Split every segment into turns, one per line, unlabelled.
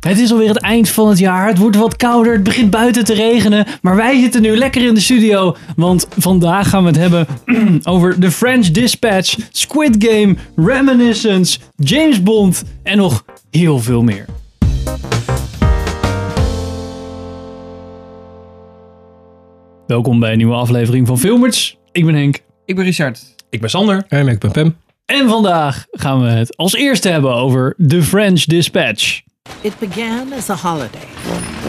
Het is alweer het eind van het jaar. Het wordt wat kouder. Het begint buiten te regenen. Maar wij zitten nu lekker in de studio. Want vandaag gaan we het hebben over The French Dispatch, Squid Game, Reminiscence, James Bond en nog heel veel meer. Welkom bij een nieuwe aflevering van Filmers. Ik ben Henk.
Ik ben Richard.
Ik ben Sander.
En ik ben Pem.
En vandaag gaan we het als eerste hebben over The French Dispatch.
It began as a holiday,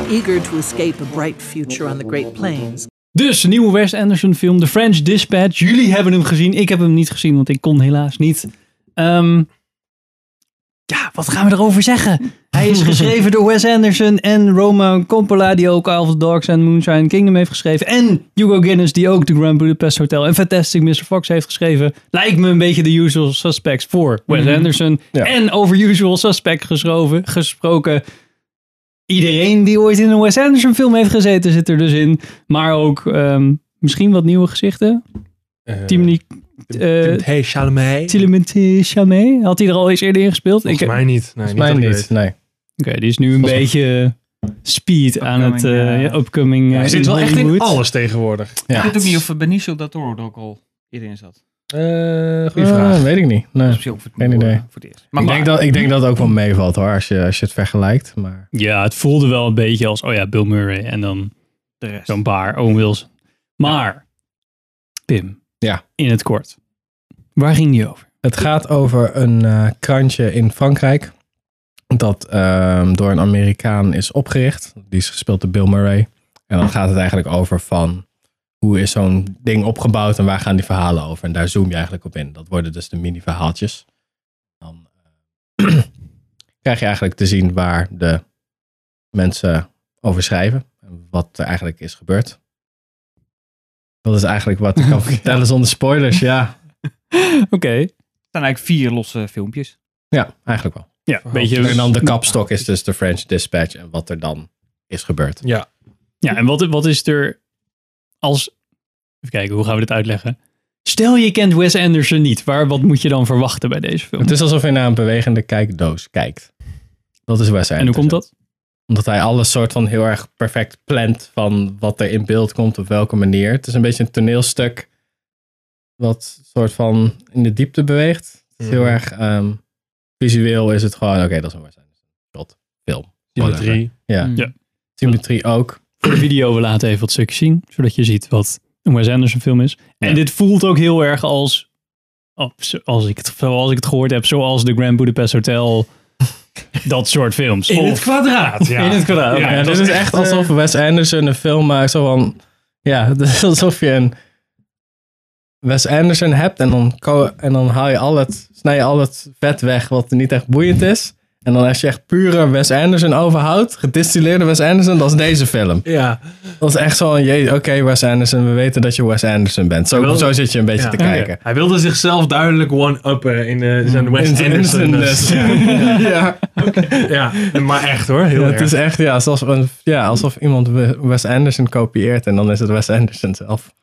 eager to escape a bright future on the Great Plains.
Dus, nieuwe Wes Anderson film, The French Dispatch. Jullie hebben hem gezien. Ik heb hem niet gezien, want ik kon helaas niet. Ehm, ja, wat gaan we erover zeggen? Hij is geschreven door Wes Anderson en Roman Coppola, die ook Isle of Dogs en Moonshine Kingdom heeft geschreven. En Hugo Guinness, die ook The Grand Budapest Hotel en Fantastic Mr. Fox heeft geschreven. Lijkt me een beetje de usual suspects voor Wes Anderson.
Ja.
En over usual suspect geschroven, gesproken... Iedereen die ooit in een Wes Anderson film heeft gezeten zit er dus in. Maar ook ehm, misschien wat nieuwe gezichten.
Eh,
Timothy eh,
hey, Chalamet.
Tillematé Chalamet. Had hij er al eens eerder in gespeeld?
Volgens
Ik- eh,
mij niet. Nee,
Mij
dat ik
niet,
weet.
nee.
Oké, die is nu een
Volgens
beetje eh, speed aan het
Upcoming,
eh,
ja.
ja, upcoming. eh,
Hij zit wel echt in
Hollywood.
alles tegenwoordig.
Ja.
Ik weet ook niet of Benicio del Toro er ook al eerder in zat.
Eh goede
Eh,
vraag.
weet ik niet. Nee.
Dat is misschien ook voor het,
Geen idee.
voor het eerst. Maar,
ik,
maar-
denk dat, ik denk dat het ook wel meevalt hoor, als je, als je het vergelijkt. Maar
Ja, het voelde wel een beetje als, oh ja, Bill Murray en dan
de rest.
zo'n paar Owen Wilson. Maar, Pim,
Ja.
in het kort. Waar ging die over?
het gaat over een eh, krantje in Frankrijk. Dat ehm, door een Amerikaan is opgericht. Die is gespeeld door Bill Murray. En dan gaat het eigenlijk over van hoe is zo'n ding opgebouwd en waar gaan die verhalen over. En daar zoom je eigenlijk op in. Dat worden dus de mini-verhaaltjes. Dan eh, krijg je eigenlijk te zien waar de mensen over schrijven. en Wat er eigenlijk is gebeurd. Dat is eigenlijk wat ik kan vertellen zonder spoilers, ja.
Oké.
Er zijn eigenlijk vier losse filmpjes.
Ja, eigenlijk wel.
Ja, een beetje...
En dan de kapstok is dus de French Dispatch en wat er dan is gebeurd.
Ja.
Ja, en wat, wat is er als... Even kijken, hoe gaan we dit uitleggen? Stel je kent Wes Anderson niet, waar, wat moet je dan verwachten bij deze film?
Het is alsof je naar een bewegende kijkdoos kijkt. Dat is Wes
en hoe komt dat?
Omdat hij alles soort van heel erg perfect plant van wat er in beeld komt op welke manier. Het is een beetje een toneelstuk wat soort van in de diepte beweegt. Het is heel
Mhm.
erg ehm, visueel is het gewoon, oké, dat is een Wes Anderson shot, film.
Symmetrie.
Ja,
Ja.
symmetrie ook.
Voor de video, we laten even wat stukjes zien, zodat je ziet wat een Wes Anderson film is. En
Ja.
dit voelt ook heel erg als, oh, zo- als ik het, zoals ik het gehoord heb, zoals The Grand Budapest Hotel, dat soort films.
In het
Of-
kwadraat. Ja.
in het kwadraat.
Ja,
oké.
Ja,
dat
dit
was
is echt
echt, eh,
alsof Wes Anderson een film maakt. Zo van, ja, het is alsof je een Wes Anderson hebt en dan, ko- en dan haal je al het, snij je al het vet weg wat niet echt boeiend is. En dan als je echt pure Wes Anderson overhoudt, gedistilleerde Wes Anderson, dat is deze film.
Ja.
Dat is echt zo'n, jee, oké Wes Anderson, we weten dat je Wes Anderson bent. Zo,
Wel-
zo zit je een beetje
Ja.
te
Ja,
kijken.
Hij wilde zichzelf duidelijk one-uppen in eh, zijn West
In- in-
Anderson.
in-
dus, ja.
ja. ja.
ja, maar echt hoor. Heel
Ja,
erg.
het is echt ja, alsof, een- ja, alsof iemand We- Wes Anderson kopieert en dan is het Wes Anderson zelf.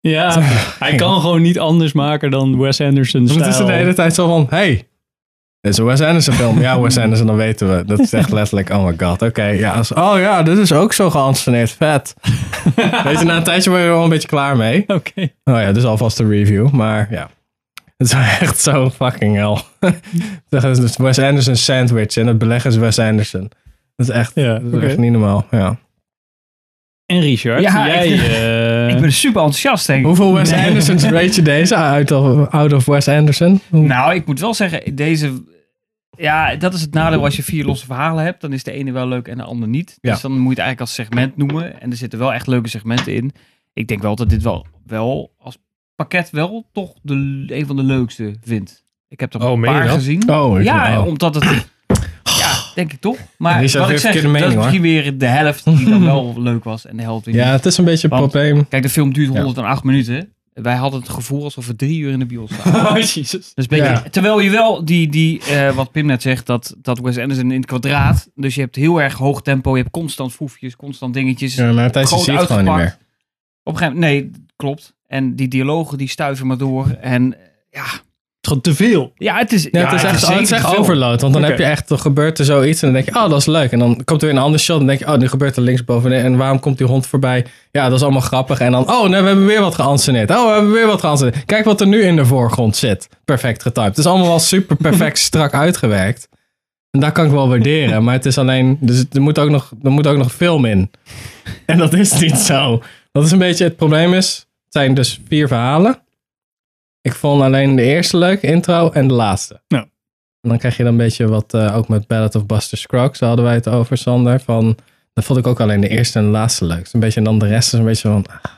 Ja, hij kan gewoon niet anders maken dan Wes Anderson
Dus het is de hele
stijl.
tijd zo van, hey, dit is een Wes Anderson film. ja, Wes Anderson, dan weten we. Dat is echt letterlijk, oh my god, oké. ja, als- oh ja, dit is ook zo geanceneerd, vet. Weet je, na een tijdje ben je er wel een beetje klaar mee.
Oké.
Oh ja, dus alvast een review, maar ja. Het is echt zo fucking hell. dat is dus Wes Anderson sandwich en het beleg is Wes Anderson. Dat is echt,
Ja,
dat is
oké.
echt niet normaal, ja.
En Richard,
Ja,
jij...
ik-
eh,
Ik ben super enthousiast, denk ik.
Hoeveel Wes Andersons rate je deze uit of, out of Wes Anderson? Hoe-
Nou, ik moet wel zeggen, deze... Ja, dat is het nadeel als je vier losse verhalen hebt. Dan is de ene wel leuk en de ander niet. Dus
Ja.
dan moet je het eigenlijk als segment noemen. En er zitten wel echt leuke segmenten in. Ik denk wel dat dit wel, wel als pakket wel toch de, een van de leukste vindt. Ik heb er
Oh,
een
meen je
paar
dat?
gezien.
Oh, ik-
ja,
oh.
omdat het... Ja, denk ik toch. Maar
Richard
wat ik
heeft
zeg,
verkeerde
dat is
mening,
misschien weer de helft die dan wel leuk was en de helft die
Ja,
niet.
het is een beetje een
Want-
probleem.
Kijk, de film duurt
Ja.
108 minuten. Wij hadden het gevoel alsof we drie uur in de bios zaten.
Oh, jezus.
Dus ben je-
Ja.
Terwijl je wel die, die eh, wat Pim net zegt, dat, dat Wes Anderson in het kwadraat. Dus je hebt heel erg hoog tempo, je hebt constant foefjes, constant dingetjes.
Ja, maar tijdens
groot
zie je het gewoon niet meer.
uitgepakt. Op een gegeven moment, nee, klopt. En die dialogen die stuiven maar door. En eh, ja,
is gewoon te veel.
Ja, het is,
Ja, het is echt, het is
zeker
echt
te veel.
overload. Want dan
Oké.
heb je echt, er gebeurt er zoiets en dan denk je, oh, dat is leuk. En dan komt er weer een ander shot en dan denk je, oh, nu gebeurt er linksboven. En waarom komt die hond voorbij? Ja, dat is allemaal grappig. En dan, oh, nee, we hebben weer wat geanceneerd. Oh, we hebben weer wat geanceneerd. Kijk wat er nu in de voorgrond zit. Perfect getimed. Het is allemaal wel super perfect strak uitgewerkt. En dat kan ik wel waarderen. Maar het is alleen, dus er moet ook nog, er moet ook nog film in. En dat is niet zo. Dat is een beetje het probleem is, het zijn dus vier verhalen. Ik vond alleen de eerste leuk, intro, en de laatste.
Ja.
En dan krijg je dan een beetje wat, eh, ook met Ballad of Buster Scruggs, daar hadden wij het over, Sander. Van, dat vond ik ook alleen de eerste en de laatste leuk. Dus Een beetje, en dan de rest is een beetje van, ah,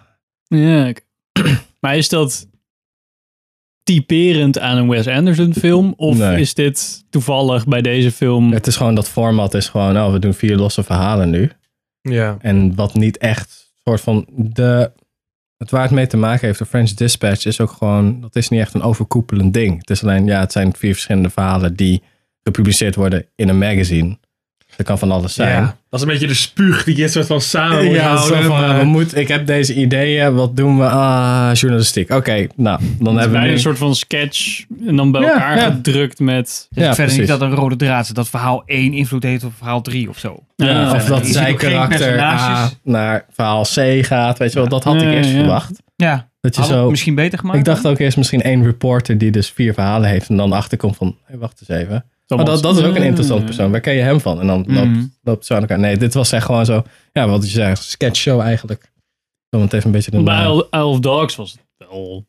Ja, oké. maar is dat typerend aan een Wes Anderson film? Of
Nee.
is dit toevallig bij deze film...
het is gewoon, dat format is gewoon, oh, we doen vier losse verhalen nu.
Ja.
En wat niet echt, soort van, de, het waar het mee te maken heeft, de French Dispatch, is ook gewoon, dat is niet echt een overkoepelend ding. Het is alleen, ja, het zijn vier verschillende verhalen die gepubliceerd worden in een magazine. Dat kan van alles zijn.
Ja. Dat is een beetje de spuug die je soort van samen moet
Ja, zo
houden.
van,
maar-
we moeten- ik heb deze ideeën, wat doen we? Ah, journalistiek. Oké, nou, dan
Het is
hebben we
bijna
nu-
een soort van sketch en dan bij
Ja,
elkaar
ja.
gedrukt met...
Het is
Ja,
verder
precies.
niet dat een rode draad zit. Dat verhaal 1 invloed heeft op verhaal 3 of zo.
Ja,
of
verder.
dat
Je ziet
zij
ook geen
karakter Ah. A
personages.
naar verhaal C gaat, weet je wel. Dat had
Ja,
ik eerst
ja.
verwacht.
Ja,
Dat je
had het
zo...
misschien beter gemaakt.
Ik dacht ook eerst misschien één reporter die dus vier verhalen heeft en dan achterkomt van, hé, wacht eens even. Maar dat, dat is ook een interessant persoon. Waar ken je hem van? En dan loopt,
Mhm.
loopt ze aan elkaar. Nee, dit was echt gewoon zo, ja, wat je zei, sketchshow eigenlijk. Om het even een beetje de
Bij
naam-
Isle Isle of Dogs was het wel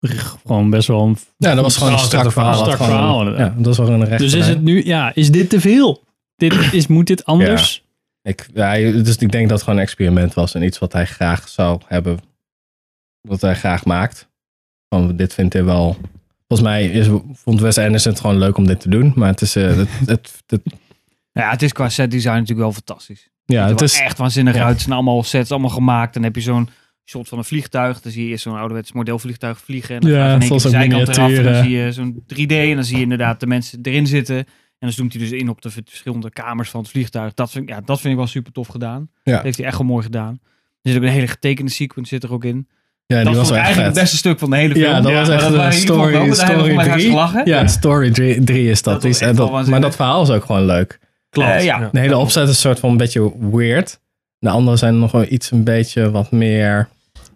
gewoon best wel een...
Ja, dat was gewoon een
Strak
strak verhaal.
verhaal. Strak
Gewoon-
verhaal, inderdaad.
Ja, dat was wel een recht.
Dus is
verhaal.
het nu... Ja, is dit te veel? Dit is, moet dit anders?
Ik, ja, dus ik denk dat het gewoon een experiment was en iets wat hij graag zou hebben. Wat hij graag maakt. Van, dit vindt hij wel. Volgens mij is, vond Wes Anderson het gewoon leuk om dit te doen. Maar het is. eh, het, het, het-
Ja, het is qua set design natuurlijk wel fantastisch.
ja,
Ziet
het
er
is.
wel echt waanzinnig
ja.
uit. Het zijn allemaal sets, allemaal gemaakt. Dan heb je zo'n shot van een vliegtuig. Dan zie je eerst zo'n ouderwets modelvliegtuig vliegen. En dan
Ja,
gaat in één keer de
zoals ook
zijkant eraf. En dan
miniaturen.
zie je zo'n 3D. En dan zie je inderdaad de mensen erin zitten. En dan zoomt hij dus in op de v- verschillende kamers van het vliegtuig. Dat vind, ik- ja, dat vind ik wel super tof gedaan.
Ja.
Dat heeft hij echt wel mooi gedaan. Er zit ook een hele getekende sequence zit er ook in.
Ja, die
dat
was
was
wel echt
eigenlijk het
vet.
beste stuk van de hele film.
Ja, dat was
maar
echt
dat
een
waren in ieder geval
story-
wel met
story
eigenlijk om uit
drie.
gelachen.
Ja, Story 3 is dat.
Dat
Die
was
is-
echt wel
dat- maar
waanzinnig.
dat verhaal is ook gewoon leuk.
Klopt.
Eh,
ja.
ja.
De hele opzet is een soort van een beetje weird. De andere zijn nog wel iets een beetje wat meer.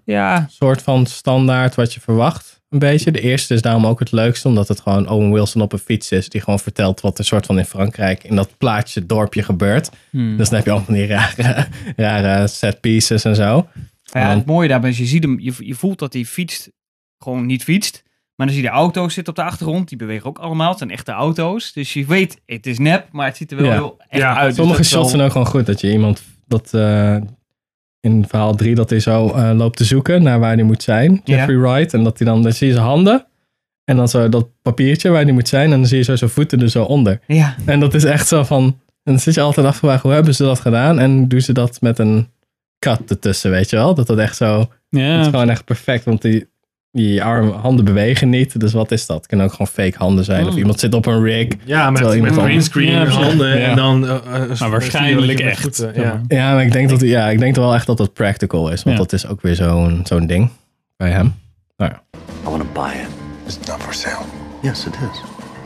Ja.
soort van standaard wat je verwacht. Een beetje. De eerste is daarom ook het leukste, omdat het gewoon Owen Wilson op een fiets is. Die gewoon vertelt wat er soort van in Frankrijk, in dat plaatsje, dorpje gebeurt.
Hmm.
Dus dan heb je allemaal van die rare, rare set pieces en zo.
Ja,
Want-
het mooie daarbij is, je, ziet hem, je, je voelt dat hij fietst, gewoon niet fietst. Maar dan zie je de auto's zitten op de achtergrond. Die bewegen ook allemaal. Het zijn echte auto's. Dus je weet, het is nep, maar het ziet er wel
Ja.
heel echt
Ja,
uit. Dus
Sommige
dat is wel-
shots zijn ook gewoon goed. Dat je iemand dat eh, in verhaal 3 dat hij zo eh, loopt te zoeken naar waar hij moet zijn.
Ja.
Jeffrey Wright. En dat hij dan, dan zie je zijn handen. En dan zo dat papiertje waar hij moet zijn. En dan zie je zo zijn voeten er zo onder.
Ja,
En dat is echt zo van. En dan zit je altijd af te vragen, hoe hebben ze dat gedaan? En doen ze dat met een kat ertussen, weet je wel? Dat dat echt zo.
Ja,
Het is gewoon echt perfect, want die, die arm, handen bewegen niet. Dus wat is dat? Het kunnen ook gewoon fake handen zijn.
Hmm.
Of
Mm.
iemand zit op een rig.
Ja, met,
Terwijl
met
iemand
green
anders-
screen
Ja,
en
precies.
handen
Ja.
en dan... eh, eh, een-
waarschijnlijk
met
echt,
voeten,
zeg
ja.
maar.
Ja, maar ik denk, dat, ja, ik denk wel echt dat dat practical is. Want
Ja.
dat is ook weer zo'n zo'n ding bij hem. Nou ja.
I want to buy it.
It's not for sale.
Yes, it is.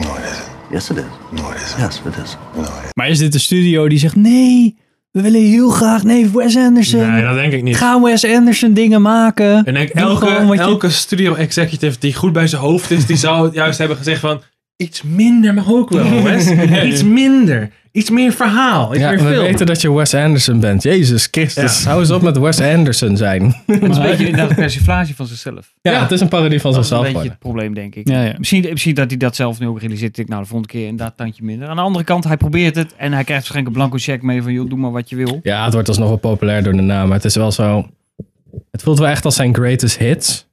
No, it isn't.
Yes, it is.
No, it isn't.
Yes, it is.
No, it
Maar is dit de studio die zegt... Nee, we willen heel graag... Nee, Wes Anderson.
Nee, dat denk ik niet.
Ga Wes Anderson dingen maken.
En denk,
Doe
elke,
gewoon wat je-
elke studio executive die goed bij zijn hoofd is, die zou juist hebben gezegd van... Iets minder mag ook wel, jongens. Iets minder. Iets meer verhaal. Iets
Ja,
meer
we
film.
weten dat je Wes Anderson bent. Jezus Christus,
Ja.
hou eens op met Wes Anderson zijn.
het is een beetje inderdaad een persiflage van zichzelf.
Ja, het is een parodie van
Dat is een
zichzelf
beetje
worden.
het probleem, denk ik.
Ja, ja.
Misschien, misschien dat hij dat zelf nu ook realiseert. Ik, nou, de volgende keer inderdaad tandje minder. Aan de andere kant, hij probeert het. En hij krijgt waarschijnlijk een blanco check mee van, joh, doe maar wat je wil.
Ja, het wordt alsnog wel populair door de naam. Maar het is wel zo. Het voelt wel echt als zijn greatest hits.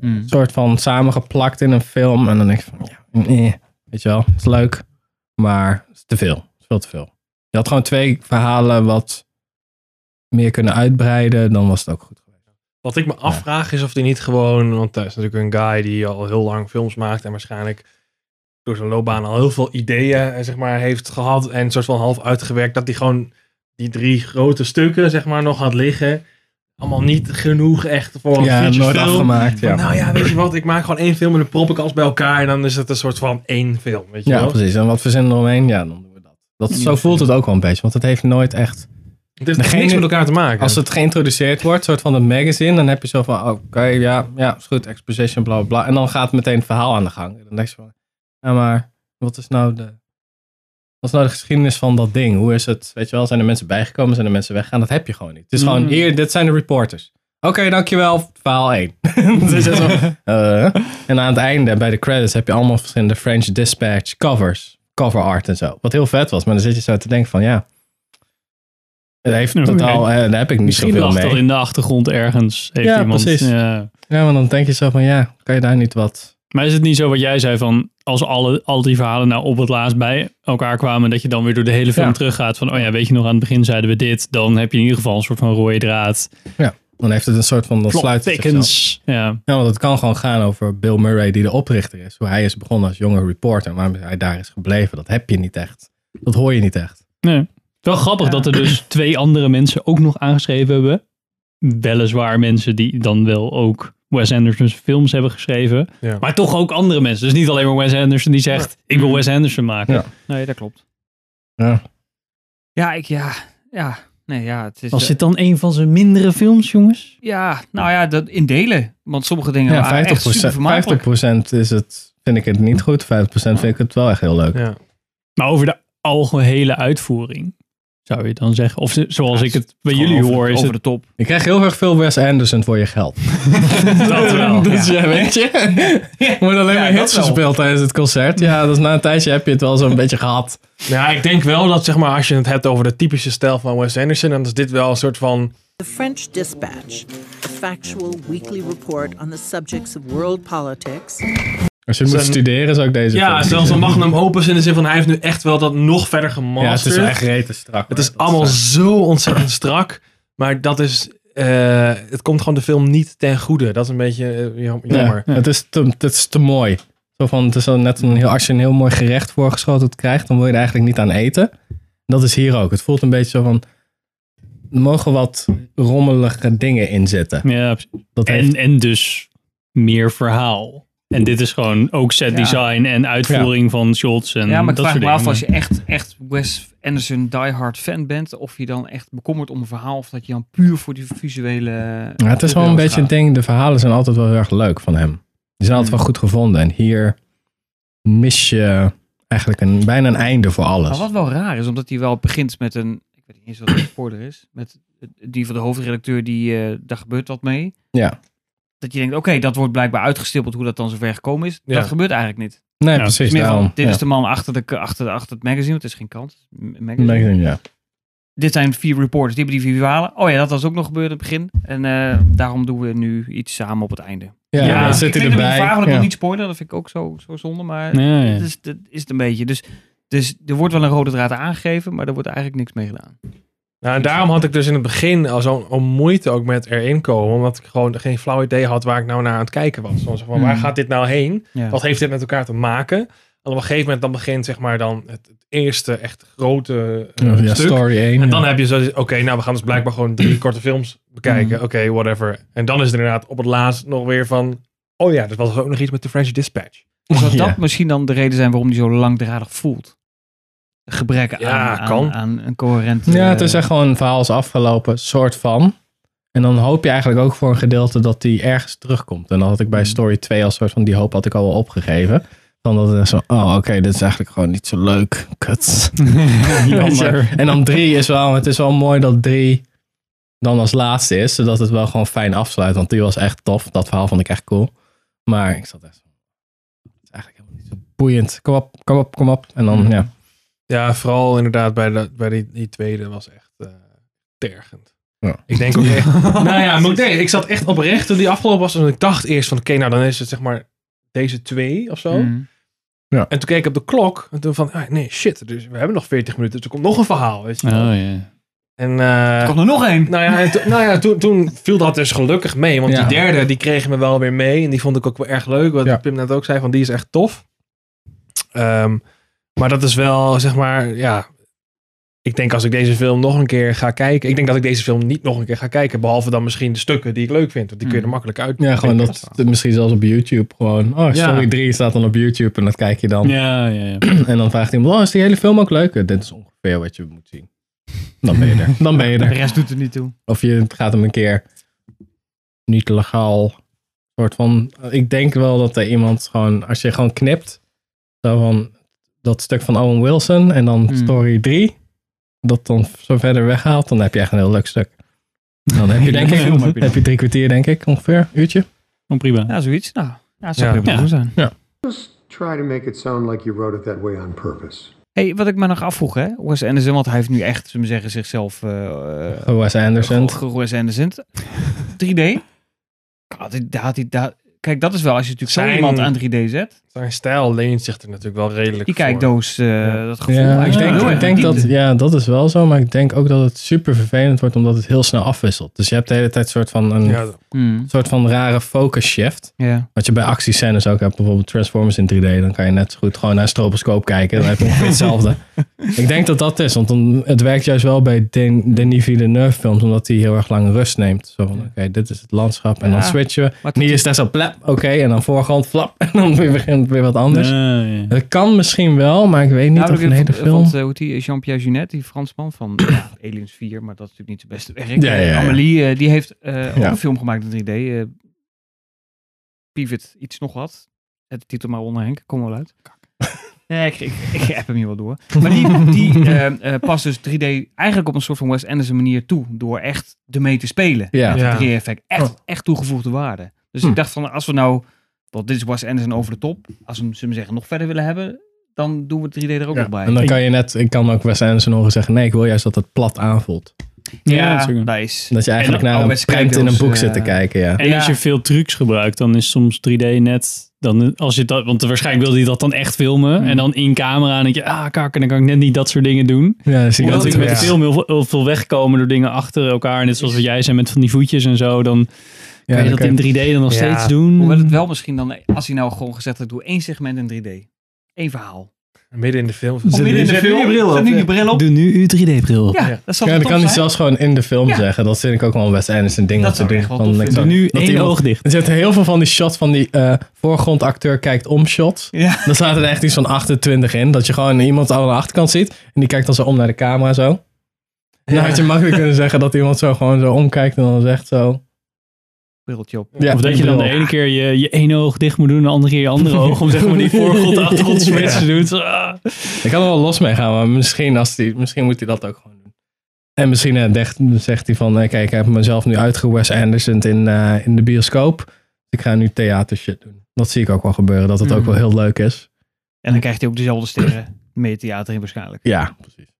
Hmm.
Een soort van samengeplakt in een film. En dan denk ik van, ja, eh, weet je wel, het is leuk. Maar het is te veel. Het is veel te veel. Je had gewoon twee verhalen wat meer kunnen uitbreiden. Dan was het ook goed geweest.
Wat ik me afvraag is of die niet gewoon... Want hij is natuurlijk een guy die al heel lang films maakt. En waarschijnlijk door zijn loopbaan al heel veel ideeën eh, zeg maar, heeft gehad. En een soort van half uitgewerkt. Dat hij gewoon die drie grote stukken zeg maar, nog had liggen. allemaal niet genoeg echt voor een
ja,
feature
nooit
film.
afgemaakt. Ja.
Van, Nou ja, weet je wat, ik maak gewoon één film en dan prop ik alles bij elkaar. En dan is het een soort van één film, weet je
ja,
wel.
precies. En wat verzinnen we eromheen? Ja, dan doen we dat. dat zo voelt het ook wel een beetje, want het heeft nooit echt...
Het heeft
Degene-
niks met elkaar te maken.
Als het geïntroduceerd wordt, soort van een magazine, dan heb je zo van, oké, ja, ja, is goed, exposition, bla, bla, bla. En dan gaat meteen het verhaal aan de gang. En dan denk je van, ja, maar wat is nou de, wat is nou de geschiedenis van dat ding? Hoe is het, weet je wel, zijn er mensen bijgekomen, zijn er mensen weggegaan? Dat heb je gewoon niet. Het is gewoon,
Mm.
hier, dit zijn de reporters. Oké, dankjewel, verhaal 1. Het is echt zo, eh. en aan het einde, bij de credits, heb je allemaal verschillende French Dispatch covers, cover art en zo. Wat heel vet was, maar dan zit je zo te denken van, ja... Het heeft
Oké.
totaal, eh, daar heb ik niet
Misschien
zoveel
lag
mee.
dat in de achtergrond ergens. Heeft
Ja,
iemand,
precies.
Ja.
Ja, maar dan denk je zo van ja, kan je daar niet wat.
Maar is het niet zo wat jij zei van als alle, al die verhalen nou op het laatst bij elkaar kwamen, dat je dan weer door de hele film
Ja.
teruggaat van oh ja, weet je nog aan het begin zeiden we dit, dan heb je in ieder geval een soort van rode draad.
Dan heeft het een soort van. Dan
Plot
sluit het zichzelf.
thickens. Ja.
Ja, want het kan gewoon gaan over Bill Murray, die de oprichter is. Hoe hij is begonnen als jonge reporter. Waarom hij daar is gebleven. Dat heb je niet echt. Dat hoor je niet echt.
Nee. Wel grappig dat er dus twee andere mensen ook nog aangeschreven hebben. Weliswaar mensen die dan wel ook Wes Anderson's films hebben geschreven.
Ja.
Maar toch ook andere mensen. Dus niet alleen maar Wes Anderson die zegt, ik
Mm-hmm.
wil Wes Anderson maken.
Ja.
Nee, dat klopt.
Ja.
Ja, ik, ja, ja. Nee, ja, het is...
Was dit dan een van zijn mindere films, jongens?
Ja, nou ja, dat in delen. Want sommige dingen
Ja,
waren
50%,
echt super vermakelijk.
50% is het, vind ik het niet goed. 50% vind ik het wel echt heel leuk.
Ja.
Maar over de algehele uitvoering, zou je dan zeggen. Of ze- zoals
Ja,
ik het bij
Gewoon
jullie
over,
hoor, is
over
het
de top.
Je krijgt heel erg veel Wes Anderson voor je geld.
Dat wel,
Dus
ja.
ja, weet je. Je wordt alleen
Ja,
maar
dat
hits
wel.
gespeeld tijdens het concert. Ja, dus na een tijdje heb je het wel zo'n beetje gehad.
ja, ik denk wel dat zeg maar, als je het hebt over de typische stijl van Wes Anderson, dan is dit wel een soort van...
The French Dispatch, a factual weekly report on the subjects of world politics,
Als je moet
Zijn-
studeren, zou ik deze
Ja,
film
zelfs een
zien.
magnum opus in de zin van hij heeft nu echt wel dat nog verder
Ja, het
gemasterd.
is echt reten strak.
Het is allemaal zo ontzettend strak. Maar dat is. eh, het komt gewoon de film niet ten goede. Dat is een beetje eh, jam- jammer.
Het, is te, het is te mooi. Zo van, het is al net een heel, als je een heel mooi gerecht voorgeschoten krijgt, dan wil je er eigenlijk niet aan eten. Dat is hier ook. Het voelt een beetje zo van. Er mogen wat rommelige dingen in zitten.
Ja,
Dat heeft-
en, en dus meer verhaal. En dit is gewoon ook set design en uitvoering van shots en
Ja, maar ik
dat
vraag
soort
me af
dingen.
als je echt, echt Wes Anderson diehard fan bent, of je dan echt bekommert om een verhaal, of dat je dan puur voor die visuele...
ja, het is wel een beetje een ding. De verhalen zijn altijd wel heel erg leuk van hem. Die zijn altijd wel goed gevonden. En hier mis je eigenlijk een, bijna een einde voor alles.
Maar wat wel raar is, omdat hij wel begint met een... Ik weet niet eens wat de spoiler is. Met die van de hoofdredacteur, die, eh, daar gebeurt wat mee.
Ja.
Dat je denkt, oké, dat wordt blijkbaar uitgestippeld hoe dat dan zover gekomen is.
Ja.
Dat gebeurt eigenlijk niet.
Nee,
Ja,
Het
precies.
is meer van,
Daarom.
dit
ja.
is de man achter, de, achter, de- achter het magazine. Het is geen kant. het is een magazine.
Magazine, ja.
Dit zijn vier reporters. Die hebben die vier verhalen. Oh ja, dat was ook nog gebeurd in het begin. En eh, daarom doen we nu iets samen op het einde.
Ja, dan zit
ik
hij
vind
erbij.
hem niet vragen, dat
Ja.
wil niet spoilen. Dat vind ik ook zo, zo zonde. Maar
Ja, ja.
dat, is, dat is het een beetje. Dus, dus er wordt wel een rode draad aangegeven, maar er wordt eigenlijk niks mee gedaan.
Nou, en daarom had ik dus in het begin al zo'n al moeite ook met erin komen. Omdat ik gewoon geen flauw idee had waar ik nou naar aan het kijken was. Van, zeg maar, Waar
Mm.
Hmm.
gaat dit nou heen?
Ja.
Wat heeft dit met elkaar te maken? En op een gegeven moment dan begint zeg maar dan het, het eerste echt grote eh,
Ja,
stuk.
story 1.
En dan heb je zo, oké, nou we gaan dus blijkbaar gewoon drie korte films bekijken.
Mhm.
Mm.
Oké, whatever. En dan is het inderdaad op het laatst nog weer van, oh ja, er was ook nog iets met de French Dispatch.
Zou
Ja.
Dus dat misschien dan de reden zijn waarom die zo langdradig voelt? Gebrek
Ja,
aan,
kan.
aan, aan een coherent...
Ja,
eh,
het is echt gewoon een verhaal is afgelopen, soort van. En dan hoop je eigenlijk ook voor een gedeelte dat die ergens terugkomt. En dan had ik bij story 2 als soort van die hoop had ik al wel opgegeven. Van dat het echt zo, oh oké, dit is eigenlijk gewoon niet zo leuk. Kut. Weet je? en dan 3 is wel, het is wel mooi dat 3 dan als laatste is. Zodat het wel gewoon fijn afsluit. Want die was echt tof. Dat verhaal vond ik echt cool. Maar ik zat echt zo, het is eigenlijk helemaal niet zo boeiend. Kom op, kom op, kom op. En dan, ja.
Ja, vooral inderdaad bij, de, bij die, die tweede was echt eh, tergend.
Ja.
Ik denk ook echt... nou ja, maar ik, denk, ik zat echt oprecht toen die afgelopen was. En ik dacht eerst van, oké, nou dan is het zeg maar deze twee of zo.
Mhm.
En toen keek ik op de klok. En toen van, ah, nee, shit, dus we hebben nog 40 minuten. Dus er komt nog een verhaal, weet je
Oh
wel.
ja.
En, eh,
Er komt er nog één.
Nou ja, en to- nou ja toen, toen viel dat dus gelukkig mee. Want
Ja.
die derde, die kregen me wel weer mee. En die vond ik ook wel erg leuk. Wat
Ja.
Pim net ook zei, van die is echt tof. Ehm, maar dat is wel, zeg maar, ja... ik denk als ik deze film nog een keer ga kijken. Ik denk dat ik deze film niet nog een keer ga kijken. Behalve dan misschien de stukken die ik leuk vind. Want die kun je er makkelijk uit.
Ja, gewoon dat het misschien zelfs op YouTube gewoon. Oh, Story 3 staat dan op YouTube en dat kijk je dan.
Ja, ja, ja.
En dan vraagt iemand, oh, is die hele film ook leuk? Eh, Dit is ongeveer wat je moet zien. Dan ben je er. Dan ben je
De
er.
rest doet er niet toe.
Of je gaat hem een keer niet legaal. Soort van, ik denk wel dat er iemand gewoon, als je gewoon knipt, zo van dat stuk van Owen Wilson en dan
Hmm.
story 3, dat dan zo verder weghaalt, dan heb je echt een heel leuk stuk. Dan heb je denk ik,
Film heb je dan.
heb je drie kwartier denk ik, ongeveer, uurtje.
Oh, prima.
Ja, zoiets. Nou, ja, het zou
Ja.
prima
Ja.
goed zijn.
Try to make it sound like you wrote it that way on purpose.
Hey, wat ik me nog afvroeg, hè? Wes Anderson, want hij heeft nu echt, zullen we zeggen, zichzelf... eh, eh,
Oh, Wes Anderson.
Go- go- Wes Anderson. 3D. God, dit- daar had hij- daar- Kijk, dat is wel als je natuurlijk
Zijn-
zo iemand aan 3D zet.
Zijn stijl leent zich er natuurlijk wel redelijk
Die
voor.
kijkdoos, eh, dat gevoel.
Ja,
Hij
ik
is
denk,
heel erg
ik denk dat,
diepte.
ja, dat is wel zo, maar ik denk ook dat het super vervelend wordt omdat het heel snel afwisselt. Dus je hebt de hele tijd soort van een
Ja,
Hmm,
soort van rare focus shift.
ja.
Wat je bij actiescènes ook hebt, bijvoorbeeld Transformers in 3D, dan kan je net zo goed gewoon naar een stroboscoop kijken. Dan heb je ongeveer hetzelfde. ik denk dat dat is, want dan, het werkt juist wel bij Den- Denis Villeneuve films, omdat hij heel erg lang rust neemt. Zo van, oké, dit is het landschap en dan
Ja.
switchen we.
Maar
Niet is daar zo plap, oké, en dan voorgrond flap, en dan weer begint weer wat anders.
Ja, ja.
Dat kan misschien wel, maar ik weet niet
Nou,
of een
ik-
hele
vond-
film...
vond, eh, hoe heet die, Jean-Pierre Junet, die Fransman van ja, Aliens 4, maar dat is natuurlijk niet zijn beste werk.
Ja, ja,
Eh,
ja.
Amelie, eh, die heeft eh, ook
Ja.
een film gemaakt in 3D. eh, Pivot, iets nog wat. Zet de titel maar onder Henk, kom wel uit. Nee, ik, ik, ik app hem hier wel door. Maar die, die eh, eh, past dus 3D eigenlijk op een soort van Wes Anderson manier toe. Door echt ermee te spelen.
Ja.
Ja.
3D-effect. Echt, echt toegevoegde waarde. Dus
Hm.
ik dacht van, als we nou... Want dit is Wes Anderson over de top. Als we hem, zullen we zeggen, nog verder willen hebben... dan doen we 3D er ook
Ja.
nog bij.
En dan kan je net, ik kan ook Wes Anderson horen zeggen, nee, ik wil juist dat het plat aanvoelt.
Ja,
ja,
dat is ook een-
nice.
Dat je eigenlijk
dan
naar een
ouderwetse
print in een
kijkdoos,
boek
eh,
zit te kijken, ja.
En
Ja.
als je veel trucs gebruikt, dan is soms 3D net. Dan, als je dat, want waarschijnlijk wilde hij dat dan echt filmen. En dan in camera. En dan denk je, ah, kak. En dan kan ik net niet dat soort dingen doen.
Ja, dus dan zie je
Omdat
dat
ik
ook
met
weer.
film heel, veel- heel veel wegkomen door dingen achter elkaar. Net zoals wat jij zei met van die voetjes en zo. Dan
Ja,
kan je
dan
dat
kan je-
in 3D dan nog
Ja.
steeds doen.
Hoewel het wel misschien dan... Als hij nou gewoon gezegd had, doe één segment in 3D. Eén verhaal.
Midden in de film.
Zet nu- zet nu je bril
Zet nu die bril op.
Doe nu uw 3D-bril op.
Ja, dat zal
Ja,
toch
dan kan
top
hij
zijn?
zelfs gewoon in de film
Ja.
zeggen. Dat vind ik ook wel een Wes Anderson ding
Dat
om te
zou ik
doen.
echt wel
Dan
tof
denk ik
Doe
zo-
nu
dat
één
iemand-
oog dicht.
Er zitten heel veel van die shots van die eh, voorgrondacteur kijkt om shots.
Ja.
Dan staat er echt iets van 28 in. Dat je gewoon iemand aan de achterkant ziet. En die kijkt dan zo om naar de camera zo. En dan had je makkelijk kunnen zeggen dat iemand zo gewoon zo omkijkt en dan zegt zo.
Briltje op.
Ja,
Of dat je dan de
bril.
ene keer je, je ene oog dicht moet doen. En de andere keer je andere oog. Om zeg maar die voorgrond achtergrond switch te doen. Zo, ah.
Ik kan er wel los mee gaan, maar misschien, als die, misschien moet hij dat ook gewoon doen. En misschien eh, degt- zegt hij van, eh, kijk, ik heb mezelf nu uitgewest Anderson in, eh, in de bioscoop. Dus Ik ga nu theatershit doen. Dat zie ik ook wel gebeuren, dat het ook
Mhm.
wel heel leuk is.
En dan krijgt hij ook dezelfde sterren. Meer theater in waarschijnlijk.
Ja, precies.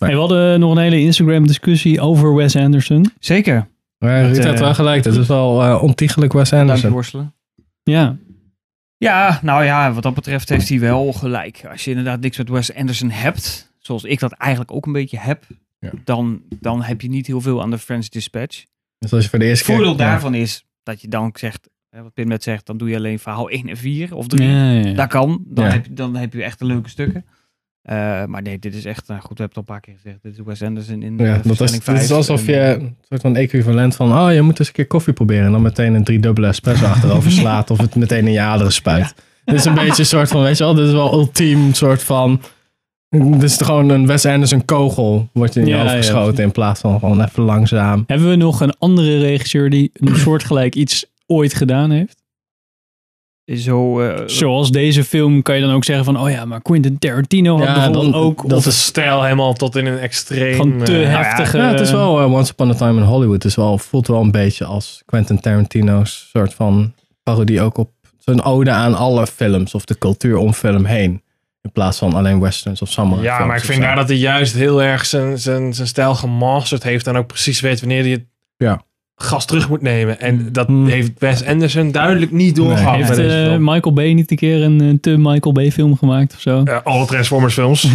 Hey, we hadden nog een hele Instagram-discussie over Wes Anderson.
Zeker.
Maar
Dat,
Ruud
eh,
heeft wel gelijk, dat is wel eh, ontiegelijk Wes
Duimpje
Anderson.
worstelen.
Ja,
Ja, nou ja, wat dat betreft heeft hij wel gelijk. Als je inderdaad niks met Wes Anderson hebt, zoals ik dat eigenlijk ook een beetje heb,
Ja.
dan, dan heb je niet heel veel aan de French Dispatch.
Dus als je voor de eerste
Het voordeel
keer...
daarvan is dat je dan zegt, hè, wat Pim net zegt, dan doe je alleen verhaal 1 en 4 of 3.
ja, ja.
Dat kan, dan,
Ja.
heb je, dan heb je echt de leuke stukken. Eh, maar nee, dit is echt, nou goed, we hebben het al een paar keer gezegd, dit is Wes Anderson in
Ja,
eh,
dat is,
versnelling
dat is
vijf.
alsof
En, eh,
je een soort van equivalent van... oh, je moet eens een keer koffie proberen... en dan meteen een driedubbele espresso achterover slaat... of het meteen in je aderen spuit. Dit is een beetje een soort van, weet je wel... dit is wel ultiem soort van... dit is gewoon een Wes Anderson kogel... wordt in je
Ja,
hoofd
ja,
geschoten...
precies.
in plaats van gewoon even langzaam.
Hebben we nog een andere regisseur die een soortgelijk iets ooit gedaan heeft?
eh, Zo, eh,
Zoals deze film kan je dan ook zeggen van, oh ja, maar Quentin Tarantino had
Ja,
bijvoorbeeld
dan-
ook
dat
of
Dat is stijl helemaal tot in een extreem...
gewoon te
eh,
heftige...
Ja, het is wel eh, Once Upon a Time in Hollywood. Het is wel, voelt wel een beetje als Quentin Tarantino's soort van parodie ook op zo'n ode aan alle films of de cultuur om film heen. In plaats van alleen westerns of samurai.
Ja,
films
maar ik
of
vind
zo.
daar dat hij juist heel erg zijn, zijn, zijn stijl gemasterd heeft. En ook precies weet wanneer hij het
Ja.
gas terug moet nemen. En dat
Hmm.
heeft Wes Anderson duidelijk niet doorgehad.
Nee.
Heeft
met deze
eh,
film.
Michael Bay niet een keer een eh, te Michael Bay film gemaakt of zo?
Eh, alle Transformers films.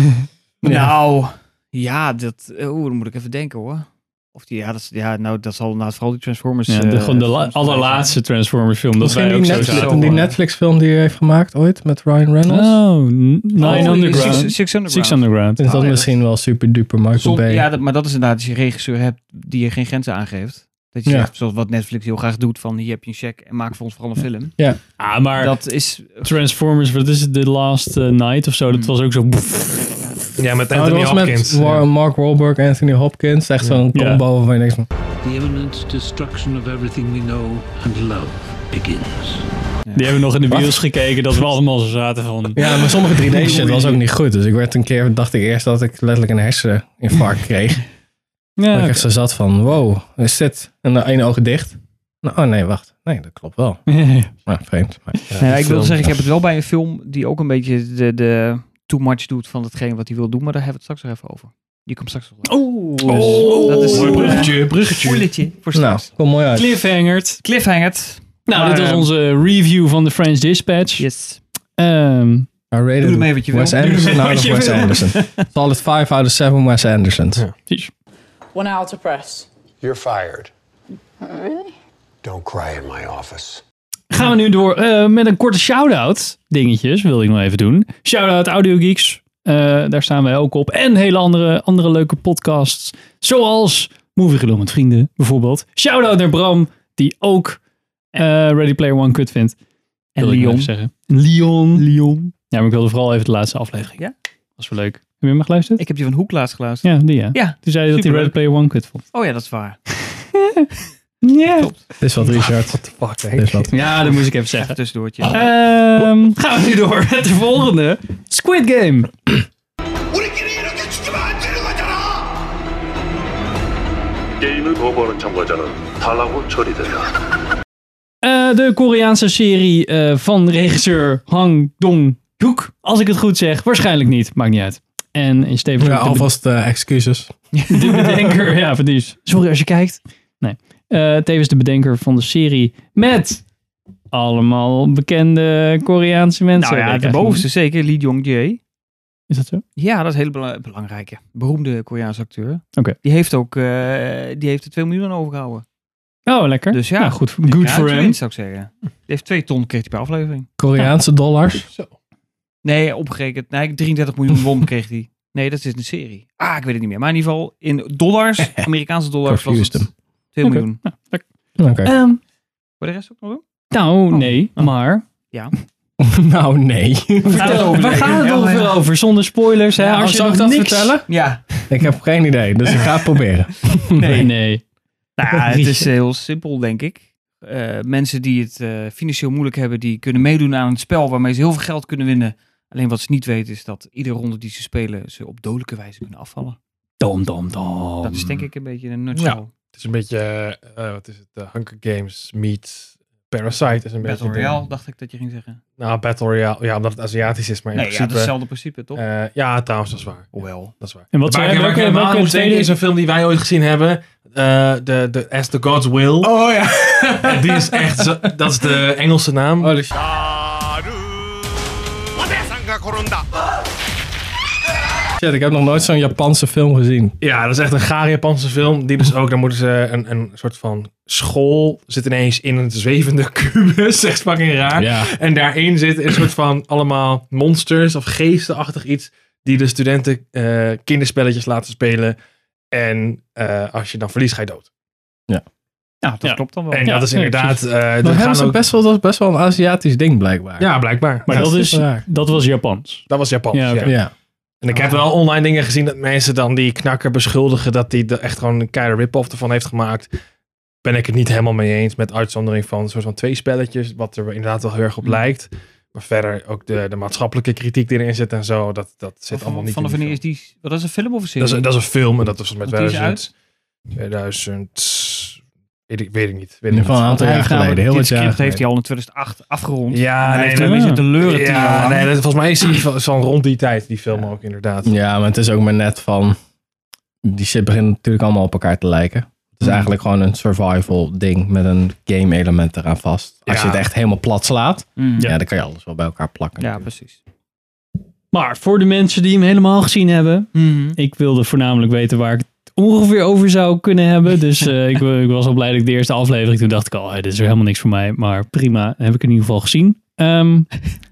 nou, ja, dat, eh, oeh, dan moet ik even denken hoor. Of die, ja, dat, is- ja nou, dat zal inderdaad vooral die Transformers...
Ja, Dus, de,
eh,
gewoon de la-
films
allerlaatste Transformers film. Dat
Misschien
wij
die,
ook zo
Netflix,
zaten.
zaten.
die Netflix film die hij heeft gemaakt ooit met Ryan Reynolds.
Oh, N- Nine
Oh,
Underground.
Six, Six Underground.
Six Underground.
Is
Oh,
dat
ja,
misschien wel super duper Michael
Som-
Bay?
ja, dat, maar dat is inderdaad als je een regisseur hebt die je geen grenzen aangeeft. Dat je
Ja.
zegt, zoals wat Netflix heel graag doet, van hier heb je een check en maak voor ons vooral een film.
Ah, maar
dat is...
Transformers, wat is het? The Last eh, Night of zo. Dat
Hmm.
was ook zo...
Ja, met
Oh, dat
Anthony
was
Hopkins.
met Wa- Mark Wahlberg en Anthony Hopkins. Echt zo'n
Ja.
combo waarvan je denkt van...
The imminent destruction of everything we know and love begins.
Die hebben nog in de bios gekeken dat we allemaal zo zaten van...
Ja, maar sommige 3D shit was ook niet goed. Dus ik werd een keer, dacht ik eerst dat ik letterlijk een herseninfarct kreeg.
Ja,
dat ik echt zo zat van, wow, is dit? En de ene oog dicht. Nou, oh nee, wacht. Nee, dat klopt wel. Maar vreemd. Maar, ja,
Nee, ik
film.
wil zeggen, ik heb het wel bij een film die ook een beetje de, de too much doet van hetgeen wat hij wil doen, maar daar hebben we het straks nog even over. Die komt straks nog wel.
Oh,
dat is-
Mooi bruggetje, bruggetje.
Oh, Spoilertje voor
Nou,
straks.
komt mooi uit.
cliffhangerd.
Cliffhangert.
Nou,
Maar,
dit was
eh,
onze review van The French Dispatch.
Yes.
Ehm,
I rated
Doe ermee wat je wil.
Wes
Doe
Anderson
ermee
out
wat
of
je
Wes
wil.
Anderson. Solid 5 out of 7 Wes Andersons.
precies.
One hour to press.
You're fired. Don't cry in my office.
Gaan we nu door eh, met een korte shout-out. Dingetjes wil ik nog even doen. Shout-out Audio Geeks. Eh, daar staan wij ook op. En hele andere, andere leuke podcasts. Zoals Movie Gelul met Vrienden bijvoorbeeld. Shout-out naar Bram, die ook eh, Ready Player One kut vindt.
En
Wil ik nog
Leon.
even zeggen. Leon. Leon. Ja, maar ik wilde vooral even de laatste aflevering.
Ja?
Was wel leuk. Heb je hem geluisterd?
Ik heb die van Hoek laatst geluisterd.
Ja, die ja.
Ja.
Toen zei je dat hij Ready
Superleuk.
Player One kut vond.
Oh ja, dat is waar.
Ja.
Dit is wat Richard. What
fuck,
Dit is wat.
Ja, dat moest ik even zeggen.
Even tussendoortje. Nou
Ehm, gaan we nu door met de volgende. Squid Game.
게임을 거부하는 참가자는 탈락으로 처리된다.
Eh, de Koreaanse serie eh, van regisseur Hang Dong-hyuk. Als ik het goed zeg. Waarschijnlijk niet. Maakt niet uit. En is tevens
Ja,
ook de,
alvast eh, excuses.
de bedenker... ja, precies. Sorry als je kijkt. Nee. Eh, tevens de bedenker van de serie met allemaal bekende Koreaanse mensen.
nou ja,
Weet ik
de
eigenlijk
bovenste zeker, Lee Jong-jae.
niet. Is dat zo?
Ja, dat is een hele bela- belangrijke. Beroemde Koreaanse acteur.
Oké.
Die heeft ook eh, die heeft er 2 miljoen aan overgehouden.
Oh, lekker.
Dus ja.
Nou, goed voor- good
Ja,
for
twee,
him.
zou ik zeggen. Die heeft 2 ton kreeg hij per aflevering.
Koreaanse dollars.
Nee, opgerekend. Nee, 33 miljoen won kreeg hij. Nee, dat is een serie. Ah, ik weet het niet meer. Maar in ieder geval, in dollars, Amerikaanse dollars, was
Confused
het
hem.
2
Oké.
miljoen. Voor
Oké.
Ehm,
de rest ook nog doen?
nou,
Oh.
nee. Maar
Nou, nee.
Vertel, waar gaat het ongeveer over? Zonder spoilers, hè?
Ja,
Als je
zou Nou, ik
nog
dat
niks-
vertellen?
Ja.
Ik heb geen idee, dus ik ga het proberen.
Nee.
Nee.
nee.
Nou, ja, het is heel simpel, denk ik. Eh, mensen die het eh, financieel moeilijk hebben, die kunnen meedoen aan een spel waarmee ze heel veel geld kunnen winnen. Alleen wat ze niet weten is dat iedere ronde die ze spelen, ze op dodelijke wijze kunnen afvallen.
Dom, dom, dom.
dat is denk ik een beetje een nutshell.
Het is Oh. een beetje, eh, eh, wat is het, eh, Hunger Games meets Parasite. Is een
Battle
beetje de-
Royale, dacht ik dat je ging zeggen.
nou, Battle Royale. Ja, omdat het Aziatisch is, maar in
Nee, ja, dat is
principe...
hetzelfde principe,
eh, Ja,
toch?
ja, trouwens, dat is waar.
Hoewel.
Dat is waar.
En wat
Waar
zijn
ik- waar ik
welke,
helemaal
welke
moet
tweede
denken is
is
een film die wij ooit gezien hebben. eh, de, de As the Gods Will.
Oh ja.
En die is echt, zo- dat is de Engelse naam.
Oh, dus- Shit, ik heb nog nooit zo'n Japanse film gezien.
Ja, dat is echt een gare Japanse film. Die dus ook, dan moeten ze een, een soort van school zit ineens in een zwevende kubus. Echt fucking raar.
Ja.
En daarin zit een soort van allemaal monsters of geestenachtig iets. Die de studenten eh, kinderspelletjes laten spelen. En eh, als je dan verliest, ga je dood.
Nou, dat
Ja.
klopt dan wel.
En
Oh. Ja,
dat is
nee,
inderdaad... eh, er
Maar
gaan
hebben ze
ook-
best wel, dat is best wel een Aziatisch ding, blijkbaar.
Ja, blijkbaar.
Maar
Ja,
dat,
dat
is,
is raar.
dat was Japans.
dat was Japan.
Ja, oké.
Ja.
En ik heb wel online dingen gezien dat mensen dan die knakker beschuldigen dat hij er echt gewoon een keiharde rip-off ervan heeft gemaakt. Ben ik het niet helemaal mee eens, met uitzondering van een soort van twee spelletjes, wat er inderdaad wel heel erg op lijkt. Maar verder ook de, de maatschappelijke kritiek die erin zit en zo, dat, dat zit
Of
allemaal niet
van de
in die
wanneer is
film.
die... Wat is een film of een serie?
Dat is, dat is een film en dat was met
Want die is
2000, 2000... Weet ik, weet ik niet. Weet
In
ik
ieder geval een
niet.
aantal
Hij
jaar
heeft namelijk-
geleden. Heel wat
dit
jaar
Nou, script heeft
geleden.
hij al in 2008 afgerond.
Ja,
hij
nee,
heeft er een
nee,
beetje de leuren tien jaar
ja,
lang.
nee, dat, volgens mij is die van, van rond die tijd, die film ook inderdaad.
Ja, maar het is ook maar net van... Die shit begint natuurlijk allemaal op elkaar te lijken. Het is eigenlijk gewoon een survival ding met een game element eraan vast. Als
Ja.
je het echt helemaal plat slaat,
Mm.
ja. dan kan je alles wel bij elkaar plakken.
Ja, precies.
Mhm. Maar voor de mensen die hem helemaal gezien hebben. Ik wilde voornamelijk weten waar ik het ongeveer over zou kunnen hebben. Dus eh, ik, wa- ik was al blij dat ik de eerste aflevering, toen dacht ik al, hey, dit is weer helemaal niks voor mij. Maar prima, heb ik in ieder geval gezien. Ehm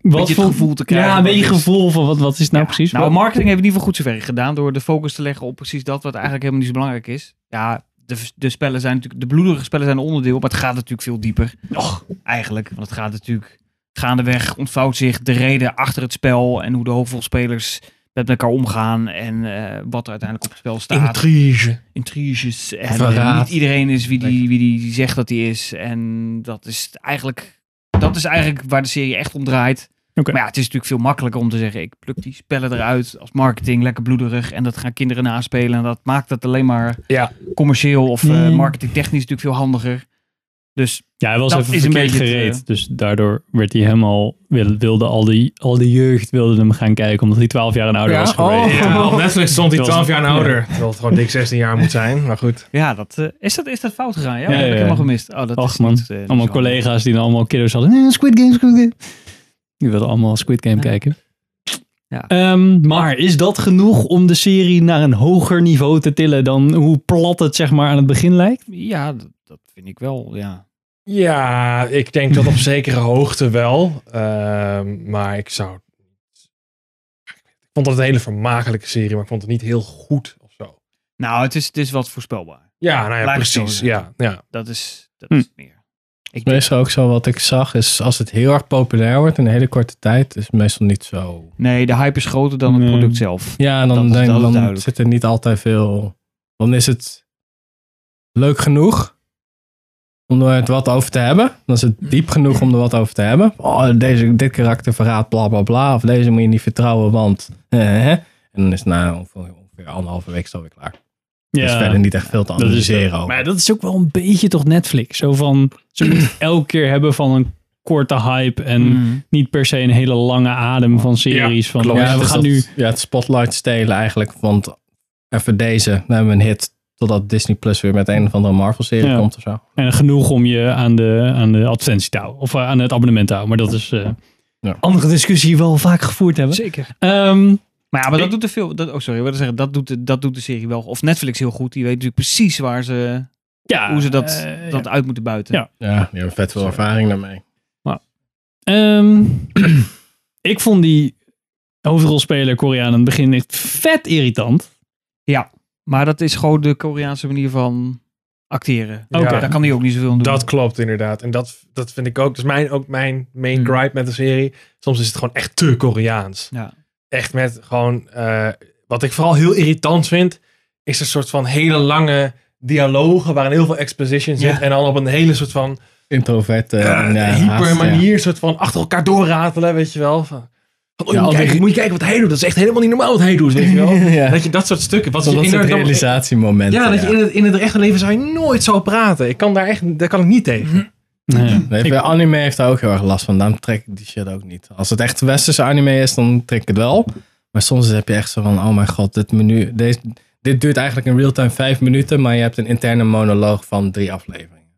wat
het
vond-
gevoel te krijgen
Ja, een
wat
beetje
is-
gevoel van wat, wat is het nou precies.
Nou,
Wat-
marketing heeft in ieder geval goed zover gedaan door de focus te leggen op precies dat wat eigenlijk helemaal niet zo belangrijk is. Ja, de, de spellen zijn natuurlijk, de bloedige spellen zijn een onderdeel, maar het gaat natuurlijk veel dieper. Och, eigenlijk, want het gaat natuurlijk gaandeweg ontvouwt zich de reden achter het spel en hoe de hoofdrolspelers met elkaar omgaan en eh, wat er uiteindelijk op het spel staat.
Intrige.
Intriges en eh,
Verraad.
niet iedereen is wie die, wie die zegt dat hij is en dat is eigenlijk, dat is eigenlijk waar de serie echt om draait.
Oké.
Maar ja, het is natuurlijk veel makkelijker om te zeggen: ik pluk die spellen eruit als marketing, lekker bloederig. En dat gaan kinderen naspelen. En dat maakt het alleen maar
Ja.
commercieel of eh,
Mm.
marketingtechnisch natuurlijk veel handiger. Dus
Ja, hij was
Dat
even
is een
verkeerd
beetje het,
gereed.
eh,
Dus daardoor werd hij helemaal, wilde, wilde al, die, al die jeugd wilde hem gaan kijken, omdat hij 12 jaar en
Oh,
ouder
Ja?
was
Oh.
geweest.
Ja, op Netflix stond hij
Dat was-
12 jaar en ouder. Terwijl het gewoon dik 16 jaar moet zijn. Maar goed.
ja, dat, eh, is, dat, is dat fout gegaan? Ja,
Ja,
dat heb
ja,
ik
ja.
helemaal gemist. Oh, dat
Ach,
is
man.
niet, eh, niet
allemaal
zo handig.
collega's die dan allemaal kiddo's hadden. "Eh, Squid Game, Squid Game. Die wilden allemaal Squid Game
Ja.
kijken.
Ja.
Ehm, maar is dat genoeg om de serie naar een hoger niveau te tillen dan hoe plat het zeg maar aan het begin lijkt?
Ja, dat, dat vind ik wel. Ja.
Ja, ik denk dat op zekere hoogte wel. Ehm, maar ik zou... Ik vond dat een hele vermakelijke serie, maar ik vond het niet heel goed of zo.
Nou, het is, het is wat voorspelbaar.
Ja, nou ja,
Laat ik het zo
precies.
zeggen.
Ja, ja.
Dat is, dat
Hm.
is meer. Ik denk-
Dus Meestal ook zo wat ik zag is als het heel erg populair wordt in een hele korte tijd, is het meestal niet zo.
nee, de hype is groter dan het
Nee.
product zelf.
Ja, en
Dat
dan,
is-
denk-
dat is
dan
duidelijk.
zit er niet altijd veel. Dan is het leuk genoeg om er het wat over te hebben. Dan is het diep genoeg om er wat over te hebben. Oh, deze, dit karakter verraadt bla bla bla. Of deze moet je niet vertrouwen, want. eh, hè. En dan is het na ongeveer, ongeveer anderhalve week zo weer klaar. Ja, dus verder niet echt veel te
dat is
analyseren. over.
Maar dat is ook wel een beetje toch Netflix. Zo van, ze moeten het elke keer hebben van een korte hype en
Mhm.
niet per se een hele lange adem van series. van,
klopt.
ja,
het
we
is
gaan
Dus dat-
nu
Ja, het spotlight stelen eigenlijk. Want even deze, dan hebben we een hit. Totdat Disney Plus weer met een of andere Marvel-serie
Ja.
komt of zo.
En eh, genoeg om je aan de, aan de advertentie te houden. Of eh, aan het abonnement te houden. Maar dat is eh,
Ja.
andere discussie die we al vaak gevoerd hebben.
Zeker.
Ehm,
Maar ja, maar dat
Ik-
doet de film. Dat, oh, sorry, ik wilde zeggen, dat doet, de, dat doet de serie wel. Of Netflix heel goed. Die weet natuurlijk precies waar ze,
ja,
hoe ze dat,
eh,
dat uit moeten buiten.
Ja.
Ja, die hebben vet veel ervaring daarmee.
ja. Ehm, ik vond die hoofdrolspeler Koreaan aan het begin echt vet irritant.
Maar dat is gewoon de Koreaanse manier van acteren.
Oké.
Ja, daar kan hij ook niet
Mm.
zoveel aan doen.
Dat klopt inderdaad. En dat, dat vind ik ook. Dat is mijn, ook mijn
Mm.
main
Hmm.
gripe met de serie. Soms is het gewoon echt te Koreaans.
Ja.
Echt met gewoon... eh, wat ik vooral heel irritant vind... is een soort van hele lange dialogen... waarin heel veel exposition zit.
Ja.
En dan op een hele soort van...
Introvert. eh,
eh,
en, eh,
hyper
haast,
manier... soort van achter elkaar doorratelen, weet je wel. Van, van, oh, je
Ja,
moet,
al die-
kijken, moet je kijken wat hij doet. Dat is echt helemaal niet normaal wat hij doet, weet je wel.
Ja. ja.
Dat je dat soort stukken... Wat
Tot
je
dat soort
inderdaad-
realisatiemomenten.
Ja, dat je in het, in het echte leven zou je nooit zo praten. Ik kan daar echt... Daar kan ik niet tegen.
Eh,
Nee, bij anime heeft daar ook heel erg last van. Daarom trek ik die shit ook niet. Als het echt westerse anime is, dan trek ik het wel. Maar soms heb je echt zo van, oh mijn god, dit menu... Deze, dit duurt eigenlijk in real-time vijf minuten, maar je hebt een interne monoloog van drie afleveringen.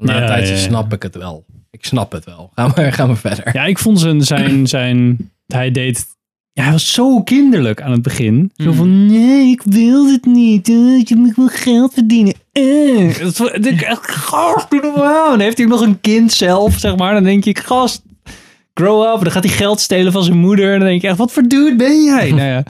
Na
Ja,
een tijdje
ja, ja.
snap ik het wel. Ik snap het wel. Ga maar, ga maar verder.
Ja, ik vond zijn, zijn, zijn hij deed, ja, hij was zo kinderlijk aan het begin. Zo
Mm.
van, nee, ik wil dit niet. Eh, ik moet wel geld verdienen. Eh. Dat vond ik echt, gast, doe normaal. En dan heeft hij ook nog een kind zelf, zeg maar. Dan denk ik, gast, grow up. Dan gaat hij geld stelen van zijn moeder. En dan denk ik echt, wat voor dude ben jij? nou ja,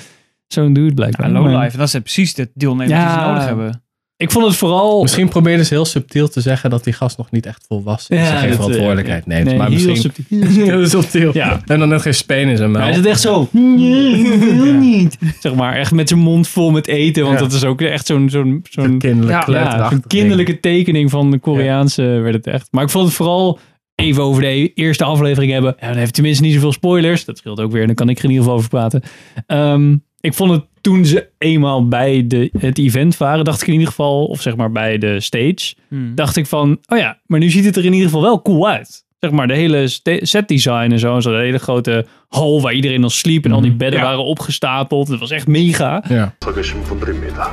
zo'n dude blijkbaar.
Ja, low
Maar
life. En dat zijn precies de deelnemers die ze
Ja.
nodig hebben.
Ik vond het vooral...
Misschien probeerden ze heel subtiel te zeggen dat die gast nog niet echt volwassen is. en geen
dat, eh,
verantwoordelijkheid neemt.
nee,
maar
heel
misschien...
subtiel, heel subtiel.
Heel subtiel.
Ja.
En dan net geen speen in zijn
Maar
mouw.
hij is het echt zo. Nee, ik wil niet. Zeg maar, echt met zijn mond vol met eten. Want
Ja.
dat is ook echt zo'n zo'n zo'n
kinderlijk
ja, een kinderlijke tekening van de Koreaanse werd het echt. Maar ik vond het vooral even over de eerste aflevering hebben. Ja, dan heeft tenminste niet zoveel spoilers. Dat scheelt ook weer. Dan kan ik er in ieder geval over praten. Ehm, ik vond het toen ze eenmaal bij de, het event waren, dacht ik in ieder geval, of zeg maar bij de stage,
Hmm.
dacht ik van, oh ja, maar nu ziet het er in ieder geval wel cool uit. Zeg maar, de hele ste- set design en zo. Zo'n hele grote hal waar iedereen al sliep en al
Mhm.
die bedden
Ja.
waren opgestapeld. Het was echt mega.
Ja.
서 계신 분들입니다.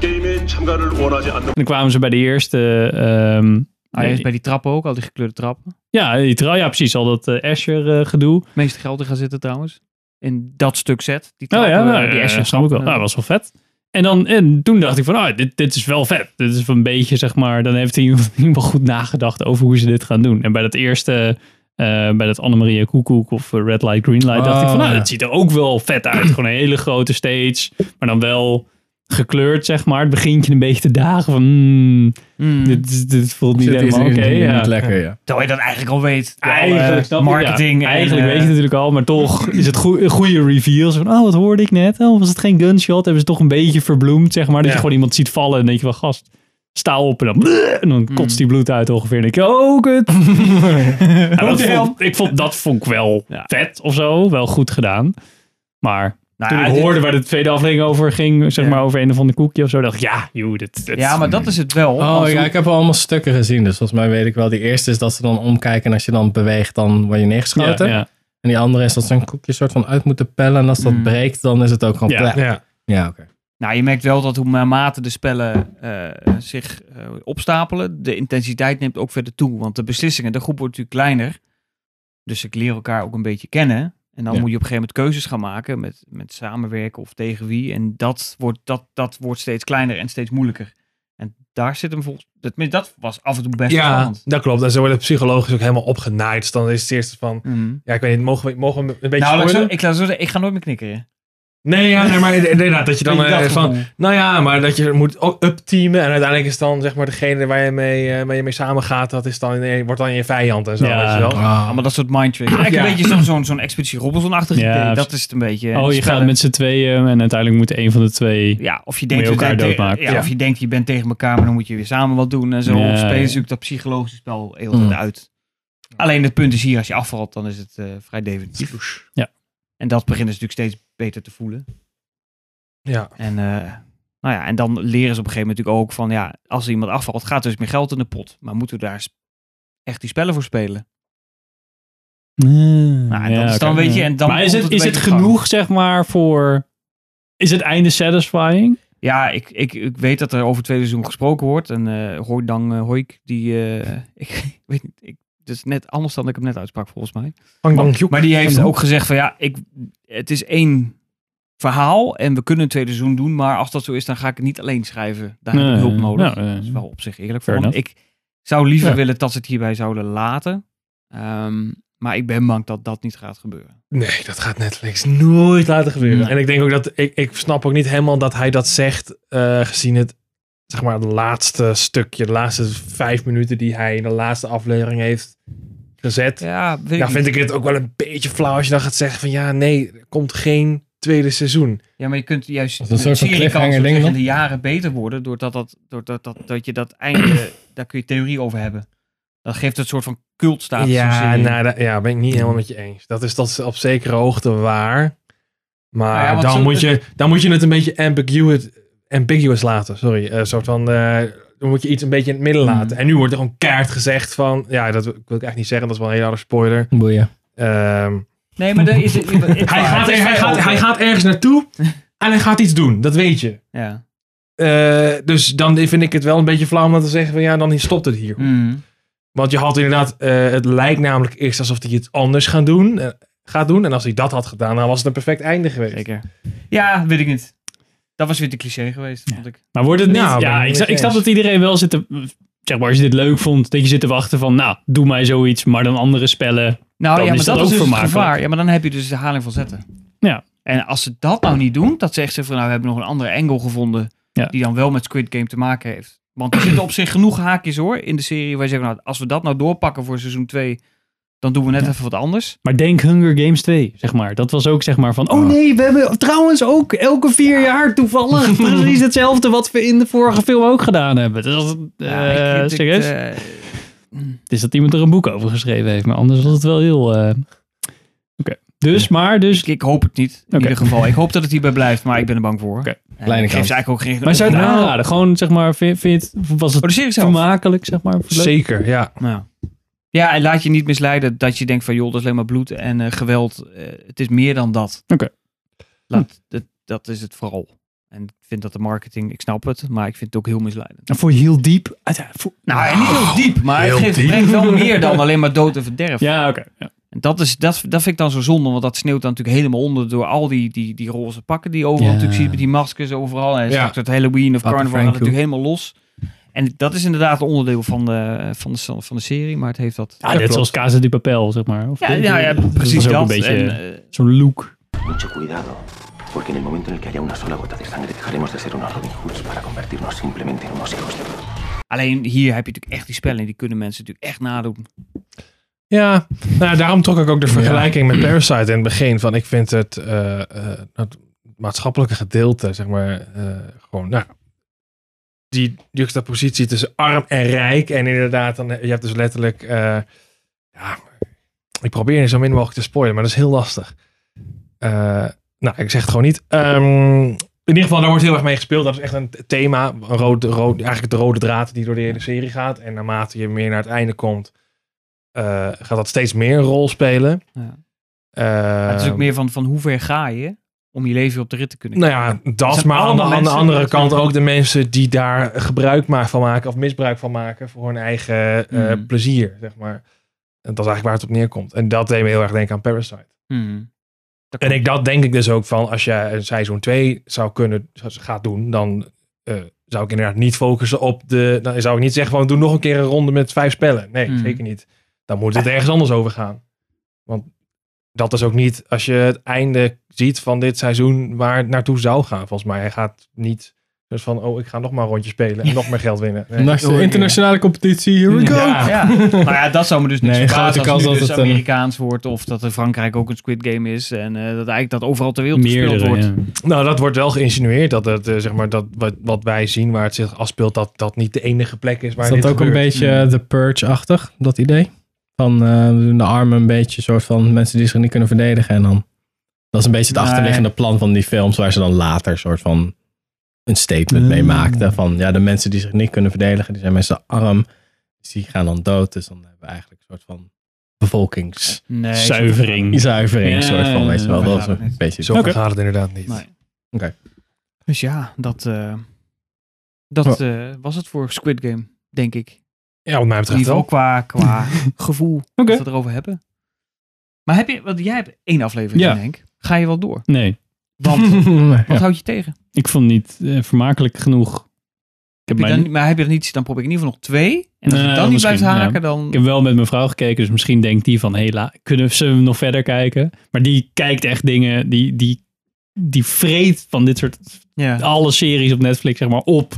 게임에 참가를 원하지 않는
En dan kwamen ze bij de eerste ehm,
Ah, hij is bij die trappen ook, al die gekleurde trappen.
Ja, die trouw, ja precies. Al dat eh Asher eh, gedoe.
Het meeste geld in gaan zitten trouwens. in dat stuk zet. Die
Oh ja,
trappen,
nou,
eh, die
ja,
Ashes
snap ik wel.
trappen.
Nou, dat was wel vet. En, dan, en toen dacht ik van, ah, dit, dit is wel vet. Dit is een beetje, zeg maar, dan heeft hij in ieder geval goed nagedacht over hoe ze dit gaan doen. En bij dat eerste, eh, bij dat Annemaria Koekoek of eh, Red Light Green Light, dacht ik van,
Oh,
nou,
ja.
dat ziet er ook wel vet uit. Gewoon een hele grote stage, maar dan wel gekleurd, zeg maar. Het begint je een beetje te dagen van, hmm,
Mm.
dit, is- dit voelt niet
Zit iets
helemaal
in
oké.
die
ja.
niet lekker, ja.
Terwijl je dat eigenlijk al weet. Door alle
Eigenlijk, snap ik, ja.
marketing. en,
Eigenlijk
eh,
weet je het natuurlijk al, maar toch is het goe- een goede reveal. Zo van, oh, wat hoorde ik net? Oh, was het geen gunshot? Hebben ze toch een beetje verbloemd, zeg maar. Dat je
Ja.
gewoon iemand ziet vallen en denk je van, gast, sta op. En dan, en dan kotst die bloed uit ongeveer. En dan denk je, oh, kut. Ja, dat vond, ik vond, dat vond ik wel
Ja.
vet of zo. Wel goed gedaan. Maar
nou
toen
ja,
ik
dit-
hoorde waar de tweede aflevering over ging, zeg
Ja.
maar over een of ander koekje of zo, dacht ik, ja, joh, dit, dit-
Ja, maar dat is het wel.
Oh
Als-
ja, ik heb al allemaal stukken gezien. Dus volgens mij weet ik wel. Die eerste is dat ze dan omkijken. En als je dan beweegt, dan word je
ja,
neergeschoten.
ja.
En die andere is dat ze een koekje soort van uit moeten pellen. En als dat
Mm.
breekt, dan is het ook gewoon...
Ja.
pla-
Ja.
Ja, oké.
Nou, je merkt wel dat hoe naarmate de spellen eh, zich eh, opstapelen, de intensiteit neemt ook verder toe. Want de beslissingen, de groep wordt natuurlijk kleiner. Dus ze leren elkaar ook een beetje kennen. En dan
Ja.
moet je op een gegeven moment keuzes gaan maken met, met samenwerken of tegen wie. En dat wordt, dat, dat wordt steeds kleiner en steeds moeilijker. En daar zit hem volgens... Dat, dat was af en toe best
Ja,
spannend.
dat klopt. En ze worden psychologisch ook helemaal opgenaaid. Dus dan is het eerst van...
Mhm.
Ja, ik weet niet, mogen we, mogen we een beetje
Nou, laat ik, zo,
spoilen?
ik, laat zo zeggen, ik ga nooit meer knikkeren.
Nee, ja, nee, maar inderdaad, dat je dan
Ik dacht
eh, van...
gewoon,
Nou ja, maar dat je moet ook upteamen. En uiteindelijk is dan zeg maar degene waar je mee, eh, waar je mee samengaat, dat is dan, eh, wordt dan je vijand en zo.
Ja.
Weet je wel?
Allemaal dat soort mindtricks. Eigenlijk
Ja.
een beetje zo'n zo'n zo'n Expeditie Robinson-achtig
Ja,
idee. Dat is het een beetje.
Oh, je gaat
Spellen.
met z'n tweeën eh, en uiteindelijk moet een van de twee...
Ja, of je denkt,
je elkaar
je bent te-
doodmaken.
Ja,
Ja.
Of je denkt je bent tegen elkaar, maar dan moet je weer samen wat doen en zo.
Ja,
Spelen ze
ja.
natuurlijk dat psychologische spel heel de tijd uit. Alleen het punt is hier, als je afvalt, dan is het eh, vrij definitief.
Ja.
En dat beginnen ze natuurlijk steeds beter te voelen.
Ja.
En, eh, nou ja, en dan leren ze op een gegeven moment natuurlijk ook van, ja, als er iemand afvalt, gaat er dus meer geld in de pot. Maar moeten we daar s- echt die spellen voor spelen?
Hmm.
Nou, en dan is- dan
oké.
weet je- en dan
maar is
komt
het,
het
is
een
het
beetje op gang.
genoeg, zeg maar, voor... Is het einde satisfying?
Ja, ik, ik, ik weet dat er over twee seizoen gesproken wordt. En eh Hoordang eh, Hoik, die, eh, ik weet niet, ik, het is net anders dan ik hem net uitsprak volgens mij.
Hang dan Kjoek.
Maar die heeft
Van de
ook gezegd van ja, ik, het is één verhaal en we kunnen een tweede seizoen doen, maar als dat zo is, dan ga ik het niet alleen schrijven. Daar heb
Nee,
ik hulp nodig.
nou, eh,
dat is wel op zich eerlijk
fair
voor hem.
enough.
Ik zou liever
Ja.
willen dat ze het hierbij zouden laten, Ehm, maar ik ben bang dat dat niet gaat gebeuren.
Nee, dat gaat Netflix nooit laten gebeuren.
Nee.
En ik denk ook dat ik, ik snap ook niet helemaal dat hij dat zegt, eh, gezien het zeg maar het laatste stukje, de laatste vijf minuten die hij in de laatste aflevering heeft gezet. Ja,
Ja, weet ik
vind
niet.
ik het ook wel een beetje flauw als je dan gaat zeggen van ja, nee, er komt geen tweede seizoen.
ja, maar je kunt juist
Dat is een soort van
serie kan
cliffhanger
zo
ding
zeggen,
dan.
de jaren beter worden doordat dat, doordat dat, dat je dat einde, daar kun je theorie over hebben. Dat geeft het soort van cultstatus. zo'n
ja,
serie.
nou, dat- ja, ben ik niet helemaal met je eens. Dat is dat is op zekere hoogte waar. Maar
Nou ja, want
dan,
zo-
moet je, dan moet je het een beetje ambiguous, ambiguous laten. Sorry, eh, soort van... eh, dan moet je iets een beetje in het
Mhm.
midden laten. En nu wordt er gewoon kaart gezegd van... Ja, dat wil ik eigenlijk niet zeggen. Dat is wel een hele harde spoiler.
Boeien.
Ehm,
Nee, maar daar is het,
hij, gaat, er- hij, gaat, hij gaat ergens naartoe. en hij gaat iets doen. Dat weet je.
Ja.
Eh, dus dan vind ik het wel een beetje flauw om dan te zeggen van... Ja, dan stopt het hier.
Mm.
Want je had inderdaad, eh, het lijkt namelijk eerst alsof hij iets anders gaan doen, eh, gaat doen. En als hij dat had gedaan, dan was het een perfect einde geweest.
Zeker. Ja, weet ik niet. Dat was weer te cliché geweest, vond ik.
Maar wordt het niet...
Nou, ben ik
ja,
niet
ik,
met
snap-
je
ik snap
eens.
dat iedereen wel zit te... Zeg maar, als je dit leuk vond, dat je zit te wachten van... Nou, doe mij zoiets, maar dan andere spellen.
Nou
Dan
ja,
is dat
maar dat,
ook
is dus het
vermakelijk.
gevaar. Ja, maar dan heb je dus de haling van zetten.
Ja.
En als ze dat nou niet doen, dat ze echt zeggen van... Nou, we hebben nog een andere angle gevonden...
Ja.
die dan wel met Squid Game te maken heeft. Want er zitten op zich genoeg haakjes hoor in de serie... waar je zegt, nou, als we dat nou doorpakken voor seizoen 2... dan doen we net even wat anders.
Maar denk Hunger Games 2, zeg maar. Dat was ook zeg maar van...
Ah.
Oh nee, we hebben trouwens ook elke vier jaar toevallig... precies hetzelfde wat we in de vorige film ook gedaan hebben. Dus, eh
ik- dit,
serieus?
eh,
Het is dat iemand er een boek over geschreven heeft, maar anders was het wel heel. eh, Oké. Dus, maar, dus.
ik hoop het niet, in
Oké.
ieder geval. Ik hoop dat het hierbij blijft, maar ik ben er bang voor.
Oké.
En
Kleine
ik geef
kans.
ze eigenlijk ook geen...
Maar zou je het
Nou,
aanraden? Gewoon, zeg maar, vind, vind je het, was
Oh,
het
de serie zelf.
vermakelijk, zeg maar? Leuk?
Zeker, ja.
Nou. Ja, en laat je niet misleiden dat je denkt van joh, dat is alleen maar bloed en eh, geweld. Eh, het is meer dan dat.
Oké.
Laat, dat, dat is het vooral. En ik vind dat de marketing, ik snap het, maar ik vind het ook heel misleidend.
En voor je heel diep. uit- ja, voor-
Nou, en niet heel diep, maar het geeft, brengt wel meer dan alleen maar dood en verderf.
Ja, oké. Ja.
En dat, is, dat, dat vind ik dan zo zonde, want dat sneeuwt dan natuurlijk helemaal onder door al die, die, die roze pakken die je overal
Ja.
natuurlijk ziet, met die maskers overal. En
Ja.
straks het Halloween of
Papa
Carnival gaat
Frank
het natuurlijk helemaal los. En dat is inderdaad een onderdeel van de, van de, van de serie, maar het heeft Ah, dat...
Ja, net zoals Casa di Papel, zeg maar. Of
Ja, nou
dit-
ja, ja,
dit- dit was
precies
ook
dat.
Een beetje,
En, eh,
Zo'n look.
Mucho cuidado, porque en el momento en el que haya una sola gota de sangre dejaremos de ser unos Robin Hoods para convertirnos simplemente en unos hijos de...
Alleen hier heb je natuurlijk echt die spellen, die kunnen mensen natuurlijk echt nadoen.
Ja, nou, ja, daarom trok ik ook de vergelijking met Parasite in het begin. Van ik vind het, eh, eh, het maatschappelijke gedeelte, zeg maar, eh, gewoon, nou, die juxtapositie tussen arm en rijk. En inderdaad, dan, je hebt dus letterlijk, eh, ja, ik probeer zo min mogelijk te spoilen, maar dat is heel lastig. Eh, nou, ik zeg het gewoon niet. Ehm, in ieder geval, daar wordt heel erg mee gespeeld. Dat is echt een thema, een rood, rood, eigenlijk de rode draad die door de hele serie gaat. En naarmate je meer naar het einde komt, eh, gaat dat steeds meer een rol spelen.
Ja.
Eh,
Maar het is ook meer van, van hoe ver ga je om je leven op de rit te kunnen
nou ja,
Het
dat,
zijn
maar aan de,
allemaal
aan de
mensen-
andere kant ook de mensen die daar gebruik ma- van maken of misbruik van maken voor hun eigen eh,
Mhm.
plezier, zeg maar. En dat is eigenlijk waar het op neerkomt. En dat deed me heel erg denken aan Parasite.
Hmm. Dat
En
klopt.
ik, dat denk ik dus ook van, als je een seizoen 2 zou kunnen, zou- gaat doen, dan eh, zou ik inderdaad niet focussen op de, dan zou ik niet zeggen van, doe nog een keer een ronde met vijf spellen. Nee,
Hmm.
Mhm.
zeker niet. Dan moet het ergens anders over gaan. Want dat is ook niet, als je het einde ziet van dit seizoen, waar het naartoe zou gaan, volgens mij. Hij gaat niet, dus van, oh, ik ga nog maar een rondje spelen en nog meer geld winnen. Nee.
Naast de internationale competitie, here we go.
Ja. Maar ja, dat zou me dus niet
Nee,
verbazen als
grote kans
het nu
dat
dus
het een-
Amerikaans wordt. Of dat in Frankrijk ook een Squid Game is. En eh, dat eigenlijk dat overal ter wereld gespeeld
meerdere,
wordt.
ja.
Nou, dat wordt wel geïnsinueerd. Dat, het, eh, zeg maar, dat wat, wat wij zien waar het zich afspeelt, dat dat niet de enige plek is waar
Is dat ook
dit
een
gebeurt.
Hmm.
beetje de Purge-achtig, dat idee? Van eh, we doen de armen een beetje soort van mensen die zich niet kunnen verdedigen. En dan, dat is een beetje het
Nee.
achterliggende plan van die films, waar ze dan later soort van een statement mee
Hmm.
Mm.
maakten. Van ja, de mensen die zich niet kunnen verdedigen, die zijn mensen arm. Dus die gaan dan dood. Dus dan hebben we eigenlijk een soort van bevolkingszuivering.
Nee, ik-
Zuivering.
Ja,
soort van, weet je wel.
ja,
Dat is
ja.
een beetje
Zo
Oké.
gaat het inderdaad niet.
Nee.
Oké.
Dus ja, dat, eh, dat eh, was het voor Squid Game, denk ik. In
Ja, wat mij betreft
ieder geval
wel.
qua, qua gevoel
Oké.
dat we het erover hebben. Maar heb je, want jij hebt één aflevering,
Ja.
Henk. Ga je wel door?
Nee,
Want
Ja.
wat houd je tegen?
ik vond het niet eh, vermakelijk genoeg. Ik heb,
Heb je
mij,
dan, maar heb je dat niet, dan probeer ik in ieder geval nog twee. En als
Nee,
je dan niet blijft
misschien,
haken, dan...
ik heb wel met mijn vrouw gekeken, dus misschien denkt die van, hé, la, kunnen ze nog verder kijken? Maar die kijkt echt dingen, die, die, die vreet van dit soort,
Ja,
alle series op Netflix, zeg maar, op.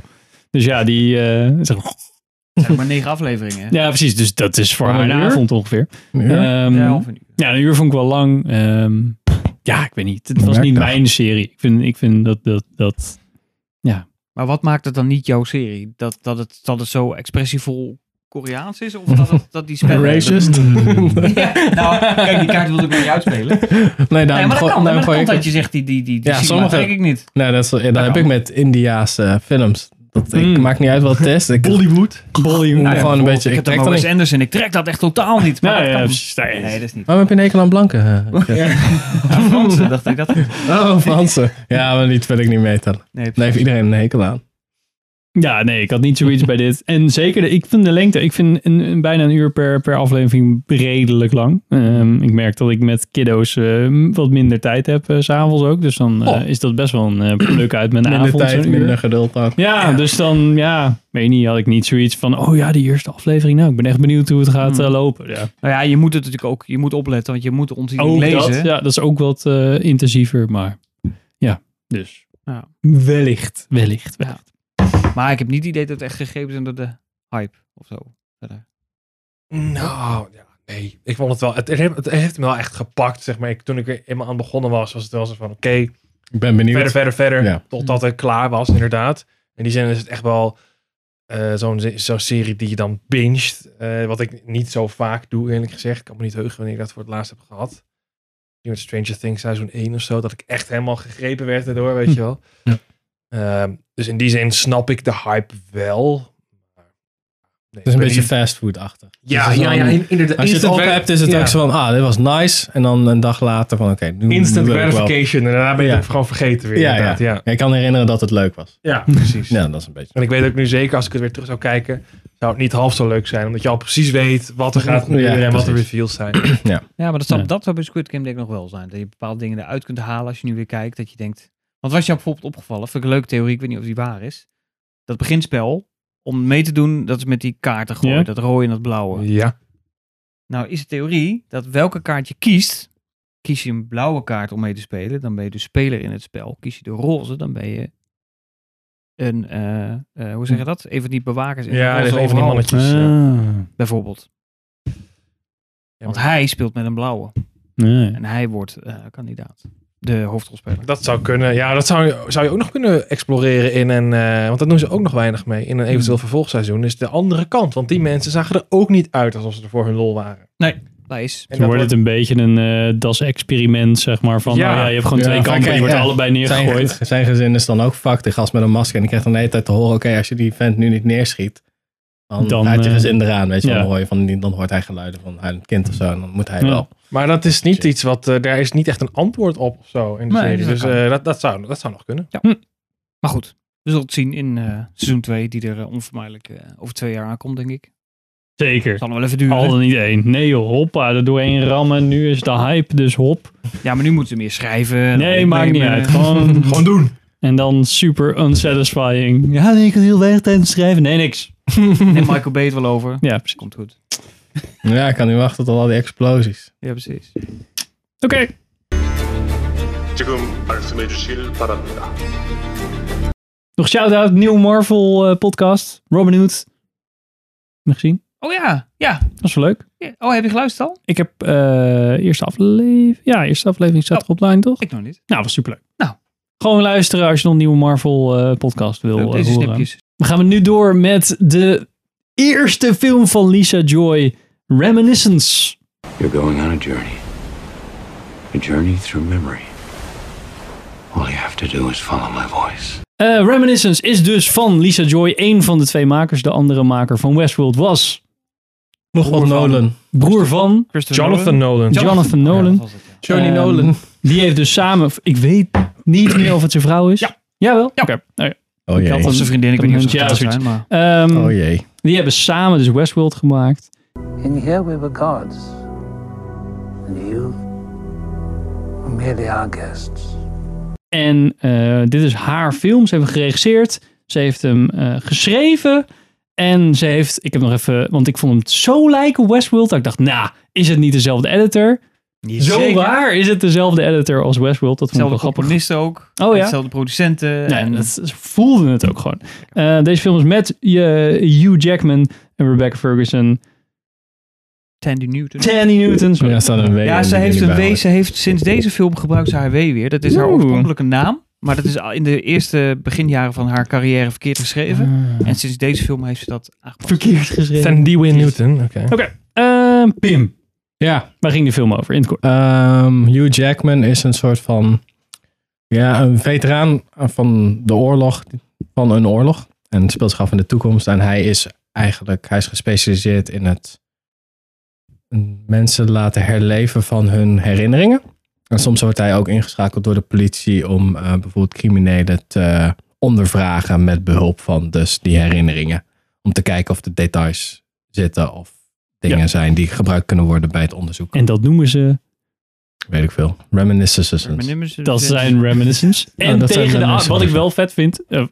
Dus ja, die, eh, zeg maar,
het zijn maar negen afleveringen. hè?
ja, precies. Dus dat is voor
Wat,
haar
een
een
uur?
avond ongeveer.
Ja.
Ehm,
Ja, half een uur.
Ja, een uur vond ik wel lang. Ehm, ja, ik weet niet. Het was niet
Werkdag.
mijn serie. Ik vind, ik vind dat, dat, dat...
Maar wat maakt het dan niet jouw serie? Dat, dat, het, dat het zo expressievol Koreaans is? Of dat, het, dat die spellen...
Racist?
Ja, nou, kijk, die kaart wilde ik maar niet uitspelen.
nee,
Nee, maar
daarom
dat
gooi-
kan. Maar
daarom
dat
gooi
kan
ik
dat je zegt, die, die, die, die
nou, Ja,
ja,
sommige-
kijk ik niet.
Nee, Nou, dat, is, ja,
Nou,
dat heb ik met Indiaanse eh, films. Dat, ik
Hmm.
Mm.
maakt niet uit wat het is. Ik,
Bollywood. Bollywood.
Nou, gewoon een
Ik
beetje. Ik
heb de
trek dan
Wes
niet.
Anderson. Ik trek dat echt totaal niet. Maar
Nou,
dat
ja,
kan.
precies. Nou, ja,
Nee, dat is niet.
Waarom heb je een hekel aan blanken? eh?
Fransen dacht ik dat.
Oh, Fransen. Ja, maar die wil ik niet meetellen.
Nee,
Daar heeft iedereen een hekel aan.
Ja, nee, ik had niet zoiets bij dit. En zeker, de, ik vind de lengte, ik vind een, een- bijna een uur per, per aflevering redelijk lang. Ehm, ik merk dat ik met kiddo's eh, wat minder tijd heb, eh, s s'avonds ook. Dus dan eh, is dat best wel een eh, pluk uit mijn
Minder
avond.
tijd,
zo'n uur.
minder geduld ook.
Ja, dus dan, ja, weet niet, had ik niet zoiets van, oh ja, die eerste aflevering, nou, ik ben echt benieuwd hoe het gaat
Hmm.
eh, lopen. Ja.
Nou ja, je moet het natuurlijk ook... Je moet opletten, want je moet ontzien
Ook
lezen.
dat, ja, dat is ook wat eh, intensiever, maar ja, dus.
Ja.
Wellicht. Wellicht, wellicht.
Maar ik heb niet het idee dat het echt gegrepen is door de hype of zo. Verder.
Nou, ja, nee. Ik vond het wel. Het, heeft- het heeft me wel echt gepakt, zeg maar. Ik, toen ik er eenmaal aan begonnen was, was het wel zo van: oké,
Ik ben benieuwd.
verder, verder, verder.
Ja.
Totdat het klaar was, inderdaad. In die zin is het echt wel eh, zo'n ze- zo'n serie die je dan binget. eh, wat ik niet zo vaak doe, eerlijk gezegd. Ik kan me niet heugen wanneer ik dat voor het laatst heb gehad. Misschien met Stranger Things seizoen 1 of zo. Dat ik echt helemaal gegrepen werd daardoor, weet
Hm.
je wel.
Ja.
Ehm, dus in die zin snap ik de hype wel. Maar Nee,
Het is een
ik
beetje
weet niet.
fastfood-achtig.
Ja,
Dus het is
ja,
dan-
ja, in- inderdaad.
Als je het
Instant
op
gra-
hebt, is het
ja.
ook zo van, ah, dit was nice. En dan een dag later van, oké, nu
Instant
nu wil ik wel.
gratification. En daarna ben je
Ja.
het gewoon vergeten weer.
Ja,
inderdaad. Ja.
Ik kan herinneren dat het leuk was.
Ja, precies.
Ja, dat is een beetje.
En ik weet ook nu zeker, als ik het weer terug zou kijken, zou het niet half zo leuk zijn. Omdat je al precies weet wat er gaat gebeuren en wat de
precies.
reveals zijn.
Ja.
Ja, maar dat zou,
Ja.
dat zou bij Squid Game denk ik nog wel zijn. Dat je bepaalde dingen eruit kunt halen als je nu weer kijkt. Dat je denkt... Want was jou bijvoorbeeld opgevallen? Vind ik een leuke theorie. Ik weet niet of die waar is. Dat beginspel, om mee te doen, dat is met die kaarten gooien.
Ja.
Dat rode en dat blauwe.
Ja.
Nou is de theorie dat welke kaart je kiest... Kies je een blauwe kaart om mee te spelen, dan ben je de speler in het spel. Kies je de roze, dan ben je een, eh, eh, hoe zeg je dat? Even die bewakers in
Ja,
roze
dat is een van die
overal,
Dus,
mannetjes. ja.
Bijvoorbeeld. Want hij speelt met een blauwe. En hij wordt eh, kandidaat. De hoofdrolspeler.
Dat zou kunnen. Ja, dat zou, zou je ook nog kunnen exploreren in een... eh, want dat doen ze ook nog weinig mee. In een eventueel vervolgseizoen is de andere kant. Want die mensen zagen er ook niet uit alsof ze er voor hun lol waren.
Nee, dat is.
Dan
En dat
wordt het een beetje een eh, das-experiment, zeg maar. Van,
Ja.
nou ja, je hebt gewoon twee
Ja,
kampen,
kijk,
je wordt
ja.
allebei
Zijn,
neergegooid.
zijn gezin is dan ook fuck, de gast met een masker. En die krijgt dan de hele tijd te horen, oké, als je die vent nu niet neerschiet, dan,
Dan,
gaat je
eh,
gezin eraan. Weet je, wel.
ja.
dan, hoor je van, die- dan hoort hij geluiden van huilend kind of zo. En dan moet hij
Ja.
wel.
Maar dat is niet iets wat... eh, daar is niet echt een antwoord op of zo in de
Nee,
serie.
dat
Dus
kan.
eh, dat, dat, zou, dat zou nog kunnen.
Hm. Maar goed, we zullen het zien in eh, seizoen 2, die er eh, onvermijdelijk eh, over twee jaar aankomt, denk ik.
Zeker.
Zal nog wel even duren.
Al dan niet één. Nee joh, hoppa, er doorheen rammen. Nu is de hype, dus hop.
Ja, maar nu moeten we meer schrijven. Nou, en
Nee,
opnemen.
maakt niet uit. Gewoon,
Gewoon doen.
en dan super unsatisfying. Ja, nee, ik had heel weinig tijd te schrijven. Nee, niks.
Neem Michael Bay het wel over.
Ja, precies.
Komt goed.
Ja, ik kan niet wachten tot al die explosies.
Ja, precies.
Oké.
지금 말씀해 주실 바랍니다.
Nog shout-out, nieuw Marvel eh, podcast. Robin Hood. Nog gezien?
Oh ja, ja.
Dat is wel leuk.
Ja. Oh, heb je geluisterd al?
Ik heb eh eerste aflevering. Ja, eerste aflevering staat er online, toch?
Ik nog niet.
Oh. Nou, was superleuk.
Nou.
Gewoon luisteren als je nog een nieuwe Marvel eh, podcast wil
Leuk,
eh,
Deze
horen.
snipjes.
We gaan we nu door met de eerste film van Lisa Joy, Reminiscence.
You're going on a journey. A journey through memory. All you have to do is follow my voice.
Eh, Reminiscence is dus van Lisa Joy, één van de twee makers. De andere maker van Westworld was
Nog wat Nolan.
broer van
Christopher
Jonathan
Nolan.
Nolan.
Jonathan
Ja, dat
Nolan.
was het, ja.
Ehm, Die heeft dus samen, ik weet niet meer of het zijn vrouw is. Ja. Jawel?
Ja.
Oké. Nou ja.
Oh
Ik had
jee.
Of zijn vriendin, ik weet niet of ze
Ja,
getrouwd
zoiets.
zijn, maar...
Ehm,
Oh jee.
Die hebben samen dus Westworld gemaakt.
And here we were gods. And you were merely our guests.
En eh, dit is haar film. Ze heeft hem geregisseerd. Ze heeft hem eh, geschreven. En ze heeft, ik heb nog even, want ik vond hem zo lijken op Westworld. Dat ik dacht, nou, is het niet dezelfde editor? Zo
Zeker.
waar is het dezelfde editor als Westworld. Dat vond ik wel
Hetzelfde
grappig.
componisten ook.
Oh ja.
Hetzelfde producenten.
Nee,
en
dat ze voelden het ook gewoon. Eh, deze film is met eh, Hugh Jackman en Rebecca Ferguson.
Tandy Newton.
Danny Newton. sorry.
Ja, staat een W.
Ja,
in
ze
die
heeft een
erbij
W.
hoort.
Ze heeft sinds deze film gebruikt ze haar W weer. Dat is haar
Oeh.
oorspronkelijke naam. Maar dat is al in de eerste beginjaren van haar carrière verkeerd geschreven. En sinds deze film heeft ze dat aangepast.
Verkeerd geschreven.
Van Dewey Newton. Oké.
Ehm, Pim,
Ja,
waar ging de film over? In het kort.
Ehm, Hugh Jackman is een soort van. Ja, een veteraan van de oorlog. Van een oorlog. En het speelt zich af in de toekomst. En hij is eigenlijk. Hij is gespecialiseerd in het. mensen laten herleven van hun herinneringen. En soms wordt hij ook ingeschakeld door de politie. om eh, bijvoorbeeld criminelen te eh, ondervragen. met behulp van dus die herinneringen. Om te kijken of er details zitten of dingen zijn die gebruikt kunnen worden bij het onderzoek.
En dat noemen ze
Weet ik veel. Reminiscences.
Dat
dus-
zijn reminiscence. Oh, En
dat zijn
tegen de, a-
reminiscences.
wat ik wel vet vind. eh,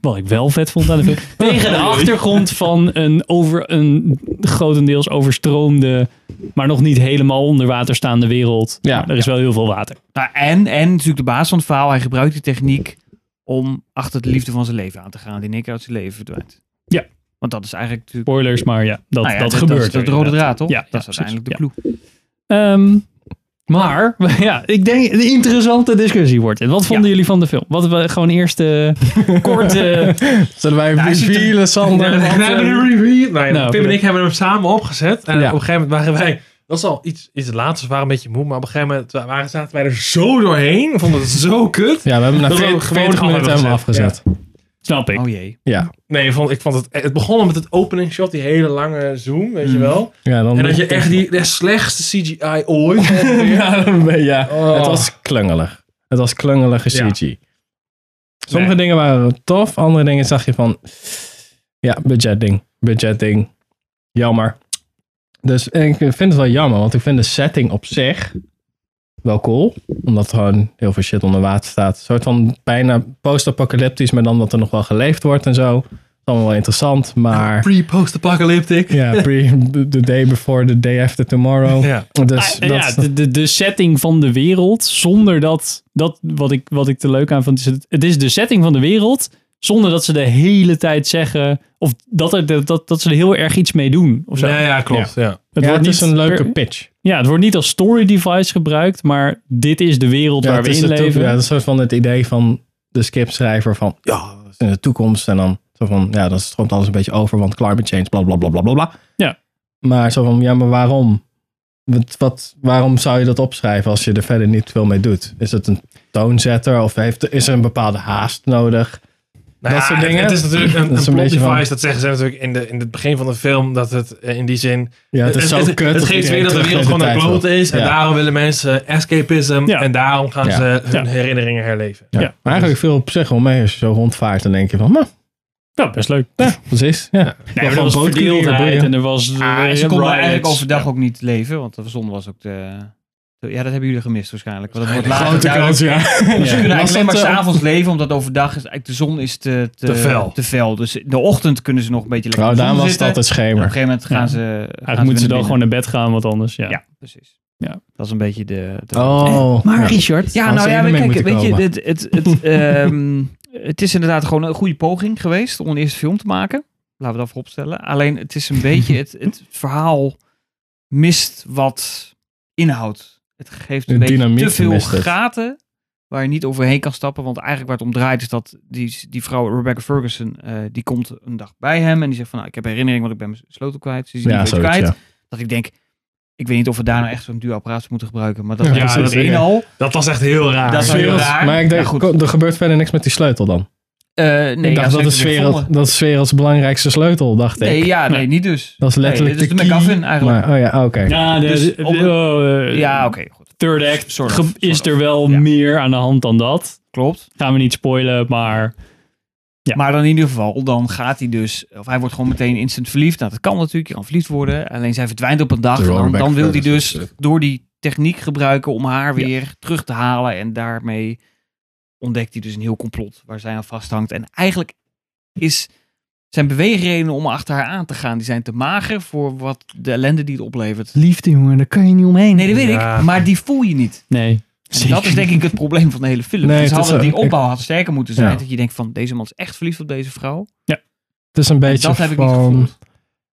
wat ik wel vet vond aan de film. tegen de achtergrond van een, over, een grotendeels overstroomde. maar nog niet helemaal onder water staande wereld.
Ja.
Er is wel heel veel water.
Nou, en, en natuurlijk de baas van het verhaal. Hij gebruikt die techniek om achter de liefde van zijn leven aan te gaan. Die in één keer uit zijn leven verdwijnt.
Ja.
Want dat is eigenlijk natuurlijk...
Spoilers, maar ja, dat,
Nou ja,
dat, gebeurt.
Dat is
er
de rode
inderdaad.
draad, toch?
Ja,
dat
ja,
is
precies.
uiteindelijk de
Ja.
clue.
Ehm, maar, ja, ik denk een interessante discussie wordt dit. Wat vonden
Ja.
jullie van de film? Wat we gewoon eerst eh, kort... eh,
Zullen wij
hij zit
revealen, Sander?
Ja, we
Want,
hebben
eh,
een review. Nou, ja,
Nou,
Pim en ik hebben hem samen opgezet. En
Ja.
op een gegeven moment waren wij... Dat is al iets, iets later. Dus we waren een beetje moe. Maar op een gegeven moment waren, zaten wij er zo doorheen. We vonden het zo kut.
ja, we hebben na
Dat we
40,
gewoon
40 minuten
af hebben
helemaal afgezet.
Snap ik.
Oh jee.
Ja.
Nee, ik vond, ik vond het, het begon met het opening shot, die hele lange zoom, weet
Mm.
je wel.
Ja, dan
en dat je echt die de slechtste CGI ooit.
ja, dan ben je- ja.
Oh.
Het was klungelig. Het was klungelige
Ja.
CG. Sommige dingen waren tof, andere dingen zag je van... Ja, budgetding. Budgetding. Jammer. Dus en ik vind het wel jammer, want ik vind de setting op zich wel cool. Omdat gewoon heel veel shit onder water staat. Een soort van bijna post-apocalyptisch, maar dan dat er nog wel geleefd wordt en zo. Dat is allemaal wel interessant, maar...
Pre-post-apocalyptic.
Ja, pre, the day before, the day after tomorrow.
Ja.
Dus
Ah,
dat,
ja, de, de, de setting van de wereld zonder dat, dat wat, ik, wat ik te leuk aan vond, is het, het is de setting van de wereld zonder dat ze de hele tijd zeggen of dat, er, de- dat, dat ze er heel erg iets mee doen. Of zo.
Ja, ja, klopt. Ja. Nou
het
Ja,
wordt
het is
niet
een leuke
per-
pitch.
ja, het wordt niet als story device gebruikt, maar dit is de wereld
Ja,
waar
het
we
is
in
de toe-
leven.
ja, dat is soort van het idee van de skipschrijver van ja, dat is in de toekomst en dan zo van ja, dan stroomt alles een beetje over, want climate change, bla bla bla bla bla. bla.
Ja.
Maar zo van ja, maar waarom? Wat, wat, waarom zou je dat opschrijven als je er verder niet veel mee doet? Is het een toonzetter of heeft, is er een bepaalde haast nodig?
Nou
dat
ja,
soort
het-
dingen.
Het is natuurlijk een,
Dat is
een
een
plot
beetje
device.
van-
Dat zeggen ze natuurlijk in, de, in het begin van de film. Dat het eh, in die zin...
Ja, het is zo
het,
kut
Het
dat
geeft
iedereen
weer dat de
terug in
wereld
de
gewoon een
tijd
kloot
wil.
is. En
Ja.
daarom willen mensen escapism.
Ja.
En daarom gaan
Ja.
ze hun
Ja.
herinneringen herleven.
Ja.
Maar eigenlijk veel op zich wel mee als je zo rondvaart en denk je van, "Nou, maar
Ja, best leuk.
precies. Ja.
Nee, maar er
Van
was
bootcurier,
verdeeldheid
boeien.
en er was
Ah,
eh,
ze konden eigenlijk
riots.
overdag ook niet leven, want de zon was ook de... Ja, dat hebben jullie gemist waarschijnlijk. Want dat
Ah,
wordt later
Grote
duidelijk.
kans,
Dus ze
ja.
kunnen
Was
eigenlijk alleen maar
dat, eh,
s'avonds leven, omdat overdag is eigenlijk de zon is te, te,
Te fel.
te fel. Dus in de ochtend kunnen ze nog een beetje lekker
Nou,
in de
daarom
zon
was het
zitten.
altijd
En op een
schemer.
gegeven moment gaan
Ja.
ze...
Eigenlijk moeten ze dan gewoon naar bed gaan, want anders, ja.
Ja, precies.
Ja.
Dat is een beetje de... de-
Oh,
Maar
ja.
Richard,
Ja,
Hadden
nou
ze
ja,
eerder
maar
mee
kijk,
moeten
weet je,
komen.
het, het, het, ehm, het is inderdaad gewoon een goede poging geweest om een eerste film te maken. Laten we dat voorop stellen. Alleen het is een beetje, het, het verhaal mist wat inhoud. Het geeft een
De
beetje
dynamiek
te veel
mist het.
gaten waar je niet overheen kan stappen. Want eigenlijk waar het om draait is dat die, die vrouw Rebecca Ferguson, eh, die komt een dag bij hem en die zegt van, nou, ik heb herinnering, want ik ben mijn sleutel kwijt. Ze is
Ja,
niet
zoiets,
kwijt.
ja.
Dat ik denk, ik weet niet of we daar nou echt zo'n duur apparaat voor moeten gebruiken. Maar dat
Ja,
is
precies.
dat één al.
Dat was echt heel raar.
Dat is wel heel raar.
Maar ik denk,
Ja, goed.
ko- er gebeurt verder niks met die sleutel dan.
Eh, nee,
ik
ja,
dacht,
ze
dat,
heeft
is
hem weer
wereld,
gevonden.
dat is werelds belangrijkste sleutel, dacht ik.
Nee, ja, nee, niet dus.
Dat is letterlijk
Nee, dit
de
is de
key,
MacGuffin eigenlijk.
maar- oh ja, oké.
Ja, de,
Dus
de-
op-
oh, eh,
ja, oké, goed.
Third act
Sort of,
ge-
sort
is
of.
er wel
Ja.
meer aan de hand dan dat.
Klopt.
Gaan we niet spoilen, maar Ja.
Maar dan in ieder geval, dan gaat hij dus, of hij wordt gewoon meteen instant verliefd. Nou, dat kan natuurlijk, je kan verliefd worden. Alleen zij verdwijnt op een dag.
De
en Dan,
Rollback
dan wil hij
Furnace
dus
is het.
door die techniek gebruiken om haar weer terug te halen. En daarmee ontdekt hij dus een heel complot waar zij aan vasthangt. En eigenlijk is zijn beweegredenen om achter haar aan te gaan, die zijn te mager voor wat de ellende die het oplevert.
liefde jongen, daar kan je niet omheen.
Nee, dat weet
Ja.
ik, maar die voel je niet.
nee.
En dat is denk ik het probleem van de hele film.
Nee,
Nee,
het
ze
is
hadden
zo.
die
Ik-
opbouw had sterker moeten zijn.
Ja.
Dat je denkt van deze man is echt verliefd op deze vrouw.
Het is een beetje
dat heb ik niet
van...
gevoeld.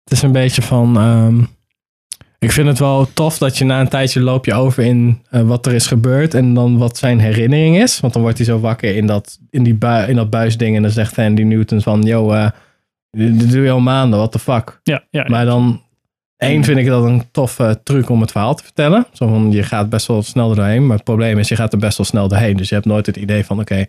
het is een beetje van... ehm, ik vind het wel tof dat je na een tijdje loop je over in eh, wat er is gebeurd en dan wat zijn herinnering is. Want dan wordt hij zo wakker in dat, in die bui, in dat buisding en dan zegt Andy Newton van, yo, eh, dit dit doe je al maanden, what the fuck.
Ja, ja.
Maar dan, één vind ik dat een toffe truc om het verhaal te vertellen. Zo van, je gaat best wel snel er doorheen. Maar het probleem is, je gaat er best wel snel doorheen. Dus je hebt nooit het idee van, oké,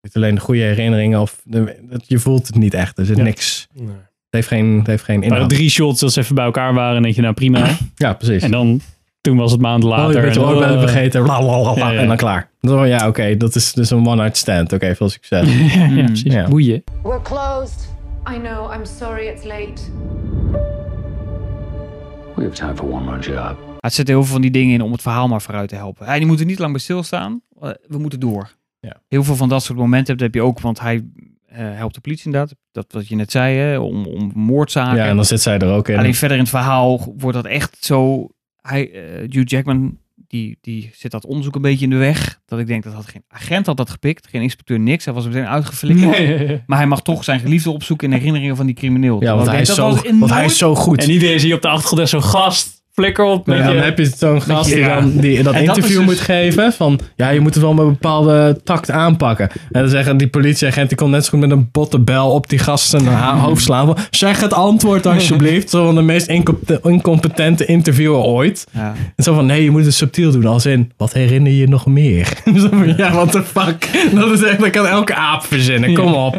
dit alleen de goede herinneringen. Of de- dat- je voelt het niet echt. Er zit
Ja.
niks.
Nee.
Het heeft geen, het heeft geen
Maar
inhoud.
drie shots dat ze even bij elkaar waren, denk je nou prima.
Ja, precies.
en dan, toen was het maand later.
oh, je bent je
en, dan,
oorbellen
eh,
vergeten. bla, bla, bla, bla,
Ja, ja.
En dan klaar. Dan, oh ja, oké, dat is dus een one-night stand. Oké, veel succes.
ja, ja, precies.
Ja.
Boeien.
We're closed.
I know, I'm sorry it's late.
We have time for one more job.
Er zitten heel veel van die dingen in om het verhaal maar vooruit te helpen. Hij die moet er niet lang bij stilstaan. Eh, We moeten door.
Ja.
Heel veel van dat soort momenten heb je ook. Want hij eh, helpt de politie inderdaad. Dat wat je net zei, hè, om, om moordzaken.
Ja, en dan zit zij er ook in.
Alleen verder in het verhaal wordt dat echt zo... Hij, eh, Hugh Jackman, die, die zit dat onderzoek een beetje in de weg. Dat ik denk, dat had geen agent had dat gepikt. Geen inspecteur, niks. Hij was er meteen uitgeflikkerd. Maar hij mag toch zijn geliefde opzoeken in herinneringen van die crimineel.
ja,
Terwijl
want
ik
hij,
denk,
is
dat
zo,
was in
want hij
nooit-
is zo goed.
En iedereen zie je op de achtergrond echt zo'n gast. flikker op.
Ja,
met
dan
je-
heb je zo'n gast die,
Ja.
dan, die dat
En dat
interview
is dus-
moet geven. Van ja, je moet het wel met een bepaalde tact aanpakken. En dan zeggen die politieagent, die kon net zo goed met een botte bel op die gasten zijn ha- hoofd slaan. Van, zeg het antwoord alsjeblieft. Zo van de meest incompet- incompetente interviewer ooit. En zo van nee, je moet het subtiel doen. Als in, wat herinner je nog meer? Zo van, ja, what the fuck. Dat is echt, dat kan elke aap verzinnen. Kom op.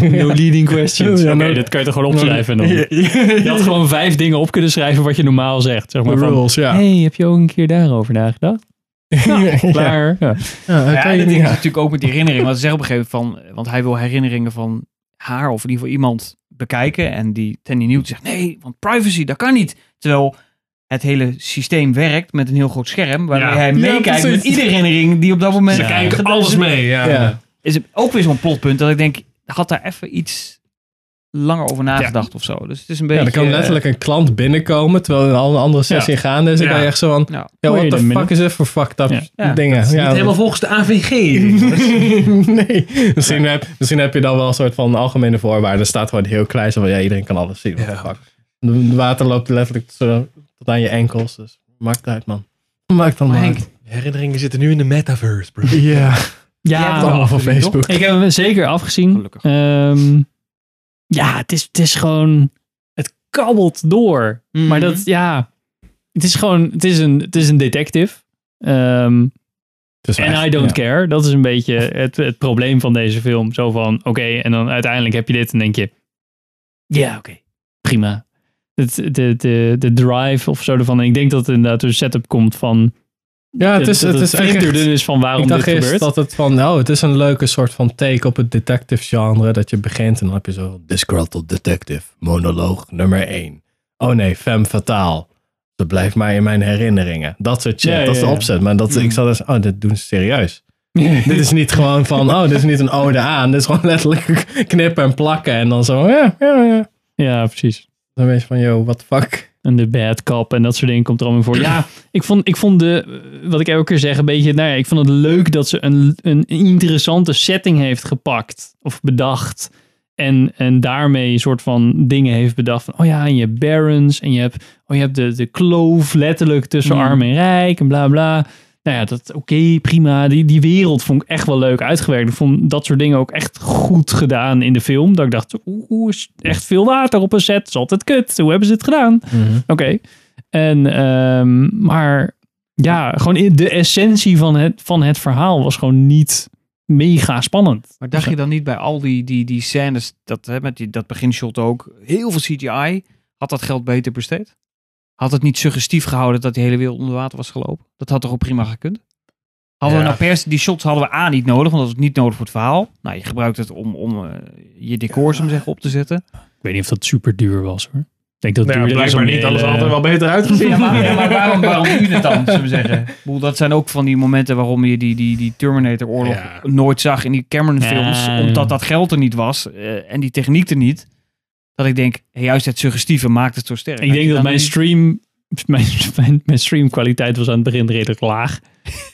No leading questions.
Ja,
Oké,
no-
dat kan je toch gewoon opschrijven dan.
Ja,
Je had gewoon vijf dingen op kunnen schrijven wat je normaal zegt. Zeg maar
The
van,
rules, ja.
hey, heb je ook een keer daarover nagedacht?
Ja.
Klaar. Ja.
Ja,
Ja,
kan
en
je
dat
niet-
is natuurlijk ook met die herinnering. Want ze zegt op een gegeven moment van... Want hij wil herinneringen van haar of in ieder geval iemand bekijken. En die Tandy Newton zegt, nee, want privacy, dat kan niet. Terwijl het hele systeem werkt met een heel groot scherm. Waarmee
Ja.
hij
Ja,
meekijkt met
precies.
iedere herinnering die op dat moment...
Ze
Ja.
kijken
gedaan
alles
is.
mee, ja. Ja.
Is het ook weer zo'n plotpunt dat ik denk... Had daar even iets langer over nagedacht of zo. Dus het is een beetje...
ja, er kan letterlijk een klant binnenkomen terwijl er al een andere sessie
Ja.
gaande is. Dan
Ja.
kan je echt zo van,
Ja.
ja,
Hoor je
what the
dan
fuck
binnen?
is dit voor fucked up
Ja.
dingen?
Dat is
ja,
niet helemaal volgens de AVG. jongens.
nee, misschien, heb, misschien heb je dan wel een soort van algemene voorwaarden. Er staat gewoon heel klein, zo van, ja, iedereen kan alles zien. what the fuck. De water loopt letterlijk zo tot aan je enkels, dus maakt uit, man. Maakt dan
Maar
maar
Henk,
uit.
herinneringen zitten nu in de metaverse, bro. Nou
Ja.
Jij hebt
Ja,
het allemaal van Facebook.
Ik heb hem zeker afgezien. Ehm, ja, het is, het is gewoon. Het kabbelt door. Maar dat, ja. Het is gewoon. Het is een, het is een detective. Ehm
is
en
echt-
I don't
ja.
care. Dat is een beetje het, het probleem van deze film. Zo van: oké, en dan uiteindelijk heb je dit en denk je: ja, oké, prima. Het, de, de, de drive of zo ervan. En ik denk dat het inderdaad een setup komt van.
Ja, het is,
dat
het is echt...
vreemd dun is dus van waarom
ik dacht
dit
eerst
gebeurt.
dat het van, oh, het is een leuke soort van take op het detective genre. Dat je begint en dan heb je zo Disgruntled Detective, monoloog nummer 1. Oh nee, femme fataal. Dat blijft mij in mijn herinneringen. Dat soort shit,
Ja,
dat
ja, Mm.
is de
ja.
opzet. Maar dat, ik zat eens, oh, dit doen ze serieus.
Ja.
dit is niet gewoon van, oh, dit is niet een ode aan. Dit is gewoon letterlijk knippen en plakken en dan zo, ja, ja, ja.
Ja, precies.
Dan ben je van, yo, what the fuck.
En de bad cop en dat soort dingen komt er allemaal voor. Ja, ik vond, ik vond de, eh, wat ik elke keer zeg, een beetje, nou ja, ik vond het leuk dat ze een, een interessante setting heeft gepakt of bedacht. En, en daarmee een soort van dingen heeft bedacht. Van, oh ja, en je hebt barons en je hebt, oh, je hebt de, de kloof letterlijk tussen
Mm.
arm en rijk en bla bla. Nou ja, dat oké, prima. Die, die wereld vond ik echt wel leuk uitgewerkt. Ik vond dat soort dingen ook echt goed gedaan in de film. Dat ik dacht, oeh, oeh, is echt veel water op een set. Dat is altijd kut. Hoe hebben ze het gedaan? Oké. En, ehm, maar ja, gewoon in de essentie van het, van het verhaal was gewoon niet mega spannend.
Maar dacht je dan niet bij al die, die, die scènes, dat, hè, met die, dat beginshot ook, heel veel CGI, had dat geld beter besteed? Had het niet suggestief gehouden dat die hele wereld onder water was gelopen? Dat had toch ook prima gekund? Hadden we
Ja.
nou pers, die shots hadden we A niet nodig, want dat is niet nodig voor het verhaal. Nou, je gebruikt het om, om eh, je decors, om zeggen, op te zetten.
Ik weet niet of dat super duur was hoor. Ik denk dat
Nou ja,
dus
duurder is om
blijkbaar
die
niet. Alles
hele-
had
eh,
er wel beter uitgezien.
Ja, maar, ja, maar waarom, waarom doe je het dan, zullen we zeggen? Ik bedoel, dat zijn ook van die momenten waarom je die, die, die Terminator-oorlog
Ja.
nooit zag in die Cameron-films.
Ja.
Omdat dat geld er niet was eh, en die techniek er niet. Dat ik denk, hé, juist het suggestieve maakt het zo sterk.
Ik
Had je
denk dat
dan
mijn
niet-
stream, mijn, mijn, mijn streamkwaliteit was aan het begin redelijk laag.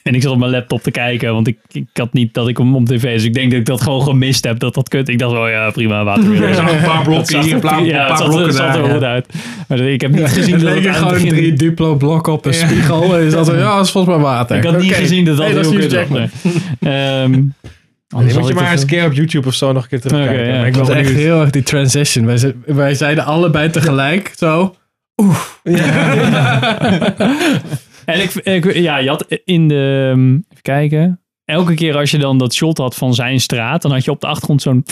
En ik zat op mijn laptop te kijken, want ik, ik had niet dat ik hem op tv. Dus ik denk dat ik dat gewoon gemist heb, dat dat kut. Ik dacht, oh ja, prima, water.
Er zaten een paar blokken hier, een paar- een
Ja,
paar
het zat,
blokken
het zat er
daar, ja.
goed uit. Maar ik heb niet gezien
Het
dat het
leek er
aan het
gewoon
begin-
drie duplo blokken op een spiegel. En is dat zo, ja, dat is volgens mij water.
Ik had niet
Oké.
gezien dat dat
Hey,
heel
is Hugh
kut was.
Jackman.
Nee. Ehm, anders
Die
had
moet je
ik
maar
dat-
eens een keer op YouTube of zo nog een keer terugkijken.
Oké, ja.
Maar ik
Ik
was
was echt
benieuwd.
heel erg die transition. Wij, ze- wij zeiden allebei tegelijk zo.
En ik, ik- ja, je had in de. ehm, Even kijken. Elke keer als je dan dat shot had van zijn straat, dan had je op de achtergrond zo'n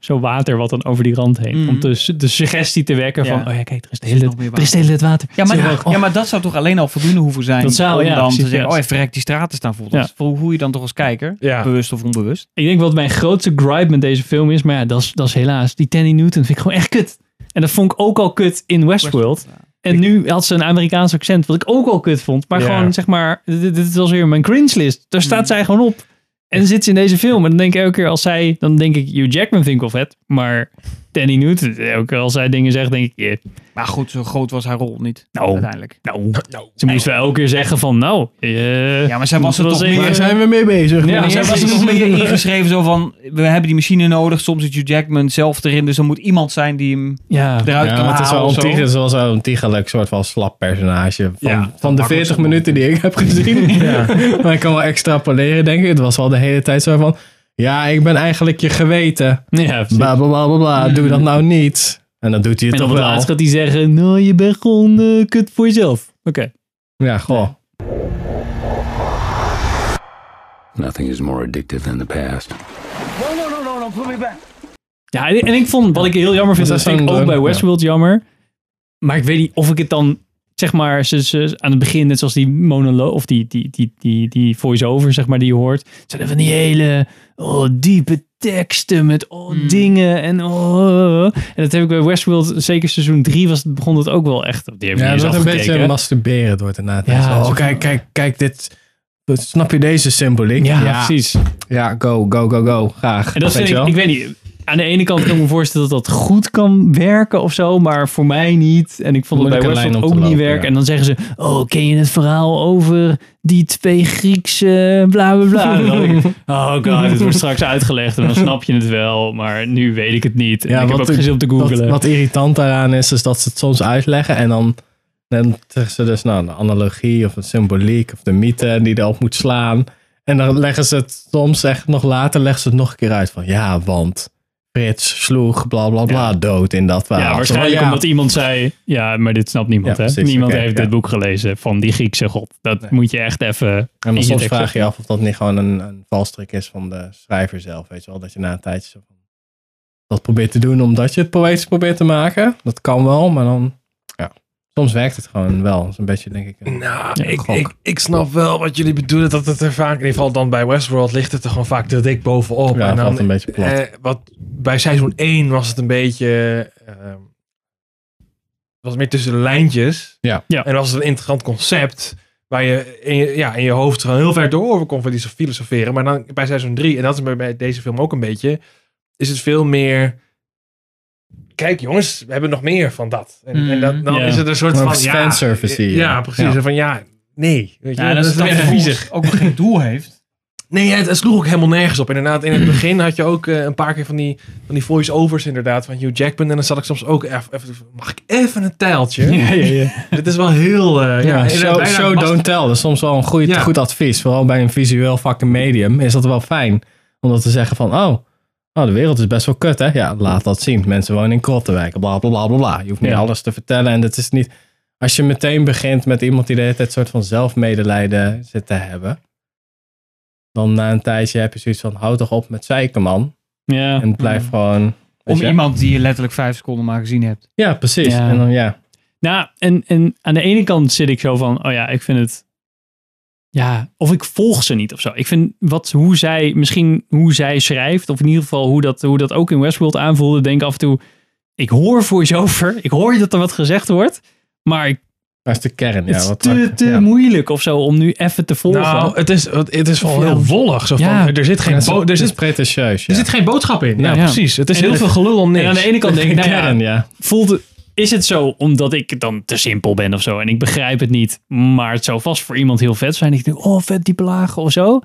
zo water wat dan over die rand heen.
Mhm.
Om de, de suggestie te wekken
Ja.
van, oh ja, kijk, er is de
Er zit
hele,
nog meer
er is de hele het water.
Ja maar,
Zo, oh.
ja, maar dat zou toch alleen al voldoende hoeven zijn
Dat zou,
om
ja,
dan
precies,
te zeggen,
ja.
oh, even verrek die straten staan vol. Dat
Ja.
is voor hoe je dan toch als kijker,
Ja.
bewust of onbewust.
Ik denk wat mijn grootste gripe met deze film is, maar ja, dat is, dat is helaas. Die Tandy Newton vind ik gewoon echt kut. En dat vond ik ook al kut in Westworld. En nu had ze een Amerikaans accent, wat ik ook al kut vond. Maar
Ja.
gewoon, zeg maar, dit, dit was weer mijn cringe list. Daar
Mm.
staat zij gewoon op. En dan zit ze in deze film. En dan denk ik elke keer als zij, dan denk ik, Hugh Jackman vind ik wel vet. Maar Danny Newton, eh, ook als hij dingen zegt, denk ik... eh,
Maar goed, zo groot was haar rol niet.
Nou,
uiteindelijk.
Nou, ze moest wel elke keer zeggen van nou... eh,
Ja, maar zij was er
wel
toch
zeker-
meer-
zijn we mee bezig?
Ja,
Ja,
zij was er nog meer ingeschreven zo van, we hebben die machine nodig. Soms zit Hugh Jackman zelf erin, dus er moet iemand zijn die hem
Ja.
eruit kan
Ja, het is
halen
wel
of zo.
ontiegelijk, zoals een ontiegelijk soort van slap personage. Van,
Ja,
van de 40 minuten die ik heb gezien.
Ja.
Maar ik kan wel extrapoleren, denk ik. Het was wel de hele tijd zo van... Ja, ik ben eigenlijk je geweten.
Ja,
bla, bla, bla, bla, bla. Doe dat nou niet. En dan doet hij het
En op
toch
het
wel.
laatst gaat hij zeggen, nou je bent gewoon eh, kut voor jezelf. Oké.
Ja, goh.
Nothing is more addictive than the past.
No, no, no, no, no, put me back.
Ja, en en ik vond, wat ik heel jammer vind,
Dat
dat
is
vind ik
zo'n
ook
druk,
bij
ja.
Westworld jammer. Maar ik weet niet of ik het dan, zeg maar, ze, ze- aan het begin, net zoals die monoloog, of die, die, die, die, die voice-over, zeg maar, die je hoort. Zijn er van die hele oh, diepe teksten met oh,
Hmm.
dingen en oh. En dat heb ik bij Westworld, zeker seizoen 3 was, begon dat ook wel echt. Die heb ik niet
Ja, het
eens
wordt een
afgekeken.
beetje masturberen door te na.
Ja,
Ja,
zo
oh, kijk, kijk, kijk, dit... Snap je deze symboliek?
Ja, precies.
Ja, go, go, go, go. Graag.
En dat
Weet
vind
je
ik,
wel?
ik weet niet. Aan de ene kant kan ik me voorstellen dat dat goed kan werken of zo, maar voor mij niet. En ik vond het bij
Moeilijke
Westworld
lijn om
ook
te
niet
lopen,
werken.
ja.
En dan zeggen ze, oh, ken je het verhaal over die twee Griekse bla bla bla. En dan denk ik, oh god, het wordt straks uitgelegd en dan snap je het wel, maar nu weet ik het niet. En ik heb ook geen zin om te googlen.
Wat, wat irritant daaraan is, is dat ze het soms uitleggen en dan, dan zeggen ze dus nou, de analogie of de symboliek of de mythe die erop moet slaan. En dan leggen ze het soms echt nog later, leggen ze het nog een keer uit van ja, want Frits sloeg bla bla bla dood in dat verhaal.
ja, waarschijnlijk
Zo van, Oh, ja,
omdat iemand zei, ja, maar dit snapt niemand,
Ja,
hè?
precies,
niemand
oké,
heeft
ja.
dit boek gelezen van die Griekse god. Dat moet je echt even...
en
in
maar soms
tekst
vraag je je af of dat niet gewoon een, een valstrik is van de schrijver zelf, weet je wel. Dat je na een tijdje zo van, dat probeert te doen omdat je het poëtisch probeert te maken. Dat kan wel, maar dan, ja, soms werkt het gewoon wel. Dat is een beetje, denk ik, een-
Nou,
Ja,
ik,
gok.
ik, ik snap wel wat jullie bedoelen. Dat het er vaak, in ieder geval dan bij Westworld, ligt het er gewoon vaak te dik bovenop.
Ja,
en dan,
valt een beetje plat.
eh, wat, bij seizoen 1 was het een beetje... ehm, was meer tussen de lijntjes.
Ja.
Ja.
En was het een interessant concept. Waar je in je, ja, in je hoofd gewoon heel ver door over kon filoso- filosoferen. Maar dan bij seizoen 3, en dat is bij- bij deze film ook een beetje... Is het veel meer... Kijk jongens, we hebben nog meer van dat. En,
Mm.
en dat, dan
Ja.
is het een soort
Maar
van...
een
ja,
fanservice zie je.
Ja, precies.
Ja.
En Van ja, nee. Weet je,
Ja, dat is
weer
dat viezig. ook geen doel heeft.
Nee, het, het sloeg ook helemaal nergens op. Inderdaad,
Mm.
in het begin had je ook eh, een paar keer van die, van die voice-overs inderdaad van Hugh Jackman. En dan zat ik soms ook even, even- mag ik even een tijltje?
Ja, ja, ja.
Dit is wel heel... eh, ja,
Ja,
inderdaad,
show,
bijna
show
bast-
don't tell. Dat is soms wel een goeie,
Ja.
goed advies. Vooral bij een visueel fucking medium is dat wel fijn. Om dat te zeggen van, oh, oh, de wereld is best wel kut, hè? Ja, laat dat zien. Mensen wonen in krottenwijken, bla, bla, bla, bla, bla. Je hoeft niet
Ja.
alles te vertellen. En dat is niet... Als je meteen begint met iemand die de hele tijd soort van zelfmedelijden zit te hebben... Dan na een tijdje heb je zoiets van, hou toch op met zeiken, man.
Ja.
En blijf gewoon... weet
Om
je?
iemand die je letterlijk vijf seconden maar gezien hebt.
Ja, precies.
Ja.
En dan, ja.
Nou, en, en aan de ene kant zit ik zo van, oh ja, ik vind het. Ja, of ik volg ze niet of zo. Ik vind wat, hoe zij, misschien hoe zij schrijft, of in ieder geval hoe dat, hoe dat ook in Westworld aanvoelde, denk ik af en toe, ik hoor voor je over, ik hoor dat er wat gezegd wordt, maar ik-
Dat is de kern, ja.
het is
wat-
te, te
ja.
moeilijk of zo om nu even te volgen.
Nou, het is, het is wel
Ja.
heel wollig. Zo van,
Ja.
Er zit geen...
Het is-
bo- Er
het is
zit,
pretentieus,
er
ja.
zit geen boodschap in. Ja,
Ja.
precies. Het is
En
heel
het-
veel gelul om niks.
en aan de ene kant denk ik, nou ja,
Kern, ja.
voelt het- is het zo omdat ik het dan te simpel ben of zo en ik begrijp het niet, maar het zou vast voor iemand heel vet zijn. Ik denk, oh vet die belagen of zo.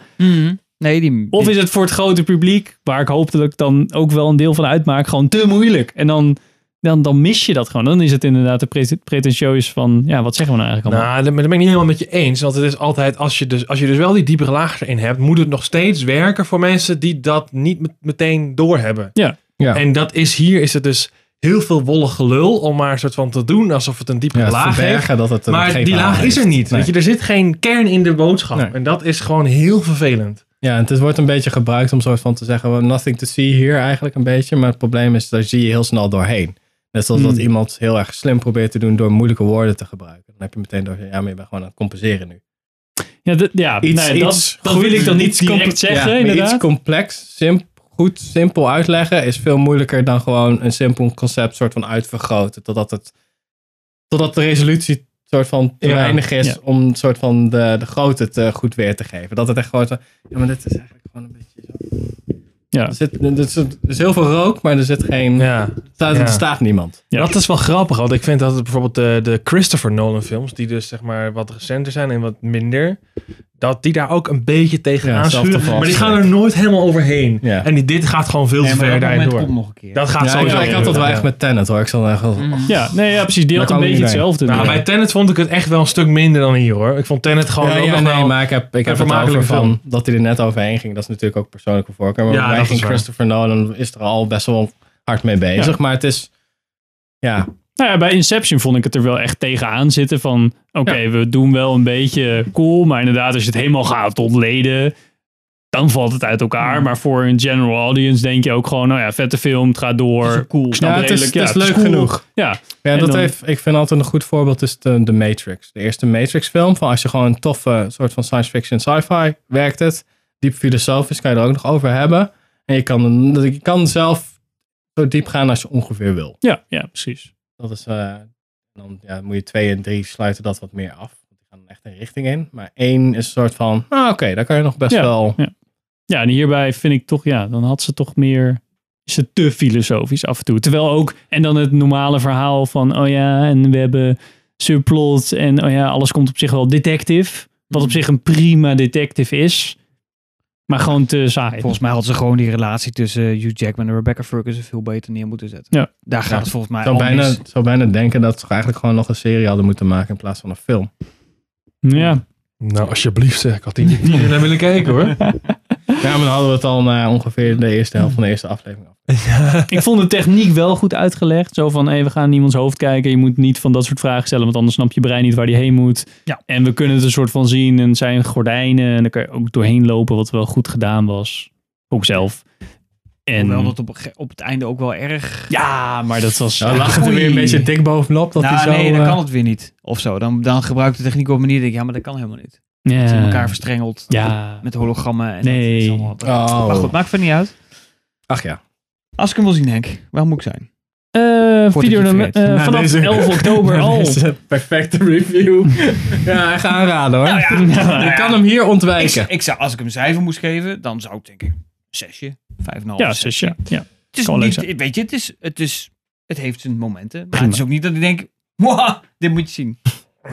Nee,
Oh,
die...
Of is het voor het grote publiek, waar ik hopelijk dan ook wel een deel van uitmaak, gewoon te moeilijk? En dan, dan, dan mis je dat gewoon. Dan is het inderdaad de pre- pretentieus van, ja, wat zeggen we nou eigenlijk allemaal?
Nou, dat ben ik niet helemaal met je eens. Want het is altijd, als je dus, als je dus wel die diepere laag erin hebt, moet het nog steeds werken voor mensen die dat niet met- meteen doorhebben.
Ja.
Ja.
En dat is hier, is het dus heel veel wollig gelul om maar een soort van te doen alsof het een diepere
Ja, het
laag heeft.
verbergen dat het een
Maar
geen
die
verhaal
laag is er
heeft.
niet.
Nee.
Weet je, er zit geen kern in de boodschap.
Nee.
En dat is gewoon heel vervelend.
Ja, en het wordt een beetje gebruikt om soort van te zeggen, well, nothing to see here eigenlijk een beetje. Maar het probleem is, daar zie je heel snel doorheen. Net zoals
Hmm.
dat iemand heel erg slim probeert te doen door moeilijke woorden te gebruiken. Dan heb je meteen door, ja, maar je bent gewoon aan het compenseren nu.
ja, dat- ja
Iets-
nou ja,
iets
dat, dat
goed-
wil ik dan niet
iets comple-
direct
ja,
zeggen,
maar
inderdaad.
Iets complex, simp, goed, simpel uitleggen is veel moeilijker dan gewoon een simpel concept soort van uitvergroten. Totdat, het, totdat de resolutie soort van te
Ja.
weinig is
Ja.
om een soort van de, de grootte te goed weer te geven. Dat het echt gewoon zo, ja, maar dit is eigenlijk gewoon een beetje zo.
Ja.
Er, zit, er, zit- er is heel veel rook, maar er zit geen...
Ja.
staat,
Ja.
Er staat niemand.
Dat is wel grappig, want ik vind dat het bijvoorbeeld de, de Christopher Nolan films, die dus zeg maar wat recenter zijn en wat minder, dat die daar ook een beetje tegen
Ja,
aan
hetzelfde
schuren. Maar die
valstrik.
gaan er nooit helemaal overheen.
Ja.
En die, dit gaat gewoon veel te
maar
ver
dat
daarin
moment
door.
komt nog een
Dat gaat
Ah,
Ja, ik-
sowieso.
ik had dat wel echt met Tenet hoor. Ik zal echt wel...
Ja, nee, ja, precies. Die
Daar
had een
kwam ik
beetje
niet bij.
hetzelfde.
Nou, bij Tenet vond ik het echt wel een stuk minder dan hier hoor. Ik vond Tenet gewoon
Ja,
ook
ja,
nog
nee,
wel
maar ik heb, ik
een
heb het over
vermakelijke
van
film.
dat hij er net overheen ging. Dat is natuurlijk ook persoonlijke voorkeur. Maar
Ja,
bij
dat is
ging
waar.
Christopher Nolan is er al best wel hard mee bezig.
Ja.
Maar het is... Ja,
Nou ja, bij Inception vond ik het er wel echt tegenaan zitten van... Oké, we doen wel een beetje cool, maar inderdaad als je het helemaal gaat ontleden... Dan valt het uit elkaar. Maar voor een general audience denk je ook gewoon... Nou ja, vette film, het gaat door. Ik snap
Ja, het is-
redelijk, ja,
het is leuk
cool.
genoeg.
Ja,
Ja,
En
dat
dan-
heeft, ik vind altijd een goed voorbeeld is de, de Matrix. De eerste Matrix film. Van als je gewoon een toffe soort van science fiction sci-fi werkt het. Diep filosofisch kan je er ook nog over hebben. En je kan, je kan zelf zo diep gaan als je ongeveer wil.
Ja, ja precies.
Dat is, eh, dan ja, moet je twee en drie sluiten dat wat meer af. Want die gaan dan echt een richting in. Maar één is een soort van, ah, oké, daar kan je nog best
ja,
wel...
Ja. ja, en hierbij vind ik toch... Ja, dan had ze toch meer... Is het te filosofisch af en toe. Terwijl ook... En dan het normale verhaal van... Oh ja, en we hebben subplot. En oh ja, alles komt op zich wel detective. Wat op zich een prima detective is. Maar gewoon te saai.
Volgens mij hadden ze gewoon die relatie tussen Hugh Jackman en Rebecca Ferguson veel beter neer moeten zetten.
Ja.
Daar gaat
Ja.
het volgens mij
Ik zou
al
bijna,
mis.
ik zou bijna denken dat ze eigenlijk gewoon nog een serie hadden moeten maken in plaats van een film.
Ja.
Nou, alsjeblieft zeg, ik had die niet meer naar willen kijken hoor.
Ja, maar dan hadden we het al na ongeveer de eerste helft van de eerste aflevering. af.
Ik vond de techniek wel goed uitgelegd. Zo van, hey, we gaan in iemands hoofd kijken. Je moet niet van dat soort vragen stellen, want anders snapt je brein niet waar die heen moet.
Ja.
En we kunnen het een soort van zien. En het zijn gordijnen. En daar kan je ook doorheen lopen, wat wel goed gedaan was. Ook zelf. En,
Hoewel dat op, een ge- op het einde ook wel erg...
ja, maar dat was...
Nou, lag het er
Oei.
weer een beetje dik bovenop. Dat
nou,
hij zo,
nee, dan
eh,
kan het weer niet. Of zo. Dan, dan gebruikt de techniek op een manier denk ik, ja, maar dat kan helemaal niet. Ze zijn elkaar verstrengeld
Ja.
met hologrammen. En
Nee.
dat is allemaal-
Oh.
Maar goed, maakt het niet uit.
Ach ja.
Als ik hem wil zien, Henk, waar moet ik zijn?
Eh,
Voordat
video
je het
nummer,
vergeet.
eh,
Nou,
vanaf
deze-
11 oktober al.
Dit is een perfecte review. Oh, ja, ik ga aanraden hoor.
ja.
Je kan hem hier
Nou Ik,
ontwijken.
zou- ik zou, als ik hem een cijfer moest geven, dan zou ik denk ik een zesje, vijf en een half,
Ja,
zesje.
zes, ja. ja.
Het is
Kan leuk
niet,
zijn.
weet je, het is, het is, het heeft zijn momenten. Maar
Prima.
het is ook niet dat ik denk, "Mwah, dit moet je zien.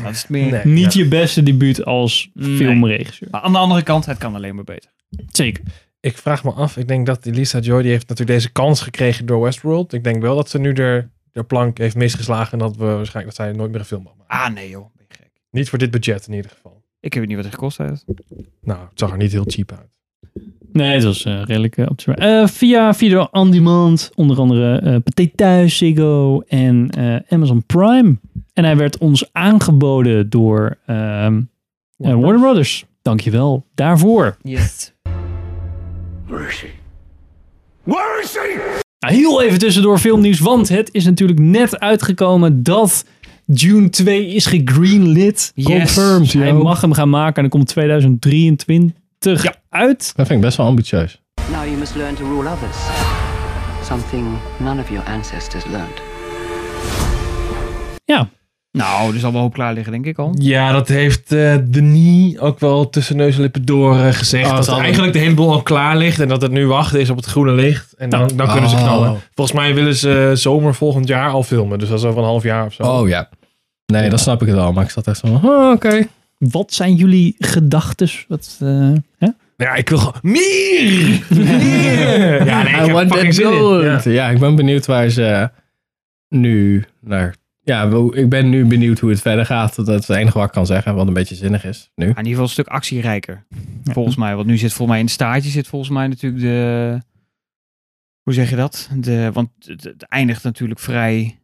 Dat is het meer.
Nee,
Niet je beste debuut als
Nee.
filmregisseur.
Maar aan de andere kant, het kan alleen maar beter.
Zeker.
Ik vraag me af, ik denk dat Elisa Joy, die heeft natuurlijk deze kans gekregen door Westworld. Ik denk wel dat ze nu de, de plank heeft misgeslagen en dat we waarschijnlijk dat zij nooit meer een film mag maken.
Ah nee joh, ben je gek.
Niet voor dit budget in ieder geval.
Ik weet niet wat het gekost heeft.
Nou, het zag er niet heel cheap uit.
Nee, het was eh, redelijk eh, op te eh, Via Video On Demand, onder andere eh Pathé Thuis, Ziggo en eh, Amazon Prime. En hij werd ons aangeboden door ehm, eh, Warner, Brothers. Dankjewel daarvoor.
Yes.
Where is she?
Nou, heel even tussendoor filmnieuws, want het is natuurlijk net uitgekomen dat Dune 2 is gegreenlit.
Yes.
Confirmed. Hij
Yo.
mag hem gaan maken en dan komt 2023 uit.
Dat vind ik best wel ambitieus.
Now you must learn to rule others. Something none of your ancestors learned.
Ja,
Nou, er zal wel hoop klaar liggen denk ik al.
Ja, dat heeft eh Denis ook wel tussen neus en lippen door eh, gezegd.
Oh,
dat
zal-
eigenlijk de hele boel al klaar ligt en dat het nu wachten is op het groene licht. En dan, dan kunnen ze
Oh.
knallen. Volgens mij willen ze eh, zomer volgend jaar al filmen. Dus dat is over een half jaar of zo.
Oh ja. Nee, dan snap ik het al. Maar ik zat echt zo van, oh, oké.
wat zijn jullie gedachten? Wat, eh, hè?
Ja, ik wil gewoon... Meer! Meer! ja, nee, ik
I
heb
want
fucking
that
zin in.
gold.
Ja.
Ja. ik ben benieuwd waar ze nu naar... Ja, wel, ik ben nu benieuwd hoe het verder gaat. Dat is het enige wat ik kan zeggen, wat een beetje zinnig is nu.
Maar Ah, in ieder geval een stuk actierijker. Volgens mij. Want nu zit volgens mij in het staartje zit volgens mij natuurlijk de. Hoe zeg je dat? De, want het, het eindigt natuurlijk vrij.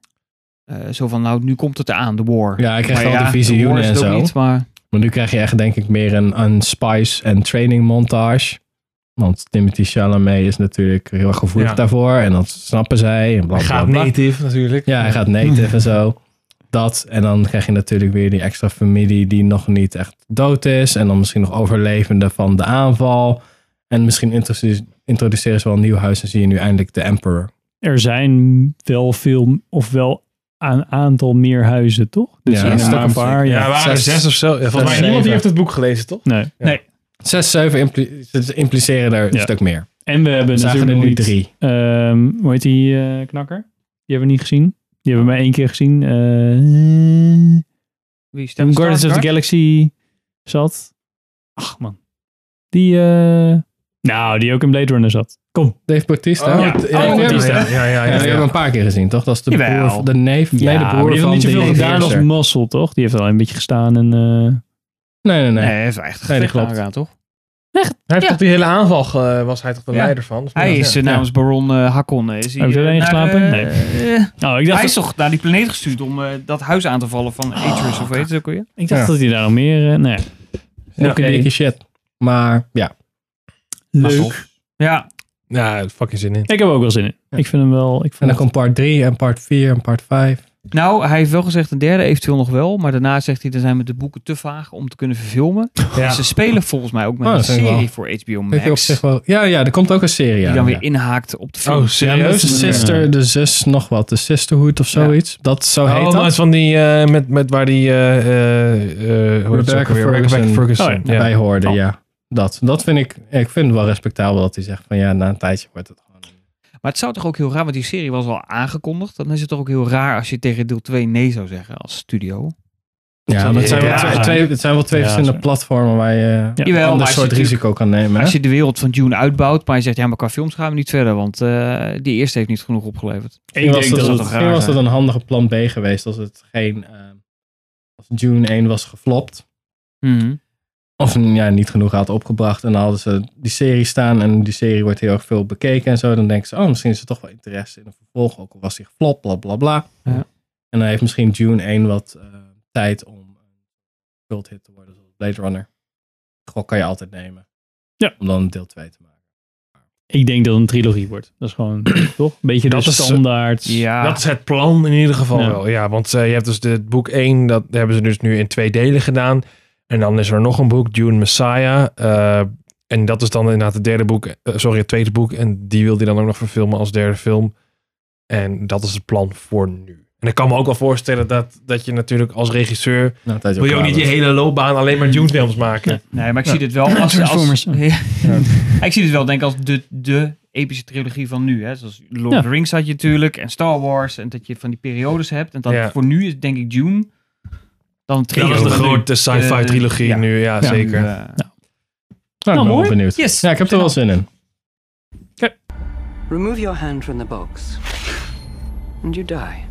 eh, zo van, nou, nu komt het aan, de war.
Ja, ik krijg
Maar
al
ja,
die visioenen
war is
en
het ook
zo.
Niet, maar
Maar nu krijg je echt, denk ik, meer een, een spice en training montage. Want Timothy Chalamet is natuurlijk heel erg gevoelig
Ja.
daarvoor. En dat snappen zij. En bla,
Hij
bla,
gaat
bla.
native natuurlijk.
Ja, hij gaat native en zo. Dat. En dan krijg je natuurlijk weer die extra familie die nog niet echt dood is. En dan misschien nog overlevenden van de aanval. En misschien introduce- introduceren ze wel een nieuw huis en zie je nu eindelijk de Emperor.
er zijn wel veel, of wel een aantal meer huizen, toch? Dus
Ja,
er zijn
ja,
er een paar.
Ja,
Ja.
er waren
zes-
zes, of zo. Ja, volgens mij
zes,
niemand die
zeven.
heeft het boek gelezen, toch?
Nee.
Nee.
Zes, zeven impli- ze impliceren er een
Ja.
stuk meer.
En we hebben
We zagen
natuurlijk
er nu
niet,
drie.
ehm, hoe heet die eh, knakker? Die hebben we niet gezien. Die hebben we maar één keer gezien. Eh
Wie is
in Guardians of the Galaxy zat. Ach man. Die, eh, nou, die ook in Blade Runner zat. Kom.
Dave Bautista.
Oh, ja.
Want-
Oh, Bautista.
Ja, ja, ja, ja, ja,
Ja.
die hebben we een paar keer gezien, toch? Dat is de
Jawel.
broer, de neef,
Ja,
nee, de
maar
broer
die heeft
van
niet
de
zoveel gedaan als
heerser.
Mossel, toch? Die heeft alleen een beetje gestaan en... eh,
Nee, nee, nee.
Nee, hij heeft echt een
Nee,
gevecht
dat klopt.
aangegaan, toch?
Hij heeft toch die hele aanval, ge- was hij toch de
Ja.
leider van? Of
Hij
niet?
is
Ja.
eh, namens Baron eh, Hakon. eh, Is hij,
Heb je
eh,
alleen
naar,
geslapen?
eh,
Nee.
eh,
Oh, ik dacht
hij
dat-
is toch naar die planeet gestuurd om eh, dat huis aan te vallen van
Oh,
Atreus of weet je ook weer?
Ik dacht dat hij daar nog meer... eh, nee.
Ja.
Oké.
Dikke, dikke shit. Maar ja.
Leuk. Ja,
Ja, fucking zin in.
ik heb er ook wel zin in. Ik vind hem wel... Ik
En
vond
dan komt part 3 en part 4 en part 5.
Nou, hij heeft wel gezegd een derde eventueel nog wel, maar daarna zegt hij er zijn met de boeken te vaag om te kunnen verfilmen.
Ja.
En Dus ze spelen volgens mij ook met
Oh,
een
dat vind ik
serie
wel.
voor HBO
Vind ik op
Max.
zich wel- Ja, ja, er komt ook een serie
Die
aan,
dan
ja.
weer eh. inhaakt op de film.
Oh, serieus?
Ja, dat is de sister, de zus, nog wat. De sisterhood of zoiets. Dat zo heet
Oh, maar het
dat.
is van die, eh, met, met waar die, eh, eh, eh, hoe heet ze ook
Rebecca
alweer?
Ferguson,
Rebecca Ferguson.
Oh, ja.
ja.
bij hoorde,
Oh.
ja. Dat, dat vind ik, ik vind het wel respectabel dat hij zegt van ja, na een tijdje wordt het.
Maar het zou toch ook heel raar, want die serie was al aangekondigd. Dan is het toch ook heel raar als je tegen deel 2 nee zou zeggen als studio.
Ja, dat zijn, wel twee, twee- het zijn wel twee
Ja,
verschillende
sorry.
platformen waar je
Ja.
een
Jawel, maar
ander
als je
soort
natuurlijk-
risico kan nemen.
Als
hè?
je de wereld van Dune uitbouwt, maar je zegt ja, maar qua films gaan we niet verder, want eh, die eerste heeft niet genoeg opgeleverd.
Misschien was dat,
zou
een-
toch
misschien
raar
was dat
zijn?
een handige plan B geweest als het geen eh, als June 1 was geflopt.
Mhm.
Of ja, niet genoeg had opgebracht. En dan hadden ze die serie staan en die serie wordt heel erg veel bekeken en zo. Dan denken ze, oh, misschien is er toch wel interesse in een vervolg. Ook al was die geflopt, bla bla bla.
Ja.
En dan heeft misschien June 1 wat eh, tijd om een cult hit te worden. Zoals Blade Runner. Gok kan je altijd nemen.
Ja.
Om dan deel 2 te maken.
Ik denk dat het een trilogie wordt. Dat is gewoon, toch? Een beetje de
Dat is, eh,
standaard.
Dat is het plan in ieder geval
Ja.
wel. Ja, want eh, je hebt dus de boek 1, dat hebben ze dus nu in twee delen gedaan. En dan is er nog een boek, Dune Messiah. eh, en dat is dan inderdaad het derde boek, eh, sorry, het tweede boek. En die wil hij dan ook nog verfilmen als derde film. En dat is het plan voor nu. En ik kan me ook wel voorstellen dat, dat je natuurlijk als regisseur...
Nou, tijdens
wil je ook niet je hele loopbaan alleen maar Dune films maken.
Nee, maar ik zie dit wel als... als-
Transformers.
Ja. ik zie dit wel denk ik als de, de epische trilogie van nu. Hè? Zoals Lord
Ja.
of the Rings had je natuurlijk en Star Wars. En dat je van die periodes hebt. En dat
Ja.
voor nu is denk ik Dune. Dan een
Dat is de
trilogie.
grote sci-fi
Eh,
trilogie
ja.
nu, ja, zeker.
Nu, eh,
Nou, ik ben
mooi.
wel benieuwd.
Yes.
Ja, ik heb er wel zin in.
Remove your hand from the box, and you die.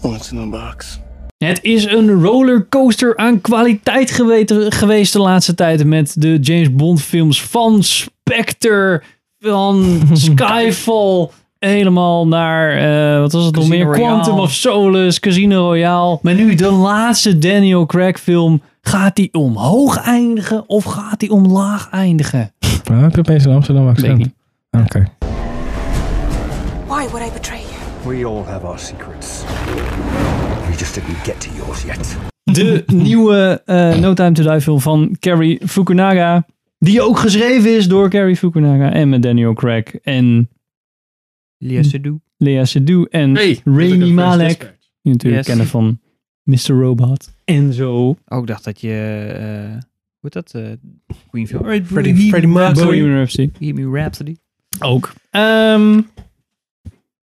What's in the box?
Het is een rollercoaster aan kwaliteit geweten- geweest de laatste tijd met de James Bond films van Spectre, van Skyfall, helemaal naar, eh, wat was het nog
Casino
meer,
Royale.
Quantum of Solace, Casino Royale. Maar nu de laatste Daniel Craig film, gaat die omhoog eindigen of gaat die omlaag eindigen?
Ah, heb je opeens een Amsterdam
Weet ik
accent? Oké.
Why would I betray you?
We all have our secrets. We just didn't get to yours yet.
De nieuwe eh, No Time to Die film van Cary Fukunaga. Die ook geschreven is door Cary Fukunaga en met Daniel Craig en
Lea Seydoux.
Lea Seydoux en
Hey,
Rami
look at the
Malek.
first
Die we natuurlijk
Yes.
kennen van Mr. Robot en zo.
Oh, ik dacht dat je... eh, hoe heet dat? eh, Queen film. Freddie,
Freddie- Freddie Mercury. Bohemian Rhapsody.
Bohemian Rhapsody.
Ook. Ehm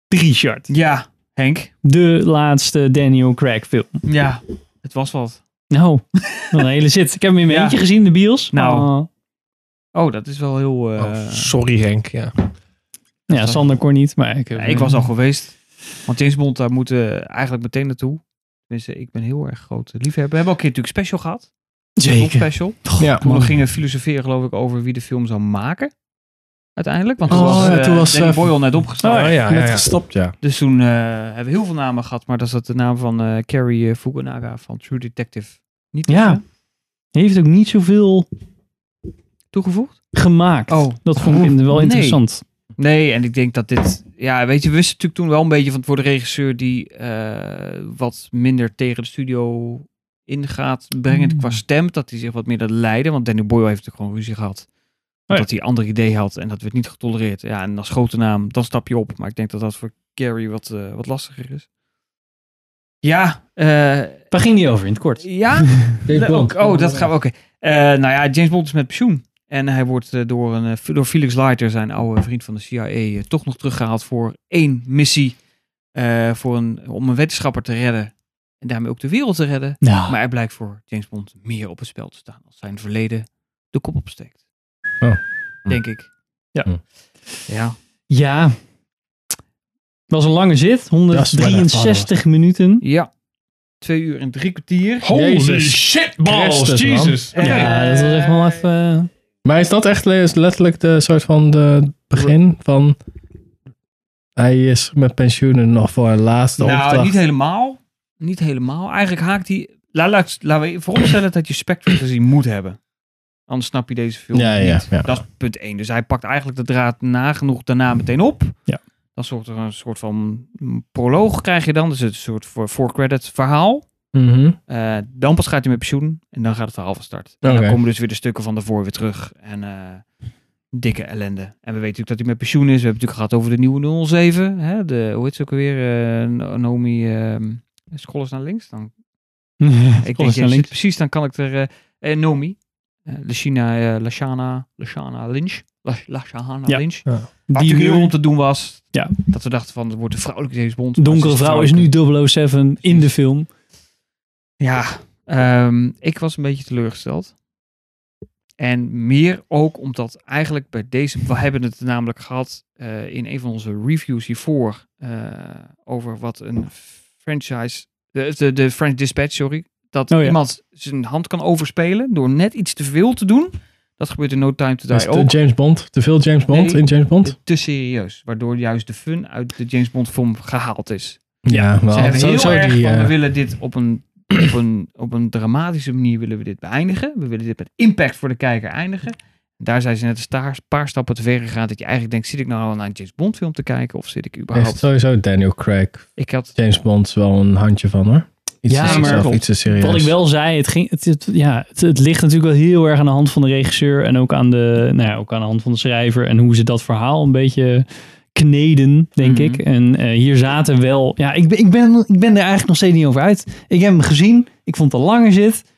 Richard.
Ja, Henk.
De laatste Daniel Craig film.
Ja, het was wat.
Nou, wat een hele zit. Ik heb hem in mijn
Ja.
eentje gezien, de bios.
Nou.
Oh.
Oh, dat is wel heel... eh,
Oh, Sorry Henk, ja.
ja, Sander kon niet, maar ik, heb-
Ja, ik was al geweest. Want James Bond, daar moeten we eigenlijk meteen naartoe. Tenminste, ik ben heel erg groot liefhebber. We hebben ook een keer natuurlijk special gehad.
Zeker.
Bond special.
Ja.
Toen we
man.
gingen filosoferen, geloof ik, over wie de film zou maken. Uiteindelijk. Want toen
Oh,
was,
ja,
eh,
toen was,
Danny
eh,
Boyle net opgestapt.
oh, ja, ja, Net ja. gestopt, ja.
Dus toen eh, hebben we heel veel namen gehad. Maar dat is dat de naam van eh Carrie eh, Fukunaga van True Detective. Niet
Ja. Heeft ook niet zoveel
toegevoegd?
gemaakt.
Oh.
Dat vond ik in- wel
Nee.
interessant.
Nee, en ik denk dat dit... Ja, weet je, we wisten natuurlijk toen wel een beetje van... voor de regisseur die eh, wat minder tegen de studio ingaat... brengend
Mm.
qua stem, dat hij zich wat meer laat leiden. Want Danny Boyle heeft natuurlijk gewoon ruzie gehad.
ja.
Dat hij een ander idee had en dat werd niet getolereerd. Ja, en als grote naam, dan stap je op. Maar ik denk dat dat voor Gary wat, eh, wat lastiger is. Ja. eh,
Waar ging die over in het kort?
Ja?
James
Le- oh,
Bond.
ook- oh, dat gaan we... Oké. Eh, nou ja, James Bond is met pensioen. En hij wordt eh, door, een, eh, door Felix Leiter, zijn oude vriend van de CIA, eh, toch nog teruggehaald voor één missie. eh, voor een, om een wetenschapper te redden. En daarmee ook de wereld te redden.
Nou.
Maar er blijkt voor James Bond meer op het spel te staan. Als zijn verleden de kop opsteekt.
Oh.
Denk ik.
Ja.
Ja.
Ja. Was een lange zit, 163 minuten.
Ja. Twee uur en drie kwartier. Eh,
Holy Jezus.
shit,
Christus, man. Ja, dat was echt wel even... eh,
Maar is dat echt le- letterlijk de soort van de begin van... Hij is met pensioen en nog voor een laatste
Nou,
opdracht.
niet helemaal. Niet helemaal. Eigenlijk haakt hij... Laat, laat, laten we vooropstellen dat je Spectrum gezien moet hebben. Anders snap je deze film
Ja,
niet.
ja, ja.
Dat is punt één. Dus hij pakt eigenlijk de draad nagenoeg daarna meteen op.
Ja.
Dan zorgt er een soort van proloog krijg je dan. Dus het is een soort voor- voor-credit verhaal.
Mhm.
Eh, dan pas gaat hij met pensioen en dan gaat het verhaal van start. En
Oké.
dan komen dus weer de stukken van daarvoor weer terug. En eh, dikke ellende. En we weten natuurlijk dat hij met pensioen is. We hebben het natuurlijk gehad over de nieuwe 07. Hè? De, hoe heet ze ook alweer? eh No- Naomi ehm Scholles naar links. Dan, ik denk,
Scholles
je
eh, naar
zit
links.
precies, dan kan ik er... eh, eh, Nomi. Eh, Lashina, eh, Lashana, Lashana Lynch. La- Lashana
Ja.
Lynch.
Ja.
Wat
Die
natuurlijk
nu-
heel om te doen was.
Ja.
Dat we dachten van, het wordt een vrouwelijke James Bond. maar het
Donkere
een
vrouw is
vrouwelijke-
nu 007 in de film.
Ja, ehm, ik was een beetje teleurgesteld. En meer ook omdat eigenlijk bij deze... We hebben het namelijk gehad eh, in een van onze reviews hiervoor... eh, over wat een franchise... De, de, de French Dispatch, sorry. Dat
Oh ja.
iemand zijn hand kan overspelen door net iets te veel te doen. Dat gebeurt in No Time To
Dat is
Die
de
ook.
James Bond. Te veel James Bond
Nee,
in James Bond.
Te serieus. Waardoor juist de fun uit de James Bond film gehaald is.
Ja, wel.
Ze hebben heel
Sowieso
erg
die,
van,
eh,
we willen dit op een, op, een, op een dramatische manier willen we dit beëindigen. We willen dit met impact voor de kijker eindigen. Daar zijn ze net een staar- paar stappen te ver gegaan. Dat je eigenlijk denkt, zit ik nou al naar een James Bond film te kijken? Of zit ik
Heeft
überhaupt...
sowieso Daniel Craig.
Ik had...
James Bond wel een handje van hoor. Iets
Ja,
te
maar-
zichzelf, iets te serieus.
Wat ik wel zei, het, ging, het, het- ja, het, het ligt natuurlijk wel heel erg aan de hand van de regisseur. En ook aan de, nou ja, ook aan de hand van de schrijver. En hoe ze dat verhaal een beetje kneden, denk ik. En eh, hier zaten wel... Ja, ik, ben- ik, ben, ik ben er eigenlijk nog steeds niet over uit. Ik heb hem gezien. Ik vond het een lange zit.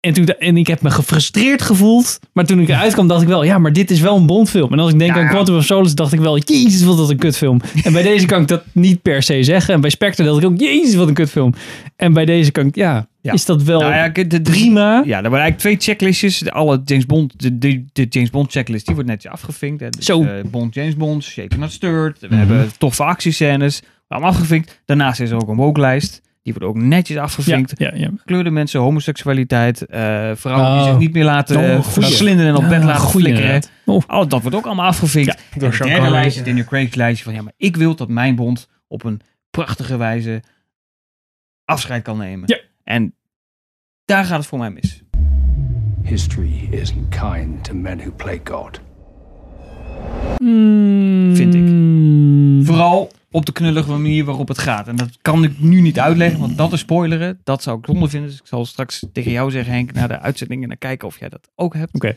En, toen, da- en ik heb me gefrustreerd gevoeld. Maar toen ik eruit kwam, dacht ik wel... Ja, maar dit is wel een Bondfilm. En als ik denk aan Quantum of Solace, dacht ik wel... Jezus, wat dat een kutfilm. En bij deze kan ik dat niet per se zeggen. En bij Spectre dacht ik ook... Jezus, wat een kutfilm. En bij deze kan ik... Ja,
Ja.
is dat wel...
Nou ja, ik- de drie,
prima.
ja, er waren eigenlijk twee checklistjes. De- Alle James Bond, de, de, de James Bond checklist, die wordt netjes afgevinkt. Hè. Dus,
Zo.
eh, Bond, James Bond, Shaken Not Stirred. We
Mhm.
hebben toffe actiescènes. Allemaal afgevinkt. Daarnaast is er ook een woke-lijst. Die wordt ook netjes afgevinkt.
Ja, ja.
Gekleurde mensen, homoseksualiteit, eh, vrouwen die
Oh.
zich niet meer laten
Oh,
eh,
goeie.
slinderen en op
Ja,
bed laten
Ah, goeie
flikkeren.
inderdaad. Oh.
Al dat wordt ook allemaal afgevinkt. En
door
het
Sean
derde
Connery.
lijstje, Daniel Craig's lijstje van ja, maar ik wil dat mijn bond op een prachtige wijze afscheid kan nemen. En daar gaat het voor mij mis.
History isn't kind to men who play God.
Vind ik.
Mm.
Vooral op de knullige manier waarop het gaat. En dat kan ik nu niet uitleggen, want dat is spoileren. Dat zou ik zonde vinden. Dus ik zal straks tegen jou zeggen, Henk, na de uitzending en dan kijken of jij dat ook hebt.
Oké.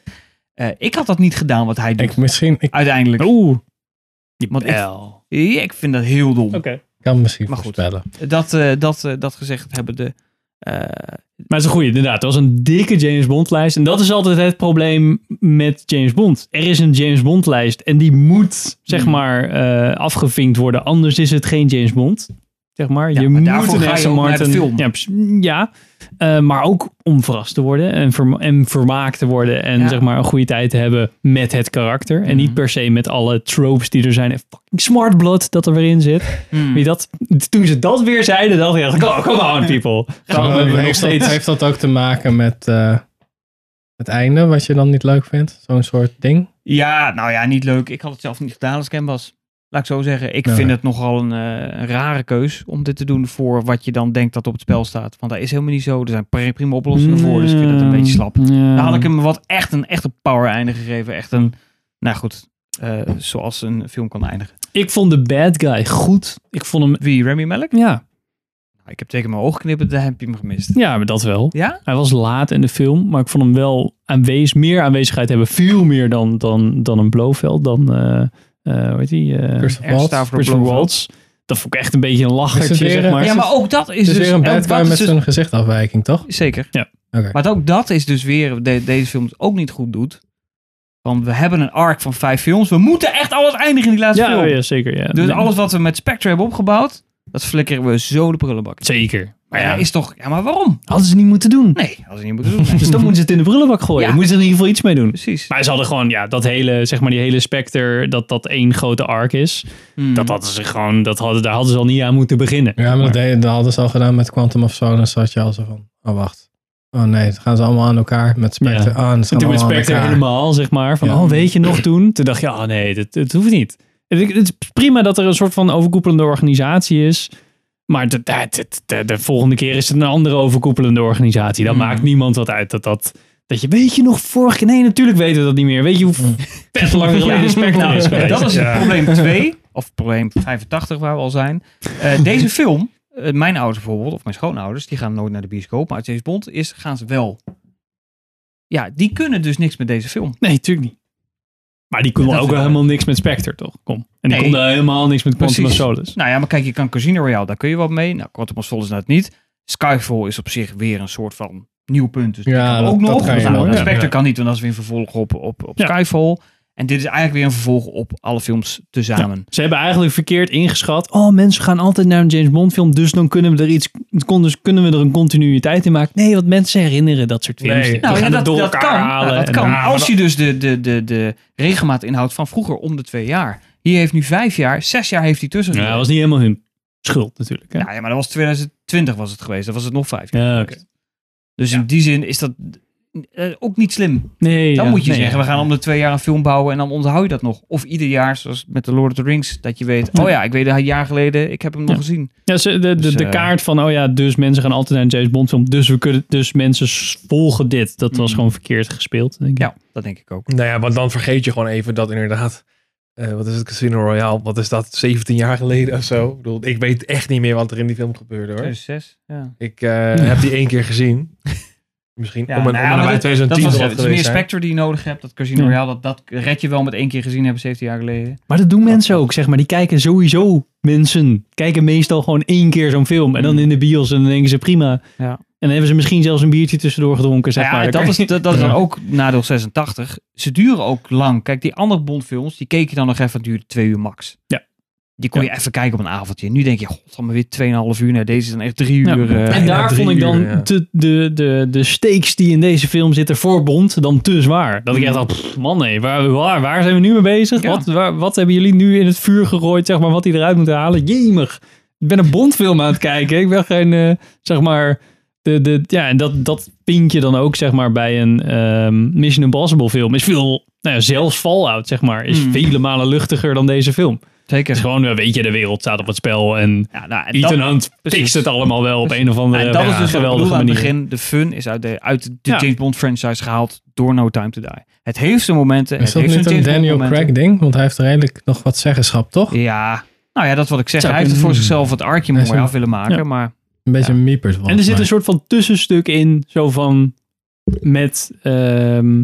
Eh, ik had dat niet gedaan wat hij doet.
Ik, misschien, ik
Uiteindelijk.
Oeh.
Want ik, Ja, ik vind dat heel dom.
kan misschien
Maar goed.
voorspellen.
Dat, eh, dat, eh, dat gezegd hebben de... eh,
Maar het is een goeie, inderdaad. Het was een dikke James Bond lijst. En dat is altijd het probleem met James Bond. Er is een James Bond lijst en die moet, zeg
Hmm.
maar, eh, afgevinkt worden. Anders is het geen James Bond. Zeg maar, je
maar
moet
daarvoor
een
ga je
Aston
ook naar de
Martin.
film.
Ja, precies. ja. Eh, maar ook om verrast te worden en, verma- en vermaakt te worden. En
Ja. Hmm.
zeg maar een goede tijd te hebben met het karakter. En niet per se met alle tropes die er zijn. En fucking smart blood dat er weer in
Hmm.
zit.
Hmm.
Wie dat, toen ze dat weer zeiden, dacht ik echt, oh, come on people. Daarom hebben we nog
heeft, dat,
steeds
heeft dat ook te maken met eh, het einde, wat je dan niet leuk vindt? Zo'n soort ding?
Ja, nou ja, niet leuk. Ik had het zelf niet gedaan als ik hem was. Laat ik zo zeggen. Ik
Nee.
vind het nogal een, eh, een rare keus om dit te doen voor wat je dan denkt dat op het spel staat. Want dat is helemaal niet zo. Er zijn pri- prima oplossingen voor, dus ik vind het een
Ja,
beetje
Mm,
slap.
ja.
Dan had ik hem wat echt een, echt een power einde gegeven. Echt een, nou goed, eh, zoals een film kan eindigen.
Ik vond de bad guy goed. Ik vond hem...
Wie, Remy Malek?
Ja.
Nou, ik heb tegen mijn oog knippen, daar heb je hem gemist.
Ja, maar dat wel.
Ja?
Hij was laat in de film, maar ik vond hem wel aanwezig, meer aanwezigheid hebben. Veel meer dan, dan, dan een Blofeld, dan, eh eh hoe heet die? eh,
Ernst
Christopher
Waltz.
Stavro
Christopher
Blofeld.
Waltz. Dat vond ik echt een beetje een lachertje,
Is het weer
zeg maar.
Ja, maar ook dat is
Het
dus...
is weer een
en
bad
dat
guy
is
met
dus-
zo'n gezichtafwijking, toch?
Zeker.
Ja.
Oké.
Maar ook dat is dus weer, de- deze film het ook niet goed doet. Van we hebben een arc van vijf films. We moeten echt alles eindigen in die laatste
Ja,
film.
oh ja, zeker, ja.
eh, Dus
Ja.
alles wat we met Spectre hebben opgebouwd, dat flikkeren we zo de prullenbak.
Zeker.
Maar ja, is toch. Ja, maar waarom?
Hadden ze niet moeten doen.
Nee, hadden ze niet moeten doen. nee.
Dus dan moeten ze het in de brullenbak gooien.
Ja.
Moeten ze er in ieder geval iets mee doen.
Precies.
Maar ze hadden gewoon, ja, dat hele, zeg maar, die hele specter, dat dat één grote arc is.
Hmm.
Dat hadden ze gewoon, dat hadden, daar hadden ze al niet aan moeten beginnen.
Ja, maar dat, deden- dat hadden ze al gedaan met Quantum of Solace. Zat je al zo van, oh wacht. Oh nee, het gaan ze allemaal aan elkaar met Spectre. Ah, en
En
het gaan
toen
Oh,
werd
allemaal aan
Spectre
elkaar.
helemaal, zeg maar, van,
Ja.
oh, weet je nog toen? Toen dacht je, oh nee, dit, dit hoeft niet. Het, het is prima dat er een soort van overkoepelende organisatie is. Maar de, de, de, de- de volgende keer is het een andere overkoepelende organisatie.
Hmm.
Dan maakt niemand wat uit dat dat... Dat je, weet je nog vorige keer? Nee, natuurlijk weten we dat niet meer. Weet je hoe vet lang geleden Spectre is
Hmm. Ja,
geweest?
Dat is het
Ja.
probleem 2, of probleem 85 waar we al zijn. Eh, deze film, eh, mijn ouders bijvoorbeeld, of mijn schoonouders, die gaan nooit naar de bioscoop, maar uit James Bond is, gaan ze wel. Ja, die kunnen dus niks met deze film.
Nee, natuurlijk niet. Maar die konden
Dat
ook
is-
wel helemaal niks met Spectre, toch? Kom. En die
Nee.
konden helemaal niks met Quantum of
Precies.
Solace.
Nou ja, maar kijk, je kan Casino Royale, daar kun je wat mee. Nou, Quantum of Solace nou het niet. Skyfall is op zich weer een soort van nieuw punt. Dus die
Ja,
kan
dat-
ook
dat
nog.
kan je
Nou,
nog, ja.
Spectre
Ja.
kan niet, want dat is weer een vervolg op, op, op Skyfall. En dit is eigenlijk weer een vervolg op alle films tezamen.
Ze hebben eigenlijk verkeerd ingeschat. Oh, mensen gaan altijd naar een James Bond film, dus dan kunnen we er iets, kon- dus kunnen we er een continuïteit in maken. Nee, want mensen herinneren dat soort films.
Nee,
Die
nou,
gaan
ja,
het
dat,
door
dat
elkaar
kan.
halen
Ja, dat
en eh,
kan.
dan-
Als je dus de, de, de, de regelmaat inhoudt van vroeger om de twee jaar. Hier heeft nu vijf jaar, zes jaar heeft hij tussen
Ja,
gezeten.
dat was niet helemaal hun schuld natuurlijk. Hè?
Nou ja, maar dat was 2020 was het geweest. Dat was het nog vijf jaar.
Ja, oké.
geweest. Dus in die zin is dat eh, ook niet slim.
Nee,
dan
ja,
moet je
nee,
zeggen,
ja.
we gaan om de twee jaar een film bouwen en dan onthoud je dat nog. Of ieder jaar, zoals met The Lord of the Rings, dat je weet, oh ja, ik weet een jaar geleden, ik heb hem nog gezien.
Ja, ze- de, de,
Dus,
de
eh,
kaart van, oh ja, dus mensen gaan altijd naar een James Bond film, dus, we kunnen, dus mensen s- volgen dit. Dat was gewoon verkeerd gespeeld, denk ik.
Ja, dat denk ik ook.
Nou ja, want dan vergeet je gewoon even dat inderdaad. eh, wat is het Casino Royale? Wat is dat? 17 jaar geleden of zo? Ik bedoel, ik weet echt niet meer wat er in die film gebeurde hoor.
2006, Dus ja.
Ik eh, heb die één keer gezien. Misschien
Ja,
om en
nou ja,
om en
maar
bij
dat-
2010
dat
zal
was,
het
Het is
geweest
meer
zijn.
Spectre die je nodig hebt, dat Casino
Ja.
Royale, dat, dat red je wel met één keer gezien hebben 17 jaar geleden.
Maar dat doen mensen ook, zeg maar. Die kijken sowieso, mensen, kijken meestal gewoon één keer zo'n film. En dan in de bios en dan denken ze prima.
Mm. Ja.
En dan hebben ze misschien zelfs een biertje tussendoor gedronken, zeg
Nou
maar.
ja,
Dan
dat, is,
kan je-
dat, dat is dan
Ja.
ook nadeel 86. Ze duren ook lang. Kijk, die andere Bondfilms, die keek je dan nog even, het duurde twee uur max.
Ja.
Die kon je even kijken op een avondje. Nu denk je, god, dan maar weer 2,5 uur. Nee, deze is dan echt drie uur.
Ja.
eh,
en
ja,
daar
drie
vond ik dan
uur, eh, ja.
te- de, de, de stakes die in deze film zitten voor Bond dan te zwaar. Dat ik echt dacht, pff, man nee, waar, waar, waar zijn we nu mee bezig? Wat, waar- wat hebben jullie nu in het vuur gegooid, zeg maar, wat die eruit moeten halen? Jemig. Ik ben een Bondfilm aan het kijken. Ik ben geen, eh, zeg maar... De, de, ja, en dat, dat vind je dan ook, zeg maar, bij een ehm, Mission Impossible film. Is veel, nou ja, zelfs Fallout, zeg maar, is
Mm.
vele malen luchtiger dan deze film.
Zeker.
Het is gewoon, eh, weet je, de wereld staat op het spel en,
ja, nou, en
Ethan
dat-
Hunt
precies.
fixt het allemaal wel op
Dus-
een of andere
en dat is
ja,
dus geweldig
geweldige
aan het
manier.
begin. De fun is uit de, uit de
Ja.
James Bond franchise gehaald door No Time to Die. Het heeft zijn momenten.
Is
het
dat
heeft
niet
zijn
een
James Bond
Daniel
momenten.
Craig ding? Want hij heeft redelijk nog wat zeggenschap, toch?
Ja, nou ja, dat is wat ik zeg.
Zou
Hij heeft het voor
kunnen.
zichzelf het arkje
Hij is
mooi
een-
af willen maken,
Ja.
maar...
Een beetje een miepers.
En er
volgens
zit dus-
mij.
een soort van tussenstuk in, zo van met, ehm,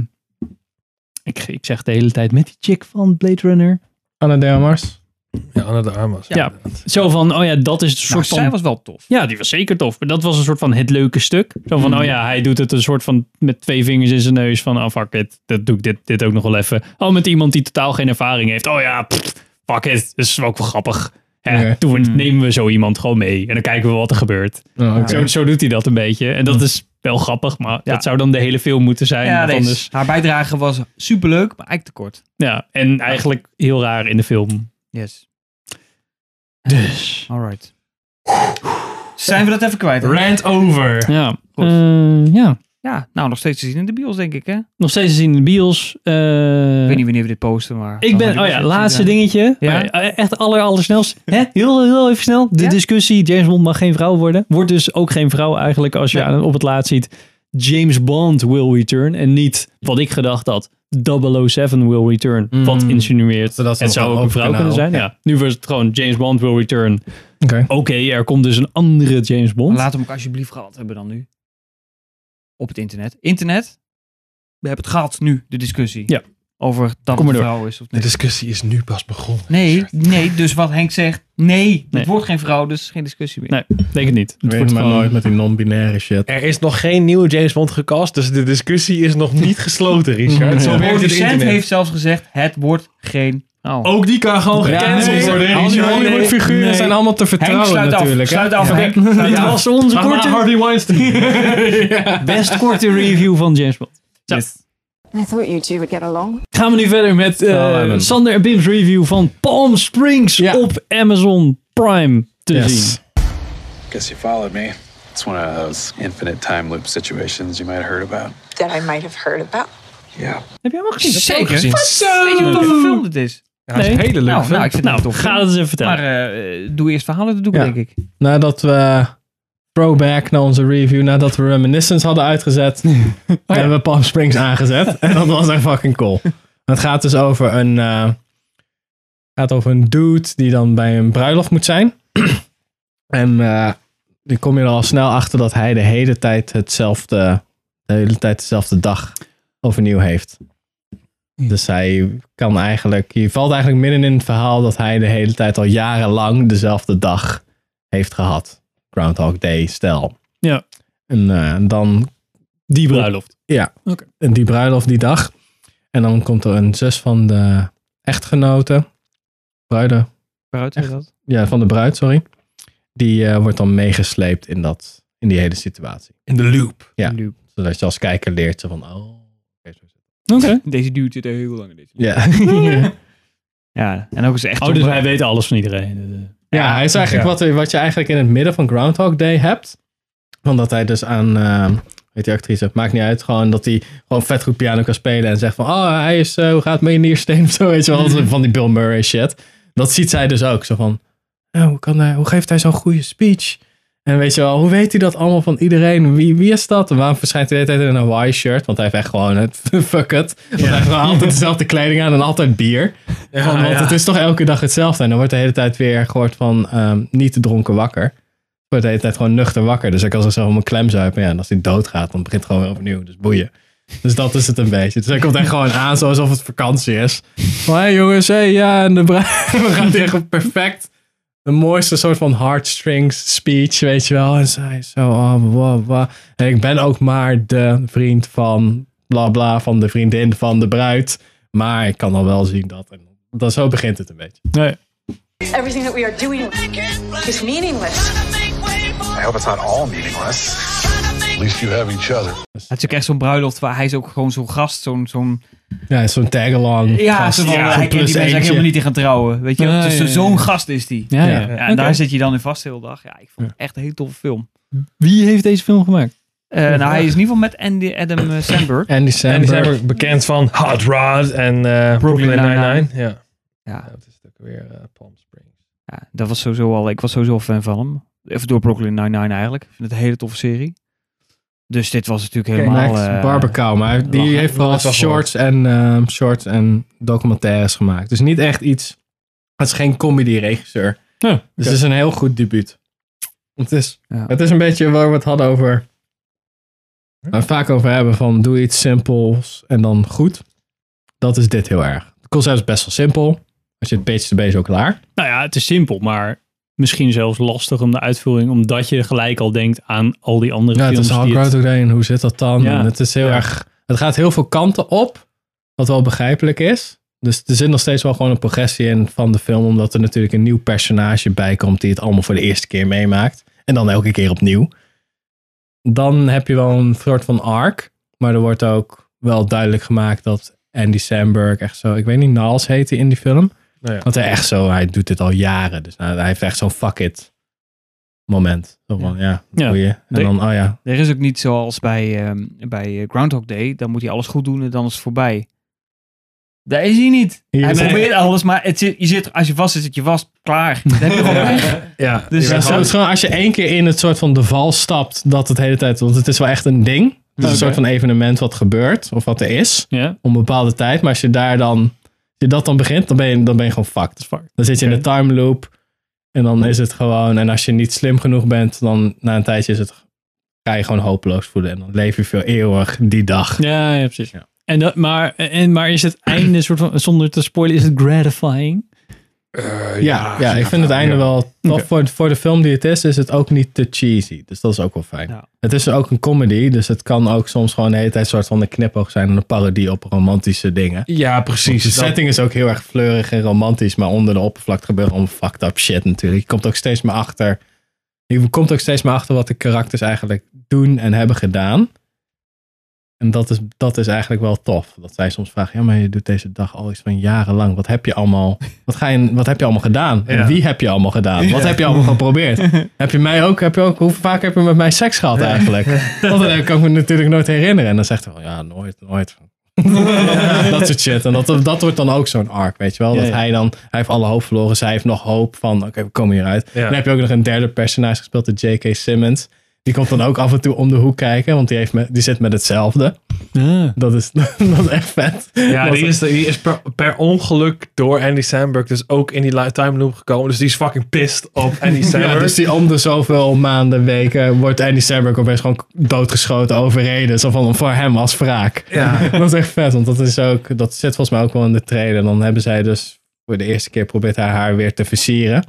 ik, ik zeg de hele tijd, met die chick van Blade Runner.
Anna de Armas.
Ja, Anna de Armas.
Ja, zo van, oh ja, dat is een soort van...
Nou, zij was wel tof.
Ja, die was zeker tof. Maar dat was een soort van het leuke stuk. Zo van,
Mhm.
oh ja, hij doet het een soort van met twee vingers in zijn neus. Van, oh fuck it, dat doe ik dit, dit ook nog wel even. Oh, met iemand die totaal geen ervaring heeft. Oh ja, pff, fuck it, dat is ook wel grappig. Hè,
Oké.
Toen
Mhm.
we- nemen we zo iemand gewoon mee en dan kijken we wat er gebeurt.
Oh, oké.
Zo, zo doet hij dat een beetje. En dat is wel grappig, maar dat zou dan de hele film moeten zijn.
Mhm. Ja,
want
deze-
anders,
haar bijdrage was superleuk, maar eigenlijk te kort.
ja, en eigenlijk heel raar in de film.
Yes.
Dus.
Alright. Zijn we dat even kwijt? hè?
Rant over.
Ja, eh, ja.
Ja, nou nog steeds te zien in de bios, denk ik, hè?
nog steeds te zien in de bios. Eh,
Ik weet niet wanneer we dit posten, maar...
Ik ben, oh ja, laatste dingetje.
Ja?
Maar Echt aller, allersnelst. Hè? Heel, heel even snel. De discussie, James Bond mag geen vrouw worden. Wordt dus ook geen vrouw eigenlijk als je aan- op het laatst ziet. James Bond will return. En niet wat ik gedacht had. 007 will return. Wat insinueert.
Hmm. dat
het
nog
zou
wel
ook een
over
vrouw kunnen
kunnen
zijn. Ja.
houden.
Nu was het gewoon James Bond will return.
Oké.
Oké, er komt dus een andere James Bond.
Laat hem ook alsjeblieft gehad hebben dan nu. Op het internet. Internet, we hebben het gehad nu, de discussie.
Ja.
over dat
Kom
het
maar
een
door.
vrouw is of
De
niet.
discussie is nu pas begonnen.
Nee, nee, dus wat Henk zegt, nee, het
Nee.
wordt geen vrouw, dus geen discussie meer.
Nee, denk het niet.
Het Weet
wordt
maar
gewoon-
nooit met die non-binaire shit.
Er is nog geen nieuwe James Bond gecast, dus de discussie is nog niet gesloten, Richard. Zo
De
werkt het
producent
internet.
heeft zelfs gezegd, het wordt geen vrouw.
Ook die kan gewoon gecanceld worden,
al die
Richard.
Hollywoodfiguren
Nee.
zijn
allemaal te
Henk,
vertrouwen
sluit
natuurlijk,
Af,
hè?
sluit af,
Ja.
Henk.
Dit
Sluit af.
was onze Maar- maar korte- Harvey
Weinstein. Best korte review van James Bond. Zo.
I thought you two would get along.
Gaan we nu verder met eh,
Wel, Ellen.
Sander en Bim's review van Palm Springs op Amazon Prime te zien.
Guess you followed me. It's one of those infinite time loop situations you might have heard about.
That I might have heard about.
Yeah.
Heb jij hem ook gezien?
Zeker
Heb je
gezien.
ook Wat zo? Weet je wat een film dit is?
Ja, het is een hele leuke
nou,
film.
Nou, ik vind
Nou,
het een tof
ga
film.
dat eens even vertellen.
Maar eh, doe eerst verhalen te doen,
Ja.
denk ik.
Nadat we throwback naar onze review, nadat we Reminiscence hadden uitgezet, hebben we Palm Springs aangezet. en dat was echt fucking cool. Het gaat dus over een, eh, gaat over een dude die dan bij een bruiloft moet zijn. en eh dan kom je er al snel achter dat hij de hele tijd hetzelfde, de hele tijd dezelfde dag overnieuw heeft. Dus hij kan eigenlijk, je valt eigenlijk midden in het verhaal dat hij de hele tijd al jarenlang dezelfde dag heeft gehad. Groundhog Day, stel.
Ja.
En eh, dan. Die
bruiloft.
Ja.
Oké.
En die bruiloft die dag. En dan komt er een zus van de echtgenote. Bruide.
Bruid, is dat?
Ja, van de bruid, sorry. Die eh, wordt dan meegesleept in, dat, in die hele situatie.
In de loop.
Ja. Zodat je als kijker leert ze van, oh.
Oké.
Deze duurt zit er heel lang in. Deze
Ja.
ja, en ook is echt...
Oh, dus hij weet alles van iedereen. Eh,
Ja, hij is eigenlijk
Ja.
wat, wat je eigenlijk in het midden van Groundhog Day hebt. Omdat hij dus aan, weet die actrice, maakt niet uit, gewoon dat hij gewoon vet goed piano kan spelen en zegt van, oh, hij is, eh, hoe gaat Millionaire of zo, weet je wel, van die Bill Murray shit. Dat ziet zij dus ook, zo van, "Nou, hoe, kan hij, hoe geeft hij zo'n goede speech? En weet je wel, hoe weet hij dat allemaal van iedereen? Wie, wie is dat? En waarom verschijnt hij de hele tijd in een Hawaii-shirt? Want hij heeft echt gewoon het fuck it. Want hij heeft gewoon altijd dezelfde kleding aan en altijd bier.
Ja,
Van, want
ja.
het is toch elke dag hetzelfde. En dan wordt de hele tijd weer gehoord van ehm, niet dronken wakker. Ik word de hele tijd gewoon nuchter wakker. Dus ik kan zichzelf mijn klem zuipen. Ja, en als hij doodgaat, dan begint het gewoon weer opnieuw. Dus boeien. Dus dat is het een beetje. Dus hij komt echt gewoon aan, zo alsof het vakantie is. Van, hey jongens, hey, ja, en de bruin. We gaan tegen perfect. De mooiste soort van heartstrings speech, weet je wel. En zij zo, oh, blah, blah. En ik ben ook maar de vriend van bla bla, van de vriendin van de bruid. Maar ik kan al wel zien dat. En dat zo begint het een beetje.
Nee.
Everything that we are doing is meaningless.
I hope it's not all meaningless. At least you have each other.
Het is ook echt zo'n bruiloft waar hij is ook gewoon zo'n gast, zo'n... zo'n
Ja, zo'n tagalong.
ja,
gast,
zo van,
zo'n
hij kent die
plus
mensen eigenlijk
eentje.
helemaal niet in gaan trouwen. Weet je,
Ah,
dus
ja, ja,
zo'n
ja.
gast is die.
Ja, ja.
en
Oké.
daar zit je dan in vast de hele dag. Ja, ik vond het echt een hele toffe film.
Wie heeft deze film gemaakt?
Eh, nou, hij is in ieder geval met Andy Adam eh, Samberg.
Andy
En die zijn
Samberg.
ook bekend van Hot Rod en eh, Brooklyn Nine-Nine.
Nine-Nine.
Ja.
Ja,
dat is ook weer eh, Palm Springs.
Ja, dat was sowieso al. Ik was sowieso al fan van hem. Even door Brooklyn Nine-Nine eigenlijk. Ik vind het een hele toffe serie. Dus dit was natuurlijk
Kijk,
helemaal...
Max
eh,
Barbacoa, maar die
lachen.
heeft vooral
Dat was wel
shorts en, ehm, shorts en documentaires gemaakt. Dus niet echt iets. Het is geen comedy-regisseur.
dus
het is een heel goed debuut. Het is, het is een beetje waar we het hadden over. Waar we het vaak over hebben van doe iets simpels en dan goed. Dat is dit heel erg. Het concept is best wel simpel. Als je het page to base ook klaar.
Nou ja, het is simpel, maar misschien zelfs lastig om de uitvoering, omdat je gelijk al denkt aan al die andere
Ja, het
films.
is Hulk
die het-
Road Day en hoe zit dat dan?
Ja.
En het is heel erg. Het gaat heel veel kanten op, wat wel begrijpelijk is. Dus er zit nog steeds wel gewoon een progressie in van de film, omdat er natuurlijk een nieuw personage bij komt die het allemaal voor de eerste keer meemaakt. En dan elke keer opnieuw. Dan heb je wel een soort van arc, maar er wordt ook wel duidelijk gemaakt dat Andy Samberg echt zo, ik weet niet, Niles heet hij in die film.
Nou ja.
Want hij echt zo, hij doet dit al jaren. Dus nou, hij heeft echt zo'n fuck it moment. Zo van, ja,
Ja.
doe je. En
Nee.
dan, oh ja,
Er is ook niet zoals bij, ehm, bij eh, Groundhog Day. Dan moet hij alles goed doen en dan is het voorbij. Daar is hij niet.
Hier
hij
is hij.
probeert alles, maar het zit, je zit, als je vast zit, zit je vast. Klaar. Dan heb je gewoon weg.
Ja,
Dus
dus
dat is-
gewoon als je één keer in het soort van de val stapt, dat het hele tijd, want het is wel echt een ding. Het is
Oké.
een soort van evenement wat gebeurt, of wat er is,
Ja.
om een bepaalde tijd. Maar als je daar dan, als je dat dan begint, dan ben je, dan ben je gewoon fucked. Dan zit je in de time loop en dan is het gewoon, en als je niet slim genoeg bent, dan na een tijdje is het, ga je gewoon hopeloos voelen. En dan leef je veel eeuwig die dag.
Ja, ja, precies.
En dat, maar, en, maar is het einde, soort van, zonder te spoilen, is het gratifying?
ja, Eh, ja, ik vind het einde wel tof.
Oké.
Voor, voor de film die het is, is het ook niet te cheesy. Dus dat is ook wel fijn. Het is ook een comedy, dus het kan ook soms gewoon de hele tijd soort van een knipoog zijn en een parodie op romantische dingen.
Ja, precies.
Want Dus De
Dat-
setting is ook heel erg fleurig en romantisch, maar onder de oppervlakte gebeurt allemaal fucked up shit natuurlijk. Je komt ook steeds meer achter. Je komt ook steeds meer achter wat de karakters eigenlijk doen en hebben gedaan. En dat is, dat is eigenlijk wel tof. Dat zij soms vragen, ja, maar je doet deze dag al iets van jarenlang. Wat heb je allemaal, wat ga je, wat heb je allemaal gedaan? En
Ja.
wie heb je allemaal gedaan? Wat
Ja.
heb je allemaal geprobeerd? heb je mij ook, heb je ook, hoe vaak heb je met mij seks gehad eigenlijk? Want dat kan ik me natuurlijk nooit herinneren. En dan zegt hij van, ja, nooit, nooit. dat soort shit. En dat, dat wordt dan ook zo'n arc, weet je wel?
Ja,
dat
ja.
hij dan, hij heeft alle hoop verloren. Zij heeft nog hoop van, oké, we komen hieruit.
Ja.
Dan heb je ook nog een derde personage gespeeld, de J.K. Simmons. Die komt dan ook af en toe om de hoek kijken, want die, heeft met, die zit met hetzelfde. Dat, is, dat is echt vet.
Ja,
Dat
die is, die is per, per ongeluk door Andy Samberg dus ook in die li- time loop gekomen. Dus die is fucking pissed op Andy Samberg.
Ja, dus die om de zoveel maanden, weken wordt Andy Samberg opeens gewoon doodgeschoten, overreden. Zo van voor hem als wraak.
Ja.
Dat is echt vet, want dat, is ook, dat zit volgens mij ook wel in de trailer. Dan hebben zij dus voor de eerste keer probeert hij haar weer te versieren.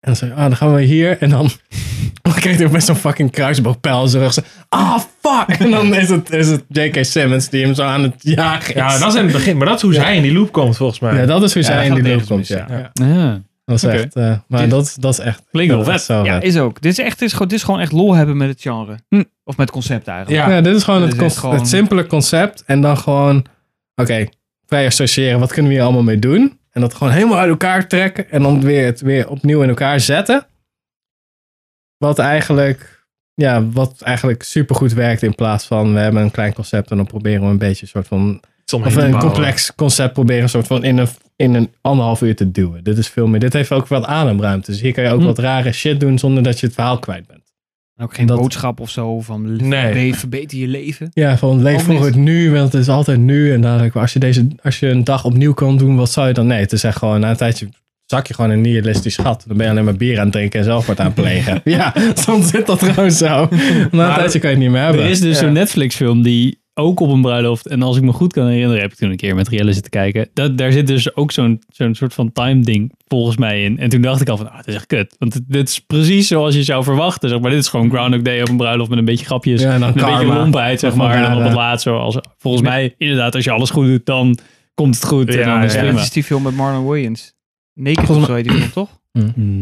En dan zei ah, dan gaan we hier. En dan, dan kijkt hij met zo'n fucking kruisboogpijl in zijn rug. Zo, ah, fuck! En dan is het, is het J.K. Simmons die hem zo aan het jagen is.
Ja, dat is in het begin. Maar dat is hoe zij in die loop komt, volgens mij.
Ja, dat is hoe
Ja,
zij
dat
in
gaat
die loop
ergens
komt,
mis,
ja.
ja.
Ja.
Dat is
Oké.
echt, eh, maar
Dit-
dat, is- dat is echt...
Klinkt wel
dat
vet.
is zo
Ja, is ook. Dit is echt, dit is gewoon, dit is gewoon echt lol hebben met het genre.
Hm.
Of met het concept eigenlijk.
Ja, dit is gewoon, het,
Dit
con-
echt gewoon-
het simpele concept. En dan gewoon, oké, vrij associëren. Wat kunnen we hier allemaal mee doen? En dat gewoon helemaal uit elkaar trekken. En dan weer het weer opnieuw in elkaar zetten. Wat eigenlijk, ja, wat eigenlijk supergoed werkt in plaats van... We hebben een klein concept en dan proberen we een beetje een soort van...
Sommige
Of
te
een
bouwen.
complex concept proberen een soort van in een, in een anderhalf uur te duwen. Dit is veel meer. Dit heeft ook wat ademruimte. Dus hier kan je ook
Hm.
wat rare shit doen zonder dat je het verhaal kwijt bent.
Ook geen
Dat-
boodschap of zo van
Nee.
nee. verbeter je leven.
Ja, van
Oh,
leef
Ook niet.
vroeger het nu, want het is altijd nu. En dadelijk, als je, deze, als je een dag opnieuw kan doen, wat zou je dan? Nee, het is echt gewoon, na een tijdje zak je gewoon in een nihilistisch gat. Dan ben je alleen maar bier aan het drinken en zelfmoord aan het plegen. ja, soms zit dat gewoon zo. Na een tijdje kan je het niet meer hebben.
Er is dus
Ja.
zo'n Netflix-film die ook op een bruiloft. En als ik me goed kan herinneren, heb ik toen een keer met Rielle zitten kijken. Dat, daar zit dus ook zo'n zo'n soort van time-ding volgens mij in. En toen dacht ik al van, ah, dit is echt kut. Want het- dit is precies zoals je zou verwachten. Zeg maar dit is gewoon Groundhog Day op een bruiloft met een beetje grapjes.
Ja, en dan
en een beetje
karma.
lompheid, zeg
Of
maar. En dan
elkaar,
op het
eh.
laatst, zoals, volgens mij, inderdaad, als je alles goed doet, dan komt het goed. en dan is het
dat
prima.
is die film met Marlon Williams. Naked of
Volgens
zo heet die film, toch?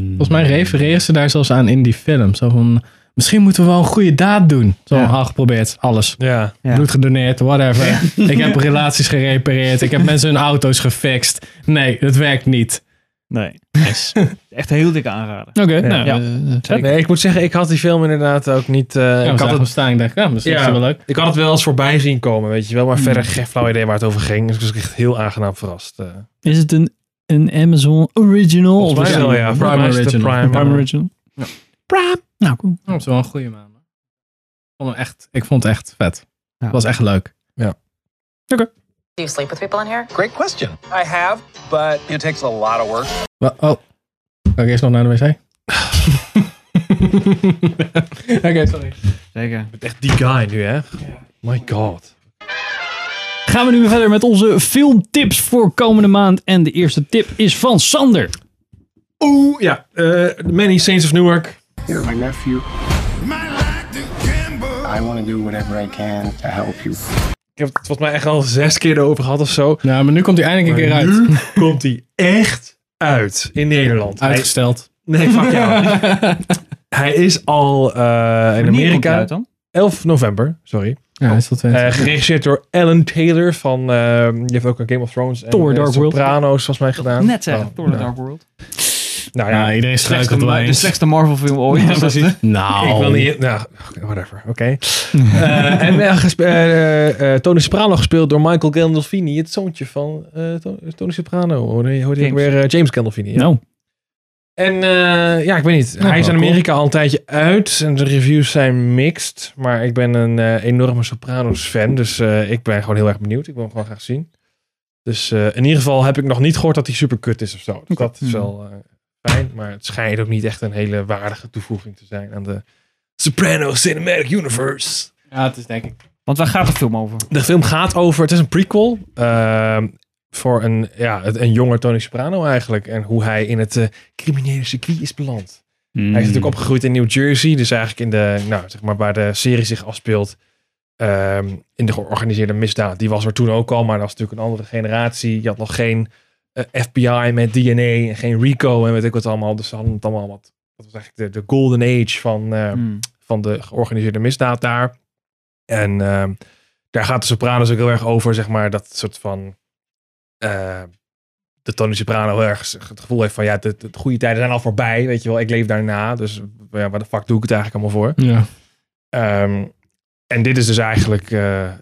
Volgens mij refereren ze daar zelfs aan in die film. Zo van, misschien moeten we wel een goede daad doen. Zo
Ja.
al geprobeerd, alles.
Ja.
Bloed gedoneerd, whatever. Ik heb relaties gerepareerd. Ik heb mensen hun auto's gefixt. Nee, dat werkt niet.
Nee. Echt heel dikke aanrader.
Oké, nou,
Ja.
eh,
Ja. Nee, ik moet zeggen, ik had die film inderdaad ook niet... eh, ik had het,
staan. Ik dacht, ja, misschien is het wel leuk.
Ik had het wel eens voorbij zien komen, weet je wel. Maar
Hmm.
verder geen flauw idee waar het over ging. Dus ik was echt heel aangenaam verrast.
Oh,
eh.
Is het een, een Amazon Original?
Volgens mij
dus
is het
wel,
een-
ja. Volgens mij is het een Prime.
Prime Original. Nou, cool.
Dat is wel een goede man. Ik vond hem echt, ik vond het echt vet. Het was echt leuk. Ja.
Do you sleep with people in here?
Great question. I have, but it takes a lot of work.
oh, kan ik eerst nog naar de wc? Oké, sorry.
Zeker. Je
bent echt die guy nu, hè? My god.
Gaan we nu weer verder met onze filmtips voor komende maand. En de eerste tip is van Sander.
Oeh, ja. eh, Many Saints of Newark.
You're my nephew. I want to do whatever I can to help you.
Ik heb het volgens mij echt al zes keer erover gehad of zo.
Nou, maar nu komt hij eindelijk een
Maar
keer
Nu komt hij echt uit in Nederland. Hij-
Uitgesteld.
nee, fuck jou. hij is al eh, in
komt hij
Amerika.
uit dan?
11 november, sorry.
Ja, is dat
Eh, geregisseerd door Alan Taylor van. eh die heeft ook een Game of Thrones. En,
Thor
eh,
Dark World.
Sopranos, volgens mij gedaan.
Net zeggen,
Oh,
Thor The
nou.
Dark World.
Nou ja,
iedereen
Slechtste ma- de slechtste Marvel film ooit.
Ja,
Dus dat-
precies.
Nou.
Ik wil niet. Nou, whatever. Oké. Eh, en eh, gespe- eh, eh, Tony Soprano gespeeld door Michael Gandolfini, het zoontje van eh, To- Tony Soprano. Hoor je hoorde je ook
James.
weer eh, James Gandolfini. ja.
Nou.
En eh, ja, ik weet niet.
Nou,
Hij is in
wel
Amerika al een tijdje uit en de reviews zijn mixed. Maar ik ben een eh, enorme Sopranos fan, dus eh, ik ben gewoon heel erg benieuwd. Ik wil hem gewoon graag zien. Dus eh, in ieder geval heb ik nog niet gehoord dat hij super kut is of zo. Dus dat
Hmm.
is wel eh, fijn. Maar het schijnt ook niet echt een hele waardige toevoeging te zijn aan de Soprano Cinematic Universe.
Ja, het is denk ik
Want waar gaat de film over?
De film gaat over, het is een prequel ehm, voor een, ja, het- een jonger Tony Soprano eigenlijk. En hoe hij in het eh, criminele circuit is beland. Hij is natuurlijk opgegroeid in New Jersey, dus eigenlijk in de, nou, zeg maar waar de serie zich afspeelt. ehm, in de georganiseerde misdaad. Die was er toen ook al, maar dat was natuurlijk een andere generatie. Je had nog geen eh, FBI met DNA en geen RICO en weet ik wat allemaal. Dus ze hadden het allemaal wat. Dat was eigenlijk de, de golden age van, eh,
Hmm.
van de georganiseerde misdaad daar. En ehm, daar gaat de Sopranos ook heel erg over, zeg maar, dat soort van. eh, de Tony Soprano heel erg het gevoel heeft van ja, de, de goede tijden zijn al voorbij, weet je wel, ik leef daarna, dus ja, waar de fuck doe ik het eigenlijk allemaal voor?
Ja.
Ehm, en dit is dus eigenlijk eh, eh,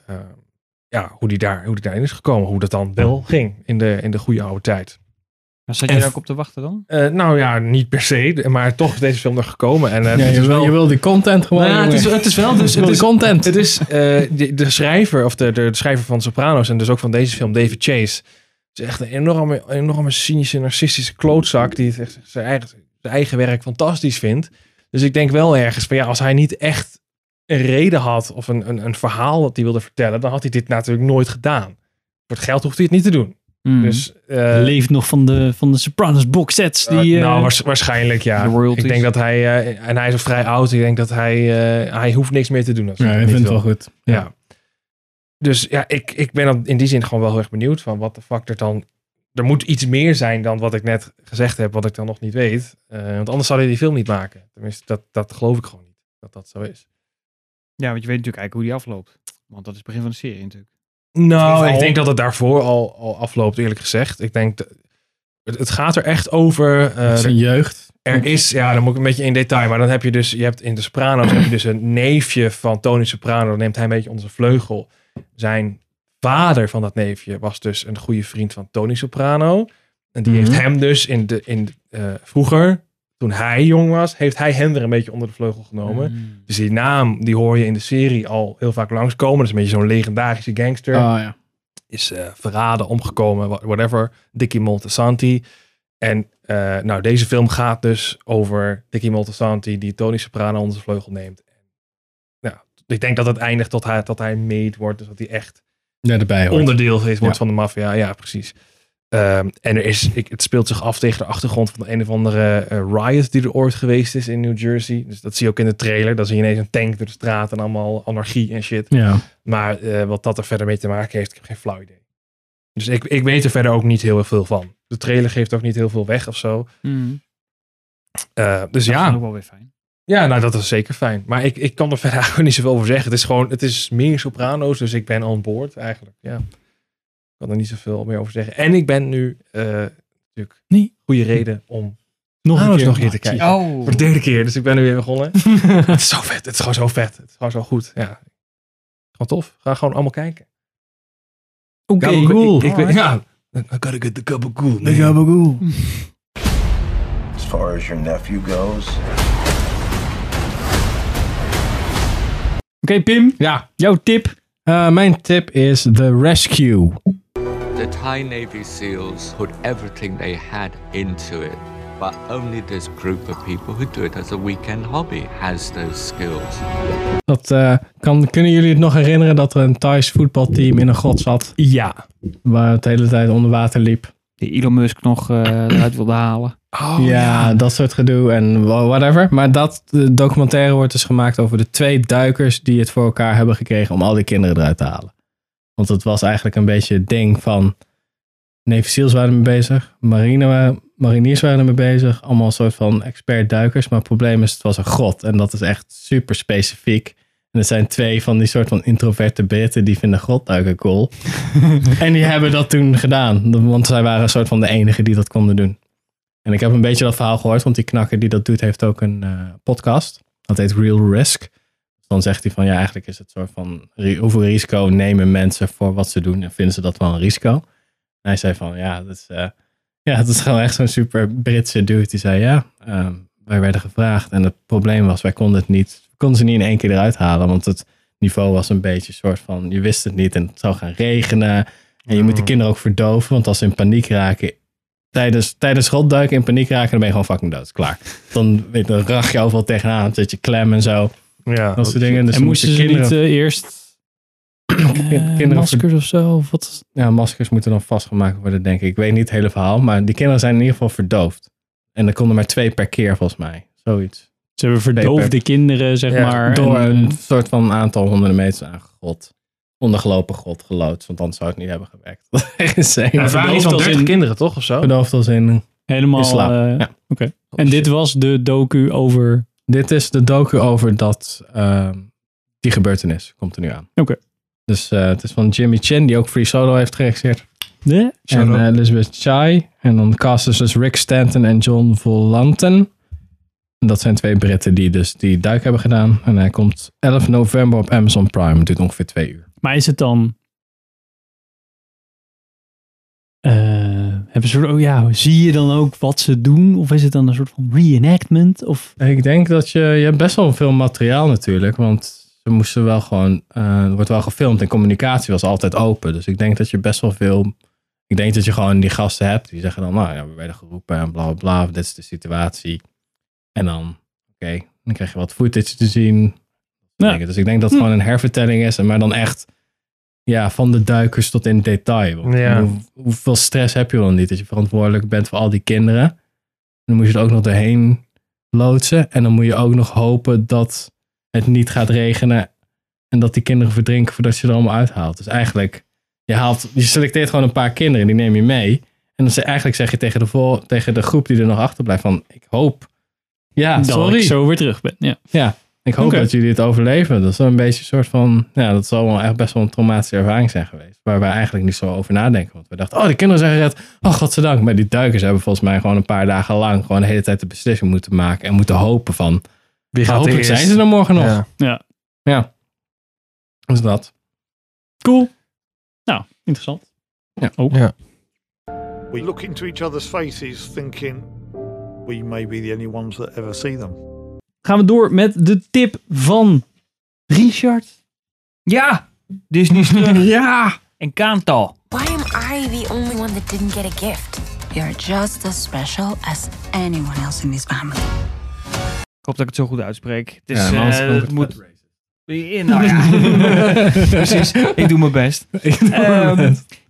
ja, hoe, die daar, hoe die daarin is gekomen, hoe dat dan wel ging in de, in de goede oude tijd.
Maar zat je
En-
daar ook op te wachten dan?
Eh, nou ja, niet per se, maar toch is deze film er gekomen. En, eh,
Ja,
het
je,
is
wil,
wel-
je wil die content gewoon.
nou ja, het, is,
jongen.
het is wel dus
Je wil
het
die
is,
content.
Het is eh, de, de schrijver of de, de, de schrijver van Sopranos en dus ook van deze film, David Chase, is echt een enorme, enorme cynische, narcistische klootzak die het echt zijn eigen, zijn eigen werk fantastisch vindt. Dus ik denk wel ergens van ja, als hij niet echt een reden had of een, een, een verhaal dat hij wilde vertellen, dan had hij dit natuurlijk nooit gedaan. Voor het geld hoeft hij het niet te doen.
Hmm.
Mm.
Dus
eh,
Leeft nog van de, van de Sopranos box sets. Die,
eh,
eh,
nou, waars- waarschijnlijk ja.
de royalties.
Ik denk dat hij, eh, en hij is ook vrij oud, ik denk dat hij, eh, hij hoeft niks meer te doen. Als
Ja,
hij
ik
niet
vind het wel
wil.
goed.
Ja. Dus ja, ik, ik ben dan in die zin gewoon wel heel erg benieuwd van wat de fuck er dan... Er moet iets meer zijn dan wat ik net gezegd heb, wat ik dan nog niet weet. Eh, want anders zou hij die film niet maken. Tenminste, dat, dat geloof ik gewoon niet, dat dat zo is.
Ja, want je weet natuurlijk eigenlijk hoe die afloopt. Want dat is het begin van de serie natuurlijk.
Nou,
Al-
ik denk dat het daarvoor al, al afloopt, eerlijk gezegd. Ik denk, dat- het, het gaat er echt over... eh,
Het is een jeugd.
Er is, ja, dan moet ik een beetje in detail. Maar dan heb je dus, je hebt in de Soprano's heb je dus een neefje van Tony Soprano. Dan neemt hij een beetje onder zijn vleugel. Zijn vader van dat neefje was dus een goede vriend van Tony Soprano. En die heeft
Mhm.
hem dus in de, in, eh, vroeger, toen hij jong was, heeft hij hem weer een beetje onder de vleugel genomen.
Mhm.
Dus die naam, die hoor je in de serie al heel vaak langskomen. Dat is een beetje zo'n legendarische gangster.
Ah, ja.
Is eh, verraden, omgekomen, wha- whatever. Dickie Montesanti. En eh, nou, deze film gaat dus over Dickie Montesanti, die Tony Soprano onder zijn vleugel neemt. Nou, ik denk dat het eindigt tot hij, tot hij made wordt. Dus dat hij echt
Ja, erbij hoort.
onderdeel is, wordt
Ja.
van de maffia. Ja, precies. Ehm, en er is, ik, het speelt zich af tegen de achtergrond van een of andere eh, riot die er ooit geweest is in New Jersey. Dus dat zie je ook in de trailer. Dan zie je ineens een tank door de straat en allemaal anarchie en shit.
Ja.
Maar eh, wat dat er verder mee te maken heeft, ik heb geen flauw idee. Dus ik, ik weet er verder ook niet heel erg veel van. De trailer geeft ook niet heel veel weg of zo.
Hmm.
Eh, dus
Dat is
ja.
ook wel weer fijn.
Ja, nou dat is zeker fijn. Maar ik, ik kan er verder eigenlijk niet zoveel over zeggen. Het is gewoon, het is meer soprano's, dus ik ben on board eigenlijk. Ja. Ik kan er niet zoveel meer over zeggen. En ik ben nu eh, natuurlijk
Nee.
goede reden om
Nog een
Soprano's
keer.
nog een keer te
Oh,
kijken.
Oh.
Voor de derde keer, dus ik ben nu weer begonnen. het is zo vet, het is gewoon zo vet. Het is gewoon zo goed, ja. Gewoon tof. Ga gewoon allemaal kijken.
Oké,
Ja, ik-
cool.
ik- ik-
Alright.
ja. I gotta get the cup of cool, man.
As far as your nephew goes,
Oké, Pim.
Ja.
Jouw tip.
Eh, mijn tip is The Rescue.
The Thai Navy SEALs put everything they had into it, but only this group of people who do it as a weekend hobby has those skills.
Dat, eh, kan, kunnen jullie het nog herinneren dat er een Thais voetbalteam in een grot zat?
Ja.
Waar het de hele tijd onder water liep.
Die Elon Musk nog eh, eruit wilde halen.
ja, dat soort gedoe en wha- whatever. Maar dat eh, documentaire wordt dus gemaakt over de twee duikers die het voor elkaar hebben gekregen om al die kinderen eruit te halen. Want het was eigenlijk een beetje het ding van. Navy Seals waren ermee bezig, marine, wa- mariniers waren ermee bezig, allemaal een soort van expert duikers. Maar het probleem is, het was een grot en dat is echt super specifiek. En er zijn twee van die soort van introverte Britten die vinden grotduiken cool. en die hebben dat toen gedaan, want zij waren een soort van de enige die dat konden doen. En ik heb een beetje dat verhaal gehoord, want die knakker die dat doet, heeft ook een eh, podcast. Dat heet Real Risk. Dan zegt hij van ja, eigenlijk is het soort van ri- hoeveel risico nemen mensen voor wat ze doen en vinden ze dat wel een risico? En hij zei van ja, dat is, eh, ja, dat is gewoon echt zo'n super Britse dude. Die zei ja, ehm, wij werden gevraagd en het probleem was, wij konden het niet, we konden ze niet in één keer eruit halen, want het niveau was een beetje soort van je wist het niet en het zou gaan regenen. En je moet de kinderen ook verdoven, want als ze in paniek raken, tijdens, tijdens rotduiken in paniek raken, dan ben je gewoon fucking dood. Klaar. Dan, weet je, dan rach je overal tegenaan, dan zit je klem en zo.
Ja,
dat soort dingen. Dus
en
dan
moesten
moeten
ze niet
kinderen-
eh, eerst
kinderen
maskers
of zo? Of wat? Ja, maskers moeten dan vastgemaakt worden, denk ik. Ik weet niet het hele verhaal, maar die kinderen zijn in ieder geval verdoofd. En er konden maar twee per keer, volgens mij. Zoiets.
Ze hebben verdoofde kinderen, zeg maar.
Door
En,
een soort van aantal honderden meters aangegod. Ondergelopen god geloodst, want anders zou het niet hebben gewerkt. Dat is insane.
Ja, het waren iets van 30 kinderen, toch? Of zo?
Verdoofd als in...
Helemaal,
in slaap.
eh,
Ja.
oké. en dit was de docu over...
Dit is de docu over dat, ehm, die gebeurtenis. Komt er nu aan.
Oké.
Dus eh, het is van Jimmy Chin, die ook Free Solo heeft geregisseerd.
De?
En eh, Elizabeth Chai. En dan cast is dus Rick Stanton en John Volanten. En dat zijn twee Britten die dus die duik hebben gedaan. En hij komt 11 november op Amazon Prime. Het duurt ongeveer twee uur.
Maar is het dan... eh, hebben ze, oh ja, zie je dan ook wat ze doen? Of is het dan een soort van reenactment? Of
Ik denk dat je, je hebt best wel veel materiaal natuurlijk, want ze moesten wel gewoon, eh, er wordt wel gefilmd en communicatie was altijd open. Dus ik denk dat je best wel veel, ik denk dat je gewoon die gasten hebt die zeggen dan, nou ja, we werden geroepen en bla bla bla, dit is de situatie. En dan, oké, dan krijg je wat footage te zien. Dingen. Dus ik denk dat het gewoon een hervertelling is, en maar dan echt ja, van de duikers tot in detail. Want
Ja.
hoe- hoeveel stress heb je dan niet? Dat je verantwoordelijk bent voor al die kinderen. En dan moet je er ook nog doorheen loodsen. En dan moet je ook nog hopen dat het niet gaat regenen. En dat die kinderen verdrinken voordat je er allemaal uithaalt. Dus eigenlijk, je, haalt, je selecteert gewoon een paar kinderen, die neem je mee. En dan ze, eigenlijk zeg je tegen de, vol, tegen de groep die er nog achterblijft van, ik hoop. Ja,
dat
Ah, sorry.
Nou, ik zo weer terug ben? Ja.
Ja, ik hoop
Oké.
dat jullie het overleven. Dat is wel een beetje een soort van. Ja, dat zal wel echt best wel een traumatische ervaring zijn geweest. Waar wij eigenlijk niet zo over nadenken. Want we dachten, oh, de kinderen zijn gered. Oh, godzijdank. Maar die duikers hebben volgens mij gewoon een paar dagen lang. gewoon de hele tijd de beslissing moeten maken. En moeten hopen van.
Wie gaat
"Nou, hopelijk
eerst?"
zijn ze er morgen nog.
Ja.
Ja.
Ja. Dus dat.
Cool. Nou, interessant.
Ja.
Ook.
We look into each other's faces thinking we may be the only ones that ever see them.
Gaan we door met de tip van Richard.
Ja, Disney terug. ja. En Kantal.
Why am I the only one that didn't get a gift? You're just as special as anyone else in this family.
Ik hoop dat ik het zo goed uitspreek. Het,
Ja,
is,
maar anders
eh,
klonk
het
het
moet... Ja, nou ja. Precies. Ik doe mijn best. Ehm,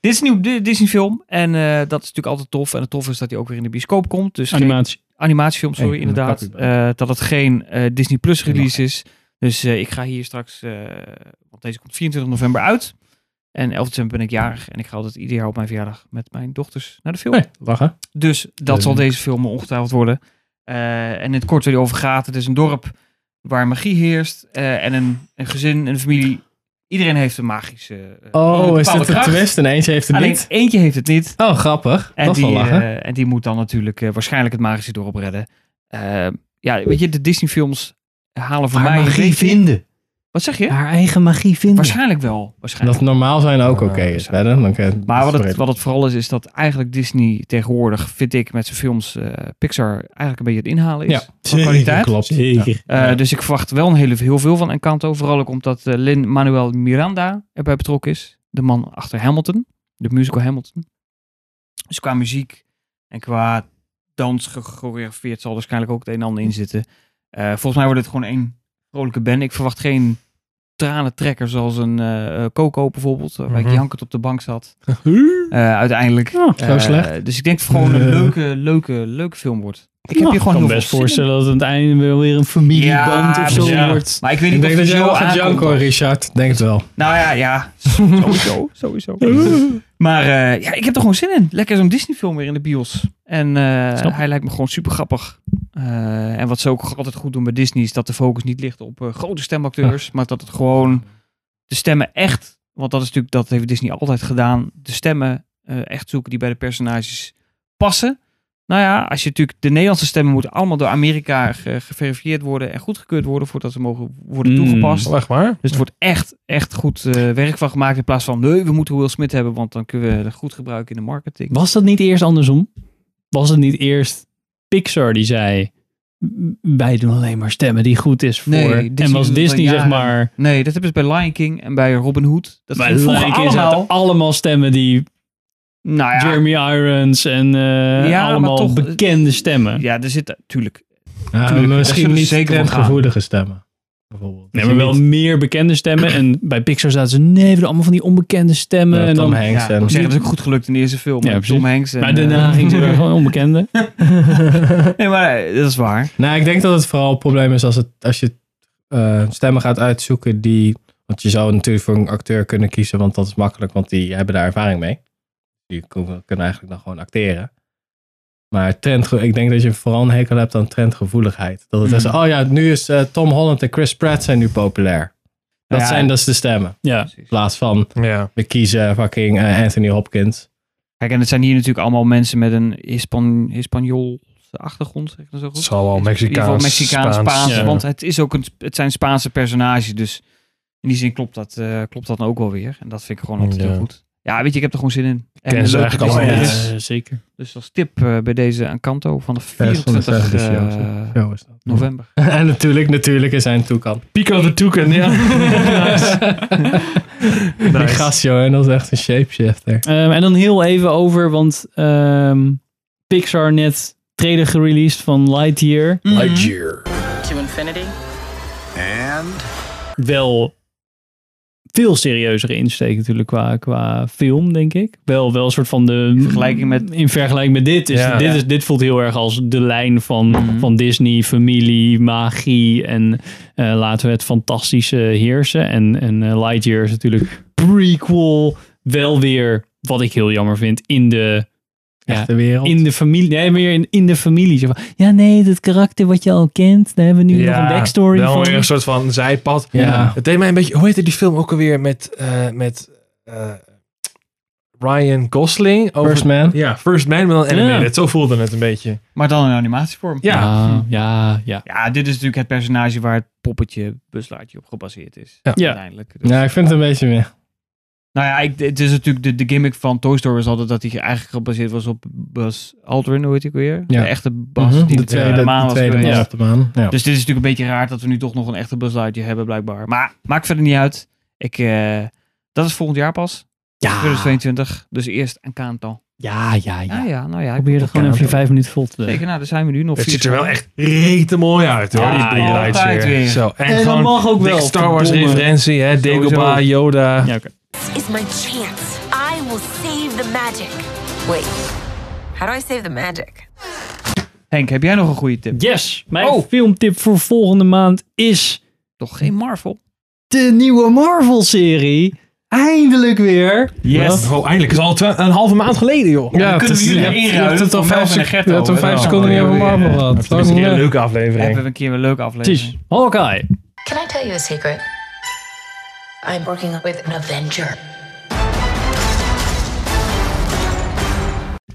Dit is een nieuw di- Disney-film. En eh, dat is natuurlijk altijd tof. En het tof is dat hij ook weer in de bioscoop komt. Dus geen-
Animatie.
animatiefilm, sorry,
Hey, ik ben
inderdaad.
er
Eh, dat het geen eh, Disney Plus release is. Dus eh, ik ga hier straks... eh, want deze komt 24 november uit. En 11 december ben ik jarig. En ik ga altijd ieder jaar op mijn verjaardag met mijn dochters naar de film.
Hey, lachen.
Dus dat
Leuk.
zal deze film ongetwijfeld worden. Eh, en in het kort waar die over gaat. Het is een dorp waar magie heerst. eh, en een, een gezin, een familie. Iedereen heeft een magische eh,
Oh,
een
is
bepaalde
dit de
kracht.
twist? En eentje heeft het
Alleen
niet.
eentje heeft het niet.
Oh, grappig.
En
dat is
die,
wel lachen.
eh, en die moet dan natuurlijk eh, waarschijnlijk het magische dorp redden. Eh, ja, weet je, de Disney films halen voor
Haar
mij... een
magie
beetje-
vinden.
Wat zeg je?
Haar eigen magie vinden.
Waarschijnlijk wel. Waarschijnlijk.
dat normaal zijn ook oké is. Hè? Dan kan je-
Maar wat het, wat het vooral is, is dat eigenlijk Disney tegenwoordig, vind ik, met zijn films eh, Pixar eigenlijk een beetje het inhalen is.
Ja,
van
zeker,
kwaliteit.
klopt. Zeker.
Eh, Dus ik verwacht wel een hele, heel veel van Encanto. Vooral ook omdat eh, Lin-Manuel Miranda erbij betrokken is. De man achter Hamilton. De musical Hamilton. Dus qua muziek en qua dans gechoreografeerd zal er waarschijnlijk ook het een en ander in zitten. Eh, volgens mij wordt het gewoon één vrolijke band. Ik verwacht geen tranentrekker zoals een eh, eh, Coco bijvoorbeeld. Waar ik
Mhm.
jankend op de bank zat. Eh, uiteindelijk.
Oh, zo
Eh,
slecht.
Dus ik denk dat het gewoon een
Eh.
leuke, leuke, leuke film wordt. Ik heb
Nou,
hier gewoon
kan
heel
best
veel
voorstellen dat het aan het einde wel weer een familieband
Ja,
of zo
precies.
wordt.
Maar ik weet niet
denk
of
dat
die
jij
zo
wel gaat
aankomt.
janken hoor, Richard. Denk het wel.
Nou ja, ja. Sowieso, sowieso. maar eh, ja, ik heb er gewoon zin in. Lekker zo'n Disney film weer in de bios. En eh,
Snap ik.
hij lijkt me gewoon super grappig. Eh, en wat ze ook altijd goed doen bij Disney is dat de focus niet ligt op eh, grote stemacteurs. Maar dat het gewoon de stemmen echt, want dat is natuurlijk, dat heeft Disney altijd gedaan. De stemmen eh, echt zoeken die bij de personages passen. Nou ja, als je natuurlijk de Nederlandse stemmen moeten allemaal door Amerika ge- geverifieerd worden en goedgekeurd worden voordat ze mogen worden
Mm,
toegepast.
oh, echt waar?
Dus het wordt echt, echt goed eh, werk van gemaakt in plaats van nee, we moeten Will Smith hebben, want dan kunnen we het goed gebruiken in de marketing.
Was dat niet eerst andersom? Was het niet eerst Pixar die zei: wij doen alleen maar stemmen die goed is voor. en was
doet dat al
Disney zeg
jaren.
maar.
Nee, dat hebben ze bij Lion King en bij Robin Hood. Dat
Bij
ging vroeger
Lion King zaten
allemaal.
allemaal stemmen die.
Nou ja.
Jeremy Irons en eh,
Ja, maar
allemaal
toch-
bekende stemmen.
Ja, er zit natuurlijk.
Ja,
Tuurlijk,
maar
daar
misschien
zullen ze
niet
zeker voor gaan.
trendgevoelige stemmen. bijvoorbeeld.
Nee, maar wel meer bekende stemmen. En bij Pixar zaten ze, nee, we doen allemaal van die onbekende stemmen.
Ja,
en
eh, Tom
dan,
Hanks en-
Ja,
Ik moet
zeggen, dat is ook goed gelukt in de eerste film.
Ja,
met
precies.
Tom Hanks. En,
maar daarna
eh,
ging ze weer gewoon onbekende.
nee, maar eh, dat is waar.
Nou, ik denk dat het vooral het probleem is als, het, als je eh, stemmen gaat uitzoeken die... Want je zou natuurlijk voor een acteur kunnen kiezen, want dat is makkelijk, want die hebben daar ervaring mee. Die kunnen kunnen eigenlijk dan gewoon acteren. Maar trend, ik denk dat je vooral een hekel hebt aan trendgevoeligheid. Dat het
Mm.
is, oh ja, nu is eh, Tom Holland en Chris Pratt zijn nu populair. Dat
Ja.
zijn dus de stemmen.
Ja.
In plaats van,
Ja.
we kiezen fucking eh, Anthony Hopkins.
Kijk, en het zijn hier natuurlijk allemaal mensen met een Hispan Hispanioolse achtergrond, zeg ik dat zo goed?
zal wel
In ieder geval
Mexicaans,
Mexicaans,
Spaans.
Spaans.
Ja.
Want het, is ook een, het zijn Spaanse personages, dus in die zin klopt dat, eh, klopt dat dan ook wel weer. En dat vind ik gewoon altijd
Ja.
heel goed. Ja, weet je, ik heb er gewoon zin in. En
ken ze
leuk,
eigenlijk
het is-
allemaal
het is-
niet.
eh, zeker.
Dus als tip eh, bij deze aan Kanto van de
Ja, van de
24
zevende show,
eh,
show is dat.
november.
en natuurlijk, natuurlijk is hij een toekan.
Pico de Toucan, ja.
Die gast, joh, en dat is echt een shapeshifter.
Ehm, en dan heel even over, want ehm, Pixar net trailer gereleased van Lightyear.
Lightyear.
To infinity. And
Wel veel serieuzere insteek natuurlijk qua, qua film, denk ik. Wel, wel een soort van de...
vergelijking met-
In vergelijking met dit. Is,
Ja.
dit,
Ja. Mhm.
is, dit voelt heel erg als de lijn van, van Disney, familie, magie en eh, laten we het fantastische heersen. En, en eh, Lightyear is natuurlijk prequel. Wel weer, wat ik heel jammer vind, in de...
Echte wereld.
In de familie. Nee, meer in, in de familie. Zo van, ja, nee, dat karakter wat je al kent. Daar hebben we nu nog een backstory
wel
voor.
weer een soort van zijpad.
Ja.
Het deed mij een beetje... Hoe heette die film ook alweer met... eh, met eh, Ryan Gosling? Over,
First Man.
Ja, First Man, maar dan
Ja.
animated. Zo voelde het een beetje.
Maar dan in animatievorm.
Ja.
Ah, ja, ja.
Ja, dit is natuurlijk het personage waar het poppetje Buslaartje op gebaseerd is.
Ja.
Ja.
Uiteindelijk. Dus-
Ja, ik vind het een beetje meer.
Nou ja, ik, het is natuurlijk de, de gimmick van Toy Story is altijd dat hij eigenlijk gebaseerd was op Buzz Aldrin, hoe heet ik weer?
Ja.
De echte Buzz
Mhm,
die
de
op
tweede-
de maan
de
was
tweede
geweest.
man op de maan, ja.
Dus dit is natuurlijk een beetje raar dat we nu toch nog een echte Buzz Lightyear hebben blijkbaar. Maar maakt verder niet uit. Ik, eh, dat is volgend jaar pas.
Ah.
Ja.
2022. Dus eerst een kaantal.
Ja, ja, ja.
Ja, ja, nou ja. ik
Probeer
moet
er gewoon
toch-
even je vijf minuten vol te
Zeker, nou, daar zijn we nu nog.
Het
vier
ziet er wel
seconden.
echt rete mooi uit, hoor.
Ja,
die drie
altijd
lights
weer.
weer. Zo,
En dat
gewoon
mag ook
dik
wel,
Star Wars
verdomme.
referentie, hè.
Sowieso.
Dagobah, Yoda.
Ja,
This is my chance. I will save the magic. Wait, how do I save the magic?
Henk, heb jij nog een goede tip?
Yes, mijn filmtip voor volgende maand is...
Toch geen Marvel?
De nieuwe Marvel-serie. Eindelijk weer.
Yes.
Oh, eindelijk. Het is al twa- een halve maand geleden, joh.
Ja, Dan kunnen we jullie inruilen
het al
voor
vijf
Melvin en
sec-
Gerto. Oh,
je hebt al vijf
Ja.
seconden niet over Marvel gehad.
Het is een keer een leuke aflevering.
Hebben we een keer een leuke aflevering.
Hawkeye.
Can I tell you a secret? I'm working with an Avenger.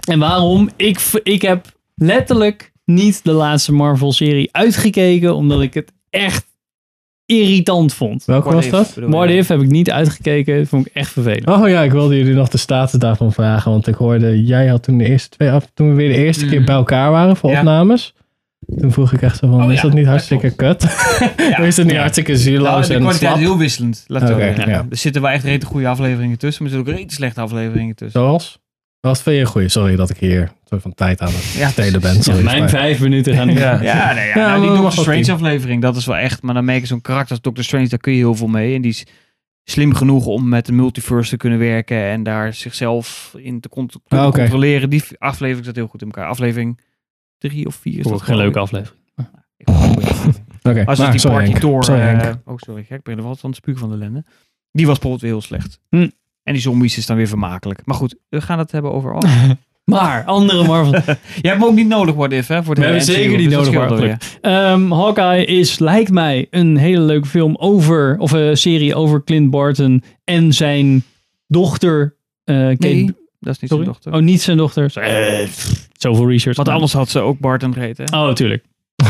En waarom? Ik, v- ik heb letterlijk niet de laatste Marvel-serie uitgekeken, omdat ik het echt irritant vond.
Welke was dat?
What If heb ik niet uitgekeken, dat vond ik echt vervelend.
Oh ja, ik wilde jullie nog de status daarvan vragen. Want ik hoorde, jij had toen de eerste twee af. Toen we weer de eerste
Mm.
keer bij elkaar waren voor opnames. Toen vroeg ik echt zo
Oh
van, is dat niet hartstikke kut? is dat niet hartstikke
Nou,
zieloos
de
en
kwaliteit
slap?
is heel wisselend. Laat het zo
Oké,
zeggen.
ja.
Er zitten wel echt rete goede afleveringen tussen, maar er zitten ook rete slechte afleveringen tussen.
Zoals? Wat vind je een goeie? Sorry dat ik hier een soort van tijd aan het
Ja,
stelen ben. Sorry,
mijn
maar-
vijf minuten gaan
Ja.
Ja, nee, ja.
Ja,
nou,
maar
die
mag
Doctor
ook
Strange
niet.
aflevering, dat is wel echt. Maar dan merk je zo'n karakter als Doctor Strange, daar kun je heel veel mee. En die is slim genoeg om met de multiverse te kunnen werken en daar zichzelf in te cont- kunnen
Ah, oké.
controleren. Die aflevering zat heel goed in elkaar. Aflevering drie of vier is
Vond
dat
ik geen
geloof
leuke
ik.
aflevering.
Als
Oké,
het
maar
die
Nou, sorry
party
Henk.
door...
Sorry
eh,
Henk.
oh, sorry. gek, Ik ben er wat van het spuug van de lende. Die was bijvoorbeeld weer heel slecht.
Hm.
En die zombies is dan weer vermakelijk. Maar goed, we gaan het hebben over... Oh.
Maar, andere Marvel.
Jij hebt hem ook niet nodig, What If, hè? Voor de
We hebben
MCU,
zeker
dus
niet
dat
nodig.
scheelt
Maar
alweer.
gelukkig. Ehm, Hawkeye is, lijkt mij, een hele leuke film over, of een serie over Clint Barton en zijn dochter. eh, Kate,
Nee, dat is niet
Sorry?
zijn dochter.
Oh, niet zijn dochter. Zo- eh, pff, Zoveel research.
Want
gedaan.
anders had ze ook Bart en Reet, hè?
Oh, natuurlijk.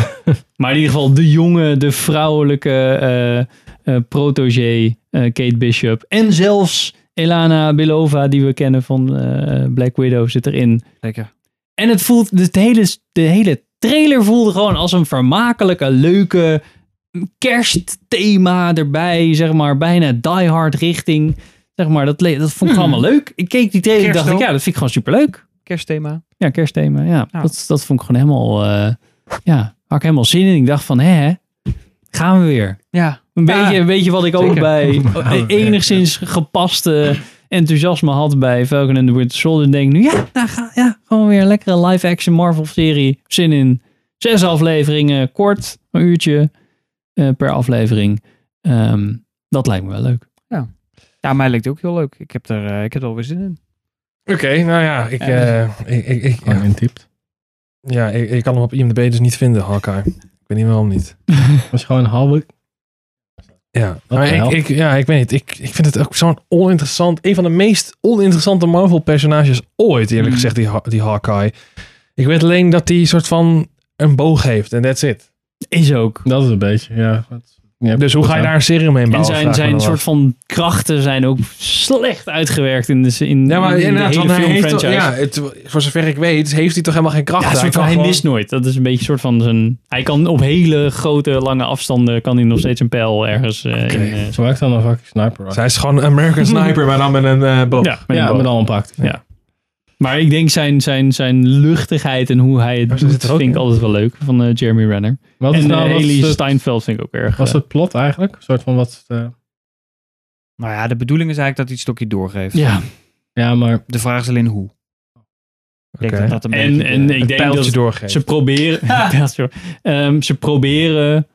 maar in ieder geval de jonge, de vrouwelijke eh eh, protégé eh, Kate Bishop. En zelfs Elana Belova, die we kennen van eh, Black Widow, zit erin.
Zeker.
En het voelt, de hele, de hele trailer voelde gewoon als een vermakelijke, leuke kerstthema erbij. Zeg maar bijna die hard richting. Zeg maar, dat, le- dat vond ik
Hmm.
allemaal leuk. Ik keek die trailer en
Kerst
dacht ik,
ook.
ja, dat vind ik gewoon superleuk.
Kerstthema.
Ja, kerstthema. Ja, Dat, dat vond ik gewoon helemaal. eh, ja, had ik helemaal zin in. Ik dacht van, hè, hè, Gaan we weer.
Ja.
Een beetje,
Ja.
weet je wat ik ook
Zeker.
bij
Gaan we weer,
enigszins gepaste enthousiasme had bij Falcon and the Winter Soldier. Denk nu, ja, nou ga, ja, gewoon weer een lekkere live-action Marvel-serie. Zin in. Zes afleveringen, kort, een uurtje eh, per aflevering. Ehm, dat lijkt me wel leuk.
Ja. ja, mij lijkt het ook heel leuk. Ik heb er, eh, ik heb er alweer zin in.
Oké, nou ja, ik,
Eh,
eh, ik, ik, ik-
Gewoon intypt.
ja, ik, ik kan hem op IMDb dus niet vinden, Hawkeye. Ik weet niet waarom niet.
Was gewoon halve.
Ja,
Wat
maar
de
ik,
hel?
ik, ja, ik weet niet. Ik, ik vind het ook zo'n oninteressant. Een van de meest oninteressante Marvel-personages ooit, eerlijk
Mm.
gezegd, die, Ha- die Hawkeye. Ik weet alleen dat hij soort van een boog heeft en that's it.
Is ook.
Dat is een beetje, ja. Wat- ja,
Dus hoe ga je
ja.
daar een serie mee
En
bouwen?
zijn,
vraag ik me
zijn
dan
soort
af.
van krachten zijn ook slecht uitgewerkt in de, in,
Ja, maar
in de
inderdaad,
hele
want hij heeft toch-
filmfranchise.
ja, het, voor zover ik weet, heeft hij toch helemaal geen kracht.
Ja, soort van, hij mist nooit. Dat is een beetje soort van zijn... Hij kan op hele grote, lange afstanden... kan hij nog steeds een pijl ergens eh, in... eh,
Zo werkt dan een fucking sniper.
Zij is gewoon een American Sniper, maar dan met een eh boog.
ja, met
Ja,
een
met
boog.
al een praktisch.
Ja. Maar ik denk zijn, zijn, zijn luchtigheid en hoe hij het
Maar ze
doet...
zit er ook
vind ik
in.
altijd wel leuk van eh, Jeremy Renner.
Wat is
en
nou-
eh,
wat is
Haley
het-
Steinfeld vind ik ook erg.
Was
eh,
het plot eigenlijk? Een soort van wat... is het, eh,
Nou ja, de bedoeling is eigenlijk dat hij het stokje doorgeeft.
ja.
Ja, maar...
De vraag is alleen hoe. Ik denk
Oké.
dat dat een
En,
beetje de-
en ik
het
denk
pijltje
dat
doorgeeft.
ze proberen... Ja, sorry. Ehm, ze proberen...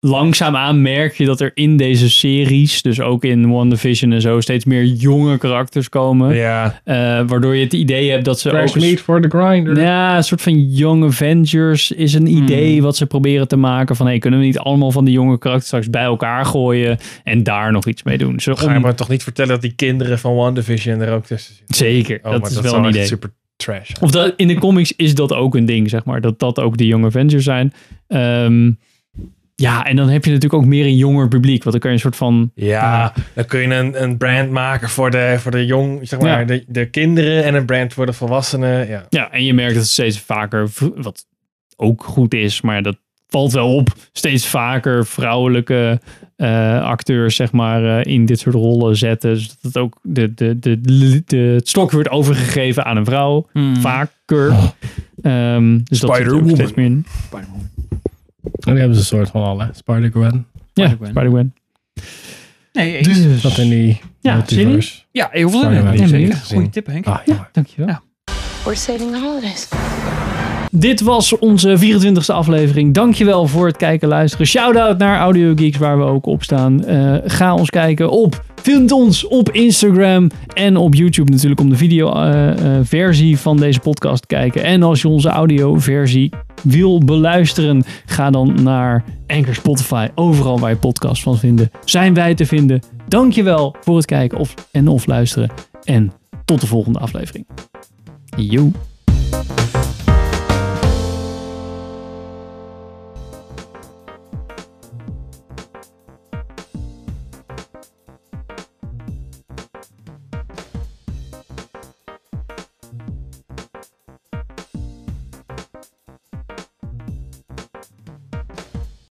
Langzaamaan merk je dat er in deze series, dus ook in WandaVision en zo, steeds meer jonge karakters komen.
Ja,
Eh, waardoor je het idee hebt dat ze
Fresh
ook...
meat for the grinder.
Ja, een soort van Young Avengers is een
Hmm.
idee wat ze proberen te maken. Van, hey, kunnen we niet allemaal van die jonge karakters straks bij elkaar gooien en daar nog iets mee doen? Zo
ga je
om-
maar toch niet vertellen dat die kinderen van WandaVision er ook tussen zitten.
Zeker,
Oh,
dat
maar
is
dat
wel
zou
een
echt
idee.
super trash.
Of dat, in de comics is dat ook een ding, zeg maar. Dat dat ook de Young Avengers zijn. Ehm, ja, en dan heb je natuurlijk ook meer een jonger publiek. Want dan kan je een soort van...
Ja, dan kun je een, een brand maken voor de, voor de jong, zeg maar,
Ja.
de, de kinderen en een brand voor de volwassenen. Ja.
Ja, en je merkt dat het steeds vaker, v- wat ook goed is, maar dat valt wel op, steeds vaker vrouwelijke eh, acteurs, zeg maar, eh, in dit soort rollen zetten. Dus dat het ook de, de, de, de, het stok wordt overgegeven aan een vrouw,
Hmm.
vaker. Ehm, dus dat zit er ook
Spider-Woman.
steeds meer in.
En die hebben ze een soort van al, hè? Spider-Gwen.
Ja,
Spider-Gwen.
Spider-Gwen.
Nee, eens.
Dus,
Dat in die
Ja,
multiverse.
Ja, heel veel zin
Sorry,
in.
maar die
Ja,
heb ik
zeker.
niet
Goeie
gezien.
tip, Henk.
Ah, ja.
dankjewel.
We're saving the holidays.
Dit was onze 24e aflevering. Dankjewel voor het kijken en luisteren. Shout-out naar Audio Geeks, waar we ook op staan. Eh, ga ons kijken op... Vind ons op Instagram en op YouTube natuurlijk om de videoversie van deze podcast te kijken. En als je onze audioversie wil beluisteren, ga dan naar Anchor Spotify. Overal waar je podcasts van vinden, zijn wij te vinden. Dankjewel voor het kijken of, en of luisteren. En tot de volgende aflevering. Joe.